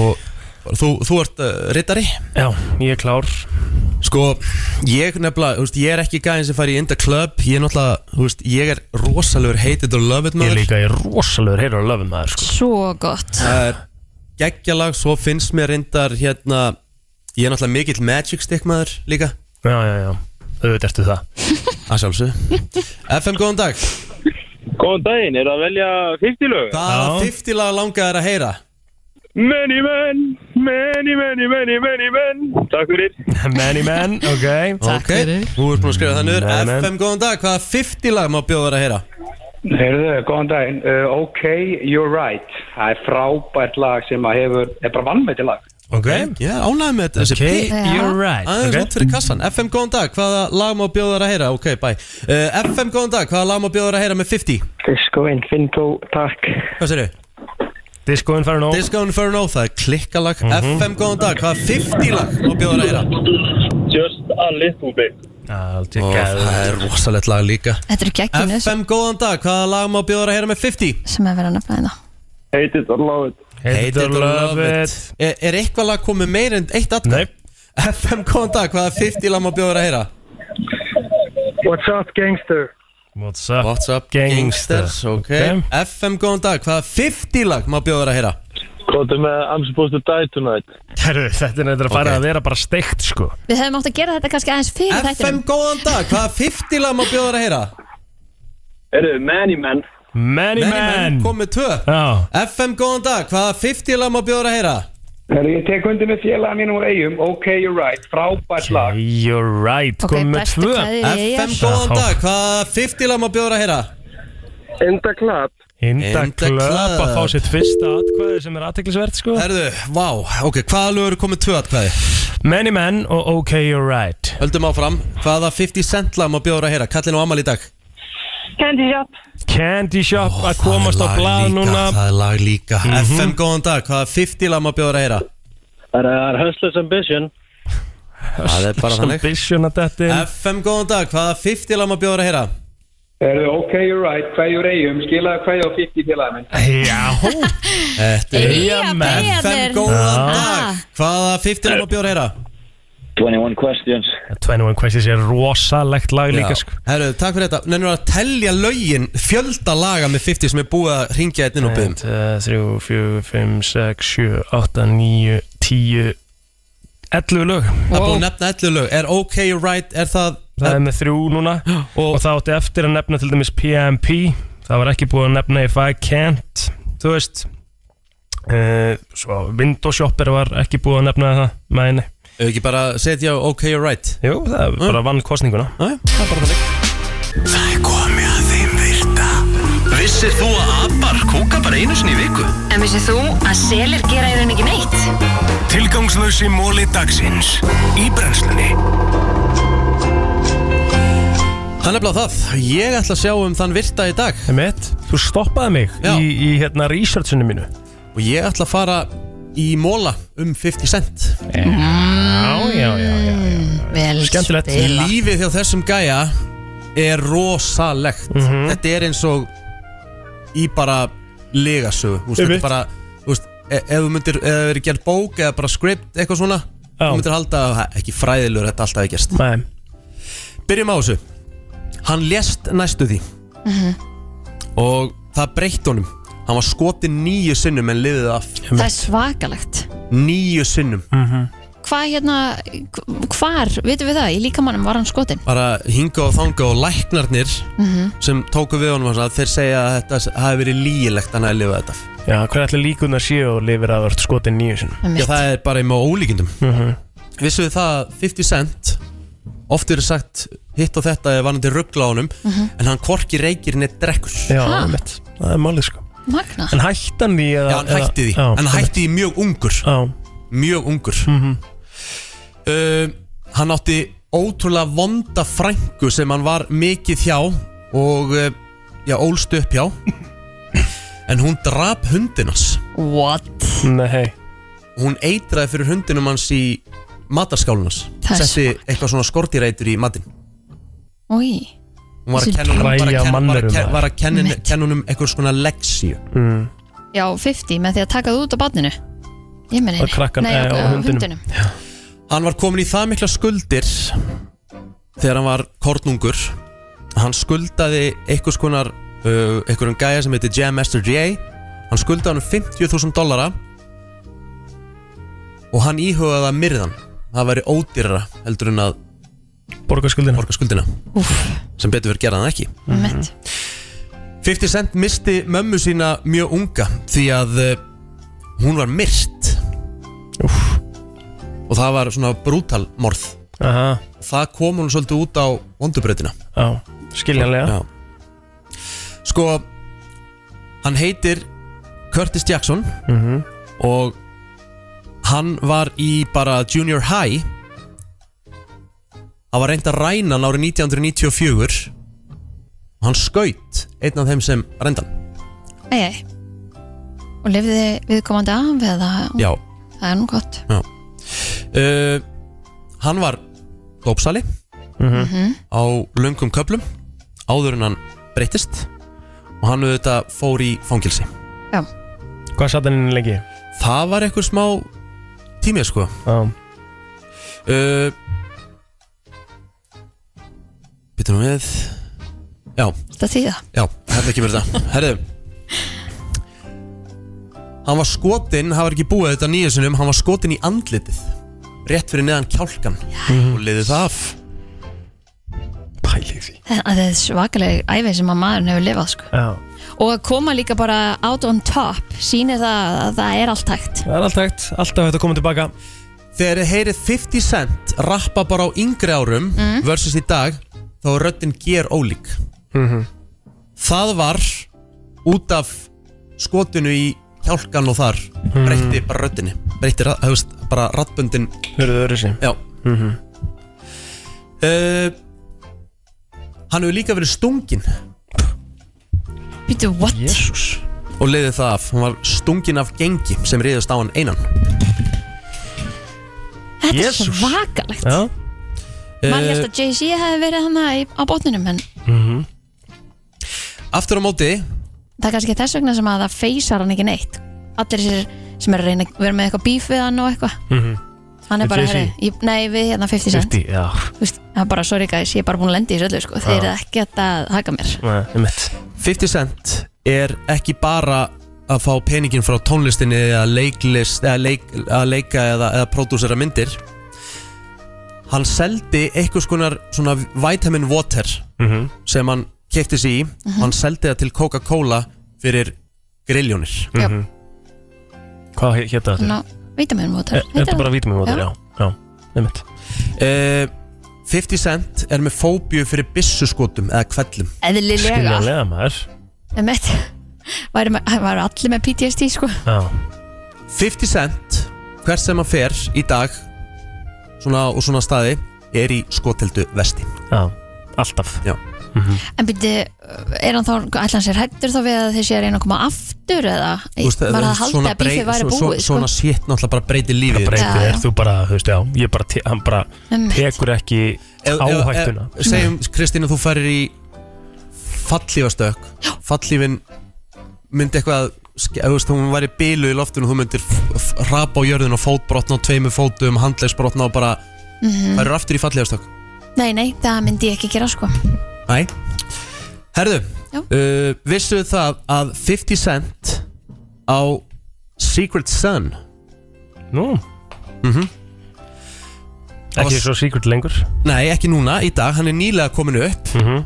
Og þú, þú ert uh, rittari? Já, ég er klár Sko, ég nefnilega, þú veist, ég er ekki gæðin sem fær í Inda Club Ég er náttúrulega, þú veist, ég er rosalegur heitit og löfut maður Ég líka, ég er rosalegur heitir og löfut maður sko. Svo gott Það er geggjalag, svo finnst mér reyndar hérna Ég er náttúrulega mikill Magic Stick maður líka Já, já, já, auðvitað ertu það Að sjálfsög FM, góðan dag Góðan daginn, er það að velja 50 lög? Hvaða 50 lag langaðir að heyra? Many men, many, many, many, many men Takk fyrir Many men, ok Ok, þú ert búin að skrifa það nöður FM, góðan dag, hvaða 50 lag má bjóða þér að heyra? Heyrðu, góðan daginn. Uh, ok, you're right. Það er frábært lag sem að hefur, er bara vannmætti lag. Ok Já, ánægð með þetta Ok, you're right, Aðeins ok. út fyrir kassan FM, góðan dag, hvaða lag má bjóða þér að heyra? Ok, bye uh, FM, góðan dag, hvaða lag má bjóða þér að heyra með 50? Disco Infinito, takk. Hvað sér Disco Inferno Disco Inferno, Mhm. það er klikkalag FM, góðan dag, hvaða 50 lag má bjóða þér að heyra? Just a little bit Og það er rosalegt lag líka Þetta eru geggjum þessu FM, góðan dag, hvaða lag má bjóða þér að heyra með 50? sem er verið að nefna þetta Hate it or love it Hate it or love it Er, er eitthvað lag komið meir en eitt atkvæm? Nei FM, góðan dag, hvaða 50 lag má bjóður að heyra? What's up, gangster? What's up, What's up gangsters, ok FM, góðan dag, hvaða 50 lag má bjóður að heyra? Kvotum með I'm supposed to die tonight Herru, þetta er neitt að fara að vera bara steikt sko Við hefum átt að gera þetta kannski aðeins fyrir FM, góðan dag, hvaða 50 lag má bjóður að heyra? Eru, many men Many, men Komið tvö Já. FM, góðan dag, hvaða 50 lag má bjóður að heyra? Heyrðu, ég tek undir með félaga mínum úr eigum. Ok, you're right. Frábært lag. You're right, Ok, komum með bestu tvö kveðjur í eyjar. FM, góðan dag, hvaða 50 lag má bjóður að heyra? Enda klap Hinda Enda klöp að klöp. fá sitt fyrsta atkvæði sem er aðteklisvert sko Herðu, vá, ok, hvaða lögur komið tvö atkvæði? Many men og ok, you're right Höldum áfram, hvaða 50 cent lag má bjóður að heyra? Kallin og Amal í dag Candy Shop. Candy Shop að komast á lag blað líka, núna Það er lag líka Mhm. FM, góðan dag, hvaða 50 lag má bjóður að heyra? Það er Hustlers Ambition Það er bara þannig FM, góðan dag, hvaða 50 lag má bjóður að heyra? Heyrðu, ok, you're right. Hvað úr eigum? Skilaðu hvað á 50 félaga minn. Já Þetta er Eyjamenn. FM, góðan Já. dag, hvaða 50 lag má bjóður að heyra? 21 questions 21 Questions er rosalegt lag líka sko Herru, takk fyrir þetta Nennur að telja lögin fjölda laga með 50 sem er búið að ringja einn inn og byggum 3, 4, 5, 6, 7, 8, 9, 10 11 lög Það er búið að nefna 11 lög Er OK Right, er það Það er með þrjú núna og, það átti eftir að nefna til dæmis PMP Það var ekki búið að nefna If I Can't Þú veist uh, Svo Windows Shopper var ekki búið að nefna það með henni Ef ekki bara setja OK Right Hm. Jú, það er bara vann kostninguna Æ, Það er komið að þeim virta Vissir þú að abar kúka bara einu sinni í viku? En vissið þú að selir gera í rauninni ekki neitt? Tilgangslösi móli dagsins Í brennslunni Það er nefnilega það Ég ætla að sjá um þann virta í dag Emmett, þú stoppaði mig í, í hérna researchinu mínu Og ég ætla að fara í móla um 50 cent Já, já, já, já, já. Mm, Vel Skemmtilegt. spilað. Lífið hjá þessum gæja er rosalegt Mhm. Þetta er eins og í bara legasögu Þú veist, Þetta Einmitt. er bara, þú veist, e ef þú myndir ef það verið gerð bók eða bara script eitthvað svona Þú myndir halda að það er ekki fræðilegur þetta alltaf ekki gerst Nei. Byrjum á þessu Hann lést næstu því Mhm. og það breytt honum Hann var skotin nýju sinnum en liðið af Það er svakalegt Nýju sinnum Mhm. Hvað hérna, hvar, vitum við það, í líkamannum var hann skotin bara hinga og þanga og læknarnir Mhm. sem tóku við honum að þeir segja að þetta hafi verið lígilegt hann hafi lifað þetta Já, hvernig ætla líkunar séu og lifir að verðt skotin nýju sinni Já, það er bara með ólíkindum mm -hmm. Vissu við það að 50 Cent oft verið sagt hitt og þetta er vanandi ruggla á honum Mhm. en hann korki reykir neitt drekkur Já, einmitt. það er málið sko Magna En hættan því eða Já, hann hætti því, Já, hann hætti því mjög ungur Já. Mhm. Mjög ungur uh, Hann átti ótrúlega vonda frængu sem hann var mikið hjá og uh, já, ólst upp hjá En hún drap hundinans What? Nei Hún eitraði fyrir hundinum hans í matarskálunans Það er setti eitthvað svona skortirætur í matinn Úi, hún var að Þessi kenna honum- var að bræja kenna- var að mannerum kenna- þar. var að kenna- kenna honum eitthvað svona leksíu mm. já, 50 með því að taka það út á badninu Ég meni Og krakkan- eh, og hundinum. hundinum. Hann var komin í það mikla skuldir þegar hann var kornungur hann skuldaði einhvers konar uh, einhverjum gæja sem heiti Jam Master J hann skuldaði hann 50.000 dollara og hann íhugaði að myrðan það væri ódýrara heldur en að borga skuldina, sem betur verið gera hann ekki Einmitt. 50 Cent misti mömmu sína mjög unga því að uh, hún var myrst og það var svona brútal morð Aha. það kom hún svolítið út á vondubröðina Já, skiljanlega Já. sko hann heitir Curtis Jackson Mhm. og hann var í bara junior high hann var reynd að ræna hann árið 1994 og hann skaut einn af þeim sem reyndan Ei, ei. Og lifði viðkomandi af eða já, það er nú gott já. Uh, hann var dópsali Mhm. á löngum köplum áður en hann breytist og hann auðvitað fór í fangilsi Já. Hvað satt hann inn lengi? Það var eitthvað smá tímið sko Já uh, Býtum við Já Þetta þýða. Já, hefði ekki verið það Herðu Hann var skotinn, hann var ekki búið þetta nýja sinum Hann var skotinn í andlitið Rétt fyrir neðan kjálkan Og liðið það af Pælið því Það það er svakaleg æfið sem að maðurinn hefur lifað sko. Já. Og að koma líka bara out on top sýnir það að það er allt hægt Það er alltaf hægt, alltaf hægt að koma tilbaka Þegar þið heyrið 50 Cent rappa bara á yngri árum Mhm. versus í dag þá er röddinn ger ólík Mhm. Það var út af skotinu í hjálkan og þar breytti bara röddinni breytti ra- þú veist, bara rattbundin Hörðu öðru sig Já Mhm. uh, Hann hefur líka verið stungin Býtu, what? Jesus. Og leiði það af, hann var stungin af gengi sem reyðist á hann einan Þetta er Jesus. svakalegt Já Eh. Man Eh, held að Jay-Z hefði verið hann í- á botninum en Aftur á móti það er kannski þess vegna sem að það feysar hann ekki neitt Allir þessir sem er að reyna að vera með eitthvað bíf við hann og eitthvað Mhm. Hann er Við bara, Jay-Z? herri, ég- nei við hérna 50 cent 50, já Þú veist, það er bara, sorry guys, ég er bara búin að lenda í þessu öllu sko. Þeir eru Já. ekki að haka mér Nei, 50 Cent er ekki bara að fá peningin frá tónlistinni eða leiklist, eða leik, að leika eða, eða pródúsera myndir hann seldi einhvers konar svona vitamin water Mhm. sem hann kefti sig í hann seldi það til Coca-Cola fyrir grilljónir Já. Mhm. Hvað hétta þetta? Þannig að vítamínvótar Er Eh, þetta bara vítamínvótar, já Já, nefnt Eh, 50 Cent er með fóbíu fyrir byssuskotum eða kvellum Eðlilega maður Emmett Væru með- væru allir með PTSD sko 50 Cent hvert sem hann fer í dag svona, og svona staði er í skoteldu vesti Já, alltaf Já. En byrju, er hann þá, ætla hann sér hættur þá við að þeir sé að reyna að koma aftur eða Þú veist, var það að það- halda að brei- bífið væri svo- búið svo- Svona sko? sétt náttúrulega bara breytir lífið Það breytir, Já, já. er þú bara, þú veist, já Ég bara, te- hann bara Einmitt. Mm. tekur ekki Ef- ef- áhættuna ef- Segjum, Kristín, að þú farir í fallífastökk Fallífin myndi eitthvað ske- ef Þú veist, hún væri bílu í loftinu Þú myndir rapa á jörðinu og fótbrotna á tveimur fótum, handlegsbrotna og bara Mhm. Færir aftur í fallífastökk Nei, nei, það myndi ég ekki gera sko Nei Herðu, Já. uh, vissu það að 50 Cent á Secret Sun Nú mm Ekki svo secret lengur Nei, ekki núna, í dag, hann er nýlega komin upp Mhm.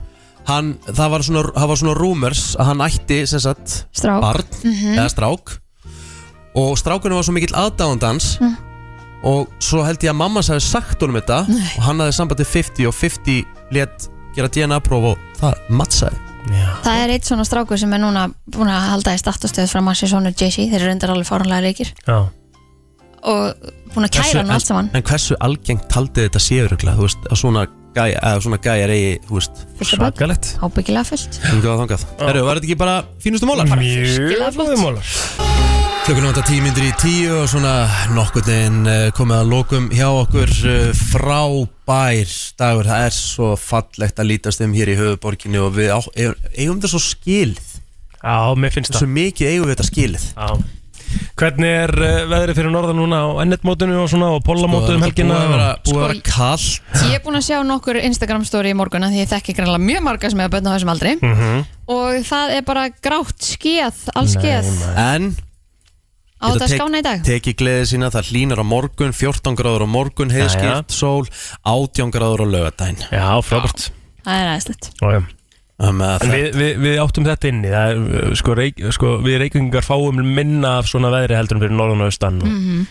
hann, það, var svona, það var svona rumors að hann ætti sem sagt Strák. barn, Mhm. eða strák og strákunum var svo mikill aðdáðandans Mm. og svo held ég að mamma sæði sagt honum þetta Nei. og hann hafði sambandi 50 og 50 let gera DNA-próf og það mattsaði Það er eitt svona strákur sem er núna búin að halda í statustöð fram að sér sonur Jay-Z þeir eru reyndar alveg fáranlega reykir Já. og búin að kæra hann en- allt saman En hversu algengt taldið þetta séu röglega, þú veist, að svona gæja, að svona gæja reyji, þú veist um Fullt af börn. Svakalegt ábyggilega fullt Þungað þangað Herru, var þetta ekki bara fínustu mólar? Mjög Virkilega flott. góðum mólar Klukkan er vantar tíu myndir í tíu og svona nokkurnin komið að lokum hjá okkur eh, frábær dagur. Það er svo fallegt að lítast um hér í höfuborginni og við á, eigum, eigum þetta svo skilið. Já, mér finnst það. Svo mikið eigum við þetta skilið. Já. Hvernig er eh, veðrið fyrir norðan núna á ennetmótinu og svona og pollamótinu um helgina? Sko, Búið að vera, búið Sko, að vera kallt. Ég er búin að sjá nokkur Instagram story í morgun af því ég þekki greinlega mjög marga sem hefur bönn á þessum aldri Mhm. -hmm. og það er bara grátt skeð, alls skeð En á þetta að skána í dag Teki gleði sína, það hlýnar á morgun 14 gráður á morgun, heiðskipt, sól 18 gráður á lögadaginn Já, frábært Það er aðeinslegt Já, já. En við, við, við áttum þetta inni það er, uh, sko, reik, sko, Við reykingar fáum minna af svona veðri heldur en fyrir norðan og austan og, Mm. Mhm.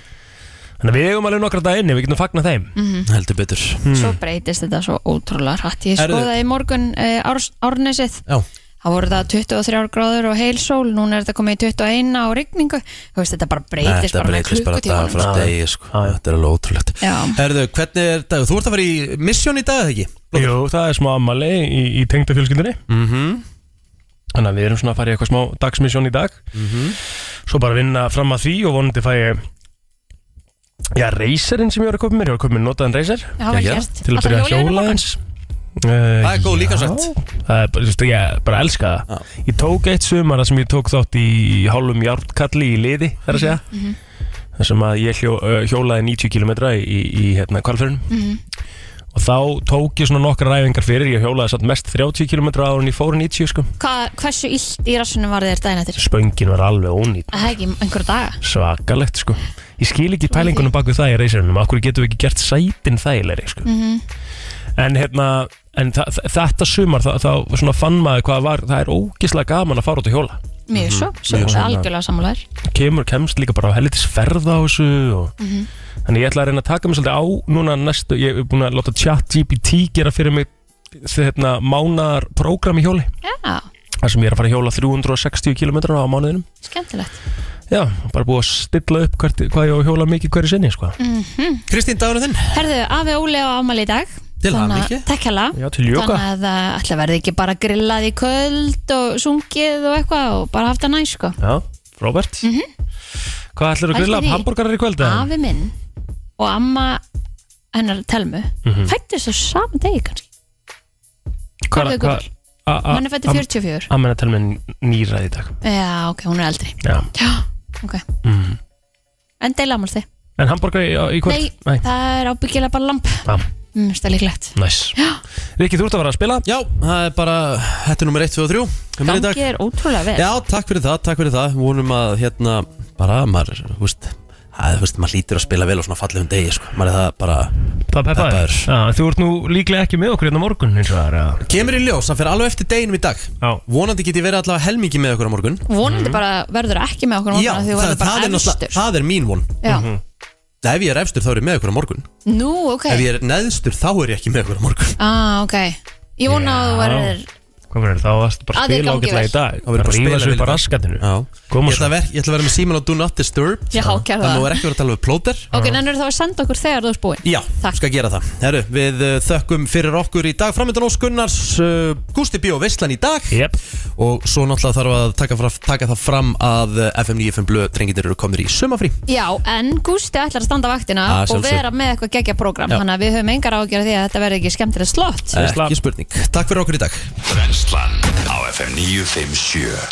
Þannig að við eigum alveg nokkra daga inni, við getum fagnað þeim Mm. Mhm. Heldur betur Svo breytist þetta svo ótrúlega hratt Ég Herðu. skoðaði í morgun uh, árs, árnesið Já. Það voru það 23 gráður og heil sól Núna er þetta komið í 21 á rigningu Þú veist, þetta bara breytist Þetta bara með breytist bara dag klukkutímanum, frá sko. degi sko. Þetta er alveg ótrúlegt Já. Herðu, hvernig er dag? Þú ert að fara í misjón í dag, eða ekki? Jú, það er smá ammali í, í tengdafjölskyldinni -hmm. Þannig að við erum svona að fara í eitthvað smá dagsmisjón í dag Mhm. Svo bara vinna fram að því og vonandi fæ ég Já, reyserinn sem ég var að köpa mér Ég var að köpa mér notaðan reyser Já, vel gert. Til að Ætlar byrja að jólin í hjóla morgun? eins Uh, Það er góð líkamsrækt. Það er bara, þú veist, ég bara elska það Ég tók eitt sumara sem ég tók þátt í hálfum járnkalli í liði, þar að segja Mhm. þar sem að ég hljó, uh, hjólaði 90 km í, í, í hérna, kvalfyrun Mhm. og þá tók ég svona nokkra ræfingar fyrir ég hjólaði satt mest 30 km ára en ég fór 90 sko Hva, Hversu illt í rassunum var þér daginn eftir? spöngin var alveg ónýtt Það er ekki einhverja daga svakalegt sko ég skil ekki pælingunum bak við það í reysirunum okkur getum við ekki gert sætin þægilegri sko mm -hmm. en hérna en þa þa- þetta sumar þá, þá svona fann maður hvað var það er ógislega gaman að fara út að hjóla Mhm. Mjög svo, svo Mjög svo. algjörlega sammálaður kemur kemst líka bara á hellitis ferða á þessu og Mhm. Þannig ég ætla að reyna að taka mig svolítið á núna næstu, ég hef búin að láta chat GPT gera fyrir mig þetta mánar prógram í hjóli Já, þar sem ég er að fara að hjóla 360 km á mánuðinum skemmtilegt Já, bara búið að stilla upp hvert, hvað ég á að hjóla mikið hverju sinni sko. mm Kristín, dagurinn þinn Herðu, afi Óli á ámali í dag Til Þannig að- hamingju. Takk hella Já, til jóka. Þannig að eh, það ætla verði ekki bara grillað í kvöld og sungið og eitthvað og bara haft það næ sko Já, Robert Hvað ætlar að Pældu grilla? Mhm. því. Hamburgarar í kvöld? eða? Afi minn og amma hennar telmu mm Mhm. fættist á sama degi kannski Hvað er þau gömul? a- a- Hún er fædd í am- 44. Amma er að tala með nýræði í dag Já, ok, hún er eldri Já. ok, Mhm. en deila ámaldi En hamburgar í, í kvöld? Nei, það er ábyggilega bara lamp Já. Mér finnst það líklegt Næs Rikki, þú ert að fara að spila? Já, það er bara Þetta er nummer 1, 2 og 3 Komið í dag. Gangi er ótrúlega vel Já, takk fyrir það, takk fyrir það Vonum að hérna Bara, maður, þú veist Það, þú veist, maður lítur að spila vel á svona fallegum degi, sko Maður er það bara Það peppaður Peppaður. Já, Þú ert nú líklega ekki með okkur hérna á morgun eins og það er að Kemur í ljós, það fyrir alveg eftir deginum í dag Já Vonandi get ég verið allavega helmingi með okkur á morgun Mhm. vonandi bara verður ekki með okkur á morgun Mhm. Já, af því þú það, verður bara það, er efstur. náttúrulega- það er mín von Já. Mhm. Það ef ég er efstur þá er ég með okkur á morgun Nú, ok Ef ég er neðstur þá er ég ekki með okkur á morgun Ah, ok Ég vona að þú verður Hvað verður þá varst bara Að að þið spila gangi ágætlega vel. í dag Þá verður bara að Rífa sig spila vel í upp á dag. raskatinu Já Ég ætla, að ver, ég ætla að vera með síman á Do Not Disturb Já, gerðu Þannig það. voru ekki verið að tala við plóter Ok, nennur þá að senda okkur þegar þú ert búinn Já, skal gera það Herru, við uh, þökkum fyrir okkur í dag Framöndan Ós Gunnars uh, Gústi Bíó Veistlan í dag yep. Og svo náttúrulega þarf að taka, fra, taka það fram að uh, FM 95 blöð drengindir eru komnir í sumafrí Já, en Gústi ætlar að standa vaktina Ah, og sjálfsög. vera með eitthvað gegja program Já. þannig að við höfum engar ágjörð því að þetta verður ekki skemmtilegt slott Ekki spurning Takk fyrir okkur í dag Brennslan á FM 957